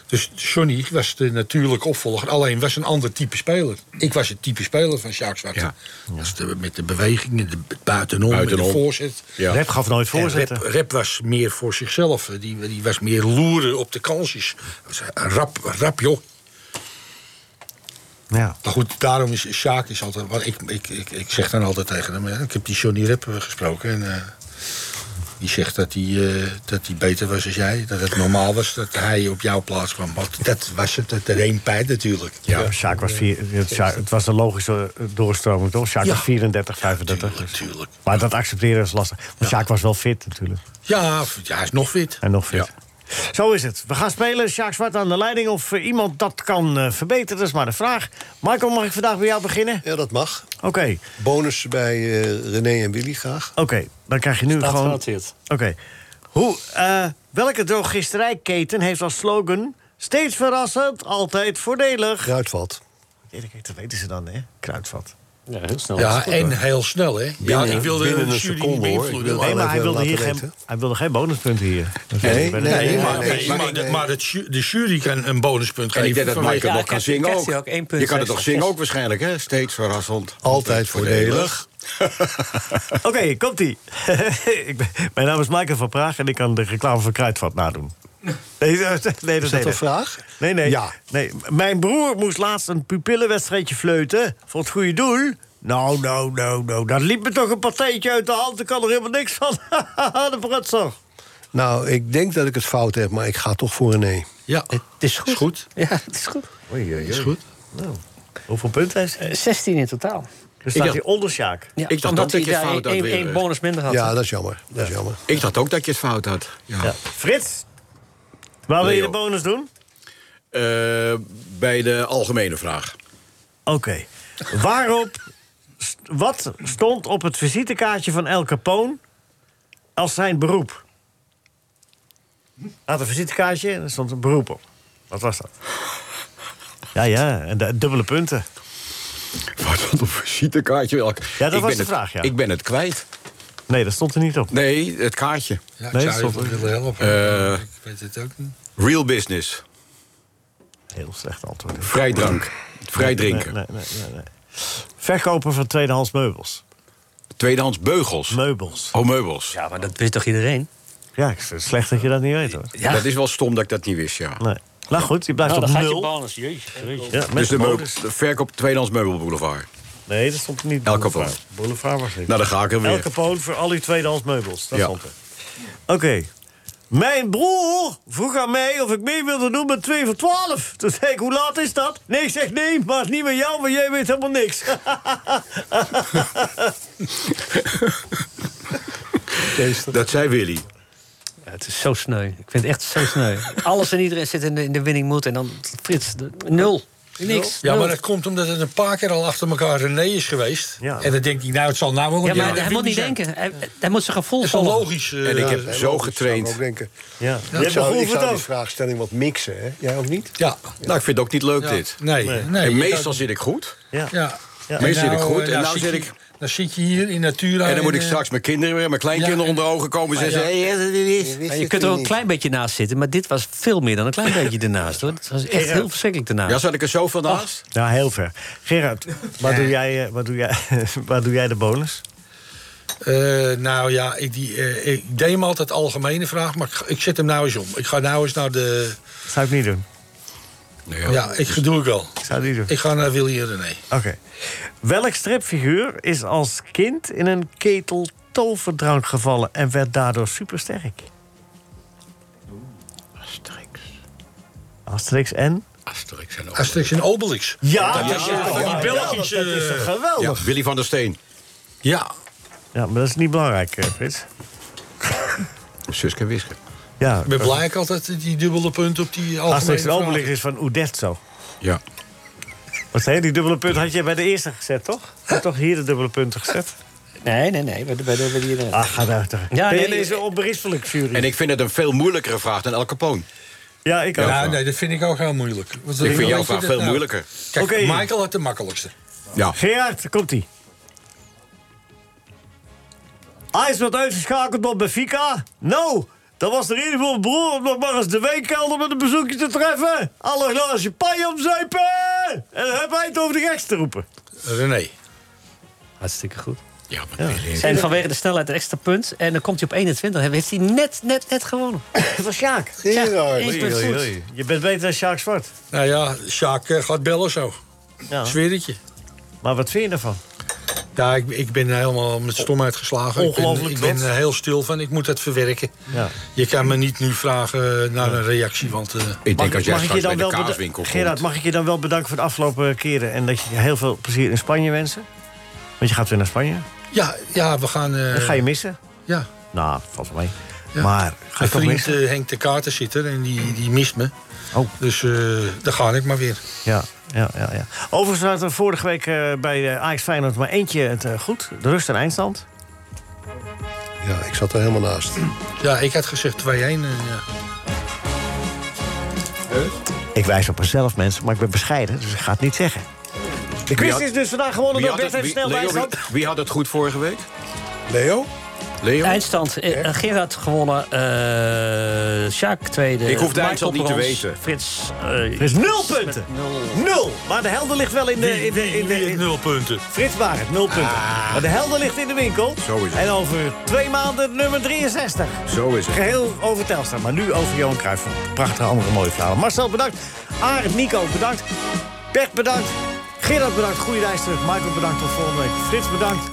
Speaker 6: Dus Johnny was de natuurlijke opvolger. Alleen was een ander type speler. Ik was het type speler van Sjaak Zwart. Was de- met de bewegingen, de b- buitenom,
Speaker 15: Buitenom.
Speaker 6: Met de voorzet.
Speaker 15: Ja. Rep
Speaker 3: gaf nooit
Speaker 6: En
Speaker 3: voorzetten.
Speaker 6: Rep, Rep was meer voor zichzelf. Die, die was meer loeren op de kansjes. Was Rap, rap joh.
Speaker 3: Ja.
Speaker 6: Maar goed, daarom is Sjaak is altijd. Want ik, ik, ik, ik zeg dan altijd tegen hem. hè, Ik heb die Johnny Rep eh, gesproken. En, eh, die zegt dat hij, eh, dat hij beter was als jij. Dat het normaal was dat hij op jouw plaats kwam. Want dat was het, het reempijt natuurlijk.
Speaker 3: Ja, Sjaak was vier, het, Sjaak- het was een logische eh, doorstroming, toch? Sjaak
Speaker 6: Ja.
Speaker 3: was 34, 35. Maar dat accepteren is lastig. Want Sjaak was wel fit, natuurlijk.
Speaker 6: Ja, v- ja, hij is nog fit.
Speaker 3: En nog fit. Zo is het. We gaan spelen. Sjaak Zwart aan de leiding. Of eh, iemand dat kan eh, verbeteren, dat is maar de vraag. Michael, mag ik vandaag bij jou beginnen?
Speaker 11: Ja, dat mag.
Speaker 3: Oké,
Speaker 11: Bonus bij eh, René en Willy graag.
Speaker 3: oké. Dan krijg je nu
Speaker 11: Staat
Speaker 3: gewoon...
Speaker 11: genoteerd.
Speaker 3: Oké. Hoe, eh, welke drogisterijketen heeft als slogan... steeds verrassend, altijd voordelig?
Speaker 11: Kruidvat.
Speaker 3: Dat weten ze dan, hè? Kruidvat.
Speaker 11: Ja, heel snel.
Speaker 6: Ja, en heel snel, hè?
Speaker 11: Binnen-
Speaker 6: ja, ik wilde
Speaker 11: binnen een
Speaker 6: de jury
Speaker 11: seconde,
Speaker 6: niet
Speaker 11: hoor.
Speaker 6: beïnvloeden.
Speaker 11: Ik wil
Speaker 3: Nee, maar hij
Speaker 11: even
Speaker 3: wilde,
Speaker 11: laten
Speaker 3: hier geen,
Speaker 11: weten.
Speaker 3: hij wilde geen bonuspunten hier. Dat
Speaker 11: Nee,
Speaker 3: wilde ik bij de-
Speaker 11: nee,
Speaker 6: maar,
Speaker 11: nee, nee,
Speaker 6: maar,
Speaker 11: nee, nee.
Speaker 6: maar het ju- de jury kan een bonuspunt
Speaker 15: En
Speaker 6: geven.
Speaker 15: ik denk dat Michael
Speaker 6: vanwege-
Speaker 15: nog kan zingen ook. je kan het nog zingen ook waarschijnlijk, hè? Steeds verrassend.
Speaker 11: Altijd voordelig.
Speaker 3: Oké, komt-ie. Ik ben- Mijn naam is Michael van Praag en ik kan de reclame voor Kruidvat nadoen. Nee, nee, nee,
Speaker 11: Is
Speaker 3: nee,
Speaker 11: dat een
Speaker 3: nee.
Speaker 11: vraag?
Speaker 3: Nee, nee.
Speaker 11: Ja.
Speaker 3: nee. Mijn broer moest laatst een pupillenwedstrijdje fleuten voor het goede doel. Nou, nou, nou, nou. Dat liep me toch een partijtje uit de hand. Ik kan er helemaal niks van. de prutser.
Speaker 11: Nou, ik denk dat ik het fout heb, maar ik ga toch voor een nee.
Speaker 6: Ja,
Speaker 11: het
Speaker 9: is goed. Ja, het is goed.
Speaker 11: Is goed.
Speaker 3: Nou, hoeveel punten heeft hij?
Speaker 9: 16 in totaal.
Speaker 3: Dan Dus staat
Speaker 15: Ik
Speaker 3: hij
Speaker 15: dacht-
Speaker 3: onder Sjaak.
Speaker 9: Ja,
Speaker 15: ik dacht dat
Speaker 9: hij
Speaker 15: ik het
Speaker 9: daar
Speaker 15: fout had
Speaker 9: één-
Speaker 15: weer.
Speaker 9: één bonus minder had.
Speaker 11: Ja, dat is jammer. Dat is jammer.
Speaker 15: Ik dacht ook dat je het fout had. Ja.
Speaker 3: Frits, waar wil je de bonus doen?
Speaker 15: Eh, bij de algemene vraag.
Speaker 3: Oké. Waarop, st- wat stond op het visitekaartje van El Capone als zijn beroep? Had een visitekaartje en er stond een beroep op. Wat was dat? Ja, ja, en de- dubbele punten.
Speaker 15: Wat stond op visitekaartje? Ja,
Speaker 3: Ja, dat
Speaker 15: ik ben
Speaker 3: was de
Speaker 15: het-
Speaker 3: vraag, ja.
Speaker 15: Ik ben het kwijt.
Speaker 3: Nee, dat stond er niet op.
Speaker 15: Nee, het kaartje.
Speaker 6: Ja, ik
Speaker 3: Nee,
Speaker 6: zou je
Speaker 3: stop.
Speaker 6: willen helpen.
Speaker 15: Eh.
Speaker 6: ik weet het ook niet.
Speaker 15: Real business.
Speaker 3: Heel slecht antwoord.
Speaker 15: Vrij drank. Vrij
Speaker 3: Nee,
Speaker 15: drinken.
Speaker 3: Nee, nee, nee, nee. Verkoper van tweedehands meubels.
Speaker 15: Tweedehands beugels.
Speaker 3: Meubels.
Speaker 15: Oh, meubels.
Speaker 9: Ja, maar dat wist toch iedereen?
Speaker 3: Ja, ik vind het slecht dat je dat niet weet hoor.
Speaker 15: Dat is wel stom dat ik dat niet wist, ja.
Speaker 3: Nee. Nou goed, je blijft
Speaker 9: Nou,
Speaker 3: op
Speaker 9: dan gaat je
Speaker 3: nul.
Speaker 9: bonus. Jezus.
Speaker 3: Ja, met
Speaker 15: dus de, meubel-
Speaker 3: de bonus.
Speaker 15: de verkoop Tweedehands Meubelboulevard.
Speaker 3: Nee, dat stond er niet.
Speaker 15: El Capone.
Speaker 3: Boulevard. Boulevard was niet.
Speaker 15: Nou, dan ga ik er weer.
Speaker 3: El Capone voor al uw tweedehands meubels. Dat
Speaker 15: Ja.
Speaker 3: stond er. Oké. Mijn broer vroeg aan mij of ik mee wilde doen met 2 voor 12. Toen zei ik, hoe laat is dat? Nee, ik zeg nee, maar het is niet met jou, want jij weet helemaal niks.
Speaker 15: Dat zei Willy.
Speaker 9: Ja, het is zo sneu. Ik vind het echt zo sneu. Alles en iedereen zit in de, in de winning mood en dan Frits, de- nul. Niks.
Speaker 6: Ja,
Speaker 9: nul.
Speaker 6: maar dat komt omdat het een paar keer al achter elkaar een nee is geweest.
Speaker 3: Ja.
Speaker 6: En dan denkt hij, nou, het zal nou wel een
Speaker 9: Ja, maar
Speaker 6: derde
Speaker 9: hij moet niet
Speaker 6: winnaar zijn.
Speaker 9: denken. Hij, hij moet zijn gevoel
Speaker 6: Dat is wel
Speaker 9: volgen.
Speaker 6: logisch. eh,
Speaker 15: En
Speaker 6: ja.
Speaker 15: ik heb zo getraind.
Speaker 11: ook denken.
Speaker 3: ja.
Speaker 11: ik zou, ik
Speaker 3: begroef het
Speaker 11: zou die
Speaker 3: ook.
Speaker 11: vraagstelling wat mixen, hè? Jij ook niet?
Speaker 6: Ja,
Speaker 15: Nou, ik vind het ook niet leuk dit.
Speaker 6: nee.
Speaker 3: Nee.
Speaker 6: nee.
Speaker 15: en
Speaker 6: ik
Speaker 15: meestal
Speaker 6: ook-
Speaker 15: zit ik goed.
Speaker 3: Ja.
Speaker 6: Ja.
Speaker 3: Ja.
Speaker 15: Meestal
Speaker 6: En
Speaker 15: zit ik goed.
Speaker 6: eh,
Speaker 15: En nou zit
Speaker 6: je-
Speaker 15: ik-
Speaker 6: Dan zit je hier in Natura.
Speaker 15: En dan moet ik
Speaker 6: eh,
Speaker 15: straks mijn kinderen weer, mijn kleinkinderen
Speaker 6: ja, en-
Speaker 15: onder ogen komen. Zeggen
Speaker 6: ja.
Speaker 15: hey, hè, dit is.
Speaker 9: Ja, je kunt er wel een klein beetje naast zitten, maar dit was veel meer dan een klein beetje ernaast. Hoor. Het was echt heel verschrikkelijk ernaast.
Speaker 15: eh, Ja, zat ik er zoveel naast?
Speaker 3: Nou, heel ver. Gerard, waar doe jij, eh, waar doe jij, waar doe jij de bonus?
Speaker 6: Eh, nou ja, ik, die, eh, ik deed hem altijd algemene vraag, maar ik, ga- ik zet hem nou eens om. Ik ga nou eens naar de...
Speaker 3: Dat zou ik niet doen.
Speaker 15: Nee,
Speaker 6: Ja, ik doe ik wel.
Speaker 3: Dat zou ik niet doen.
Speaker 6: Ik ga naar Willy en René.
Speaker 3: Oké. Welk stripfiguur is als kind in een ketel toverdrank gevallen en werd daardoor supersterk?
Speaker 15: Asterix.
Speaker 3: Asterix en?
Speaker 15: Asterix en ook.
Speaker 6: Asterix en Obelix.
Speaker 3: Ja, dat,
Speaker 15: is het.
Speaker 6: Van die
Speaker 3: dat
Speaker 6: belletjes.
Speaker 3: is
Speaker 6: eh,
Speaker 3: toch
Speaker 15: Ja,
Speaker 3: geweldig?
Speaker 15: Willy van der Steen.
Speaker 6: Ja.
Speaker 3: Ja. maar dat is niet belangrijk, eh, Frits.
Speaker 15: Suske Wiske.
Speaker 3: Ja, eh,
Speaker 6: Ik ben blij ik altijd die dubbele punt op die algemene
Speaker 3: Asterix en
Speaker 6: vraag.
Speaker 3: Obelix is van Uderzo.
Speaker 15: Ja.
Speaker 3: Wat zei je? Die dubbele punt had je bij de eerste gezet, toch? Je had toch hier de dubbele punten gezet?
Speaker 9: Nee, nee, nee. Bij de, bij de, bij die,
Speaker 3: Ach, ga daar. toch.
Speaker 9: Ja,
Speaker 3: ben je
Speaker 9: nee,
Speaker 3: deze onberispelijk, Fury?
Speaker 15: En ik vind het een veel moeilijkere vraag dan El Capone.
Speaker 3: Ja, ik ook.
Speaker 6: Ja, nee, dat vind ik ook heel moeilijk. Want dan denk
Speaker 15: Ik vind jouw
Speaker 6: weet je
Speaker 15: vraag
Speaker 6: dat
Speaker 15: veel
Speaker 6: nou?
Speaker 15: moeilijker.
Speaker 6: Kijk,
Speaker 3: Oké.
Speaker 6: Michael had de makkelijkste.
Speaker 15: Ja.
Speaker 3: Gerard, komt-ie. Hij is wat uitgeschakeld op Benfica. Nou, dat was de reden voor mijn broer om nog maar eens de wijnkelder met een bezoekje te treffen. Alle glaasje paai omzuipen! En dan heb hij het over de geks te roepen.
Speaker 6: René.
Speaker 9: Hartstikke goed.
Speaker 15: Ja, maar nee,
Speaker 9: En vanwege de snelheid een extra punt. En dan komt hij op 21. En heeft hij net, net, net gewonnen.
Speaker 3: Dat was Sjaak.
Speaker 9: Ja, één punt goed.
Speaker 3: Je bent beter dan Sjaak Zwart.
Speaker 6: Nou ja, Sjaak eh, gaat bellen zo.
Speaker 3: Ja.
Speaker 6: Zweertje.
Speaker 3: Maar wat vind je daarvan?
Speaker 6: Ja, ik, ik ben helemaal met stomheid geslagen. Ik ben-
Speaker 3: Ongelooflijk
Speaker 6: Ik ben,
Speaker 3: trots.
Speaker 6: eh, heel stil van, ik moet dat verwerken.
Speaker 3: Ja.
Speaker 6: Je kan me niet nu vragen eh, naar een reactie, want... eh,
Speaker 15: Ik denk als jij
Speaker 3: ik je
Speaker 15: straks bij
Speaker 3: dan
Speaker 15: de
Speaker 3: wel beda-
Speaker 15: kaaswinkel komt.
Speaker 3: Gerard, mag ik je dan wel bedanken voor de afgelopen keren... en dat je je heel veel plezier in Spanje wensen? Want je gaat weer naar Spanje.
Speaker 6: ja, ja, we gaan... eh,
Speaker 3: Dat ga je missen.
Speaker 6: Ja.
Speaker 3: Nou, valt wel mee.
Speaker 6: Ja.
Speaker 3: Maar ga
Speaker 6: Mijn
Speaker 3: je toch
Speaker 6: vriend
Speaker 3: missen?
Speaker 6: eh, Henk de Kaarten zit er en die, die mist me.
Speaker 3: Oh.
Speaker 6: Dus eh, daar ga ik maar weer.
Speaker 3: Ja, ja, ja, ja. Overigens had er vorige week eh, bij eh Ajax Feyenoord maar eentje het eh, goed. De rust en eindstand.
Speaker 11: Ja, ik zat er helemaal naast.
Speaker 6: Ja, ik had gezegd 2-1. en ja.
Speaker 3: Ik wijs op mezelf, mensen, maar ik ben bescheiden, dus ik ga het niet zeggen. De
Speaker 15: Wie
Speaker 3: quiz
Speaker 15: had-
Speaker 3: is dus vandaag gewonnen
Speaker 15: Wie had,
Speaker 3: door Bert
Speaker 15: het,
Speaker 3: even
Speaker 15: wie-
Speaker 3: snel
Speaker 15: Leo,
Speaker 3: bij
Speaker 15: wie, wie had het goed vorige week?
Speaker 11: Leo?
Speaker 15: Leo?
Speaker 9: Eindstand. eh, Gerard gewonnen. eh Sjaak tweede.
Speaker 15: Ik hoef de
Speaker 9: Michael
Speaker 15: eindstand niet te
Speaker 9: brons,
Speaker 15: weten.
Speaker 9: Frits. eh,
Speaker 3: Er is nul punten. Nul. Maar de helder ligt wel in de... In de, in de, in-
Speaker 6: Nul punten.
Speaker 3: Frits Barend, nul punten. Maar de helder ligt in de winkel.
Speaker 15: Zo is het.
Speaker 3: En over twee maanden nummer 63.
Speaker 15: Zo is het.
Speaker 3: Geheel over Telstra, maar nu over Johan Cruijff. Prachtige andere mooie verhalen. Marcel, bedankt. Arend, Nico, bedankt. Bert, bedankt. Gerard bedankt, goede reis terug. Michael bedankt, tot volgende week. Frits bedankt.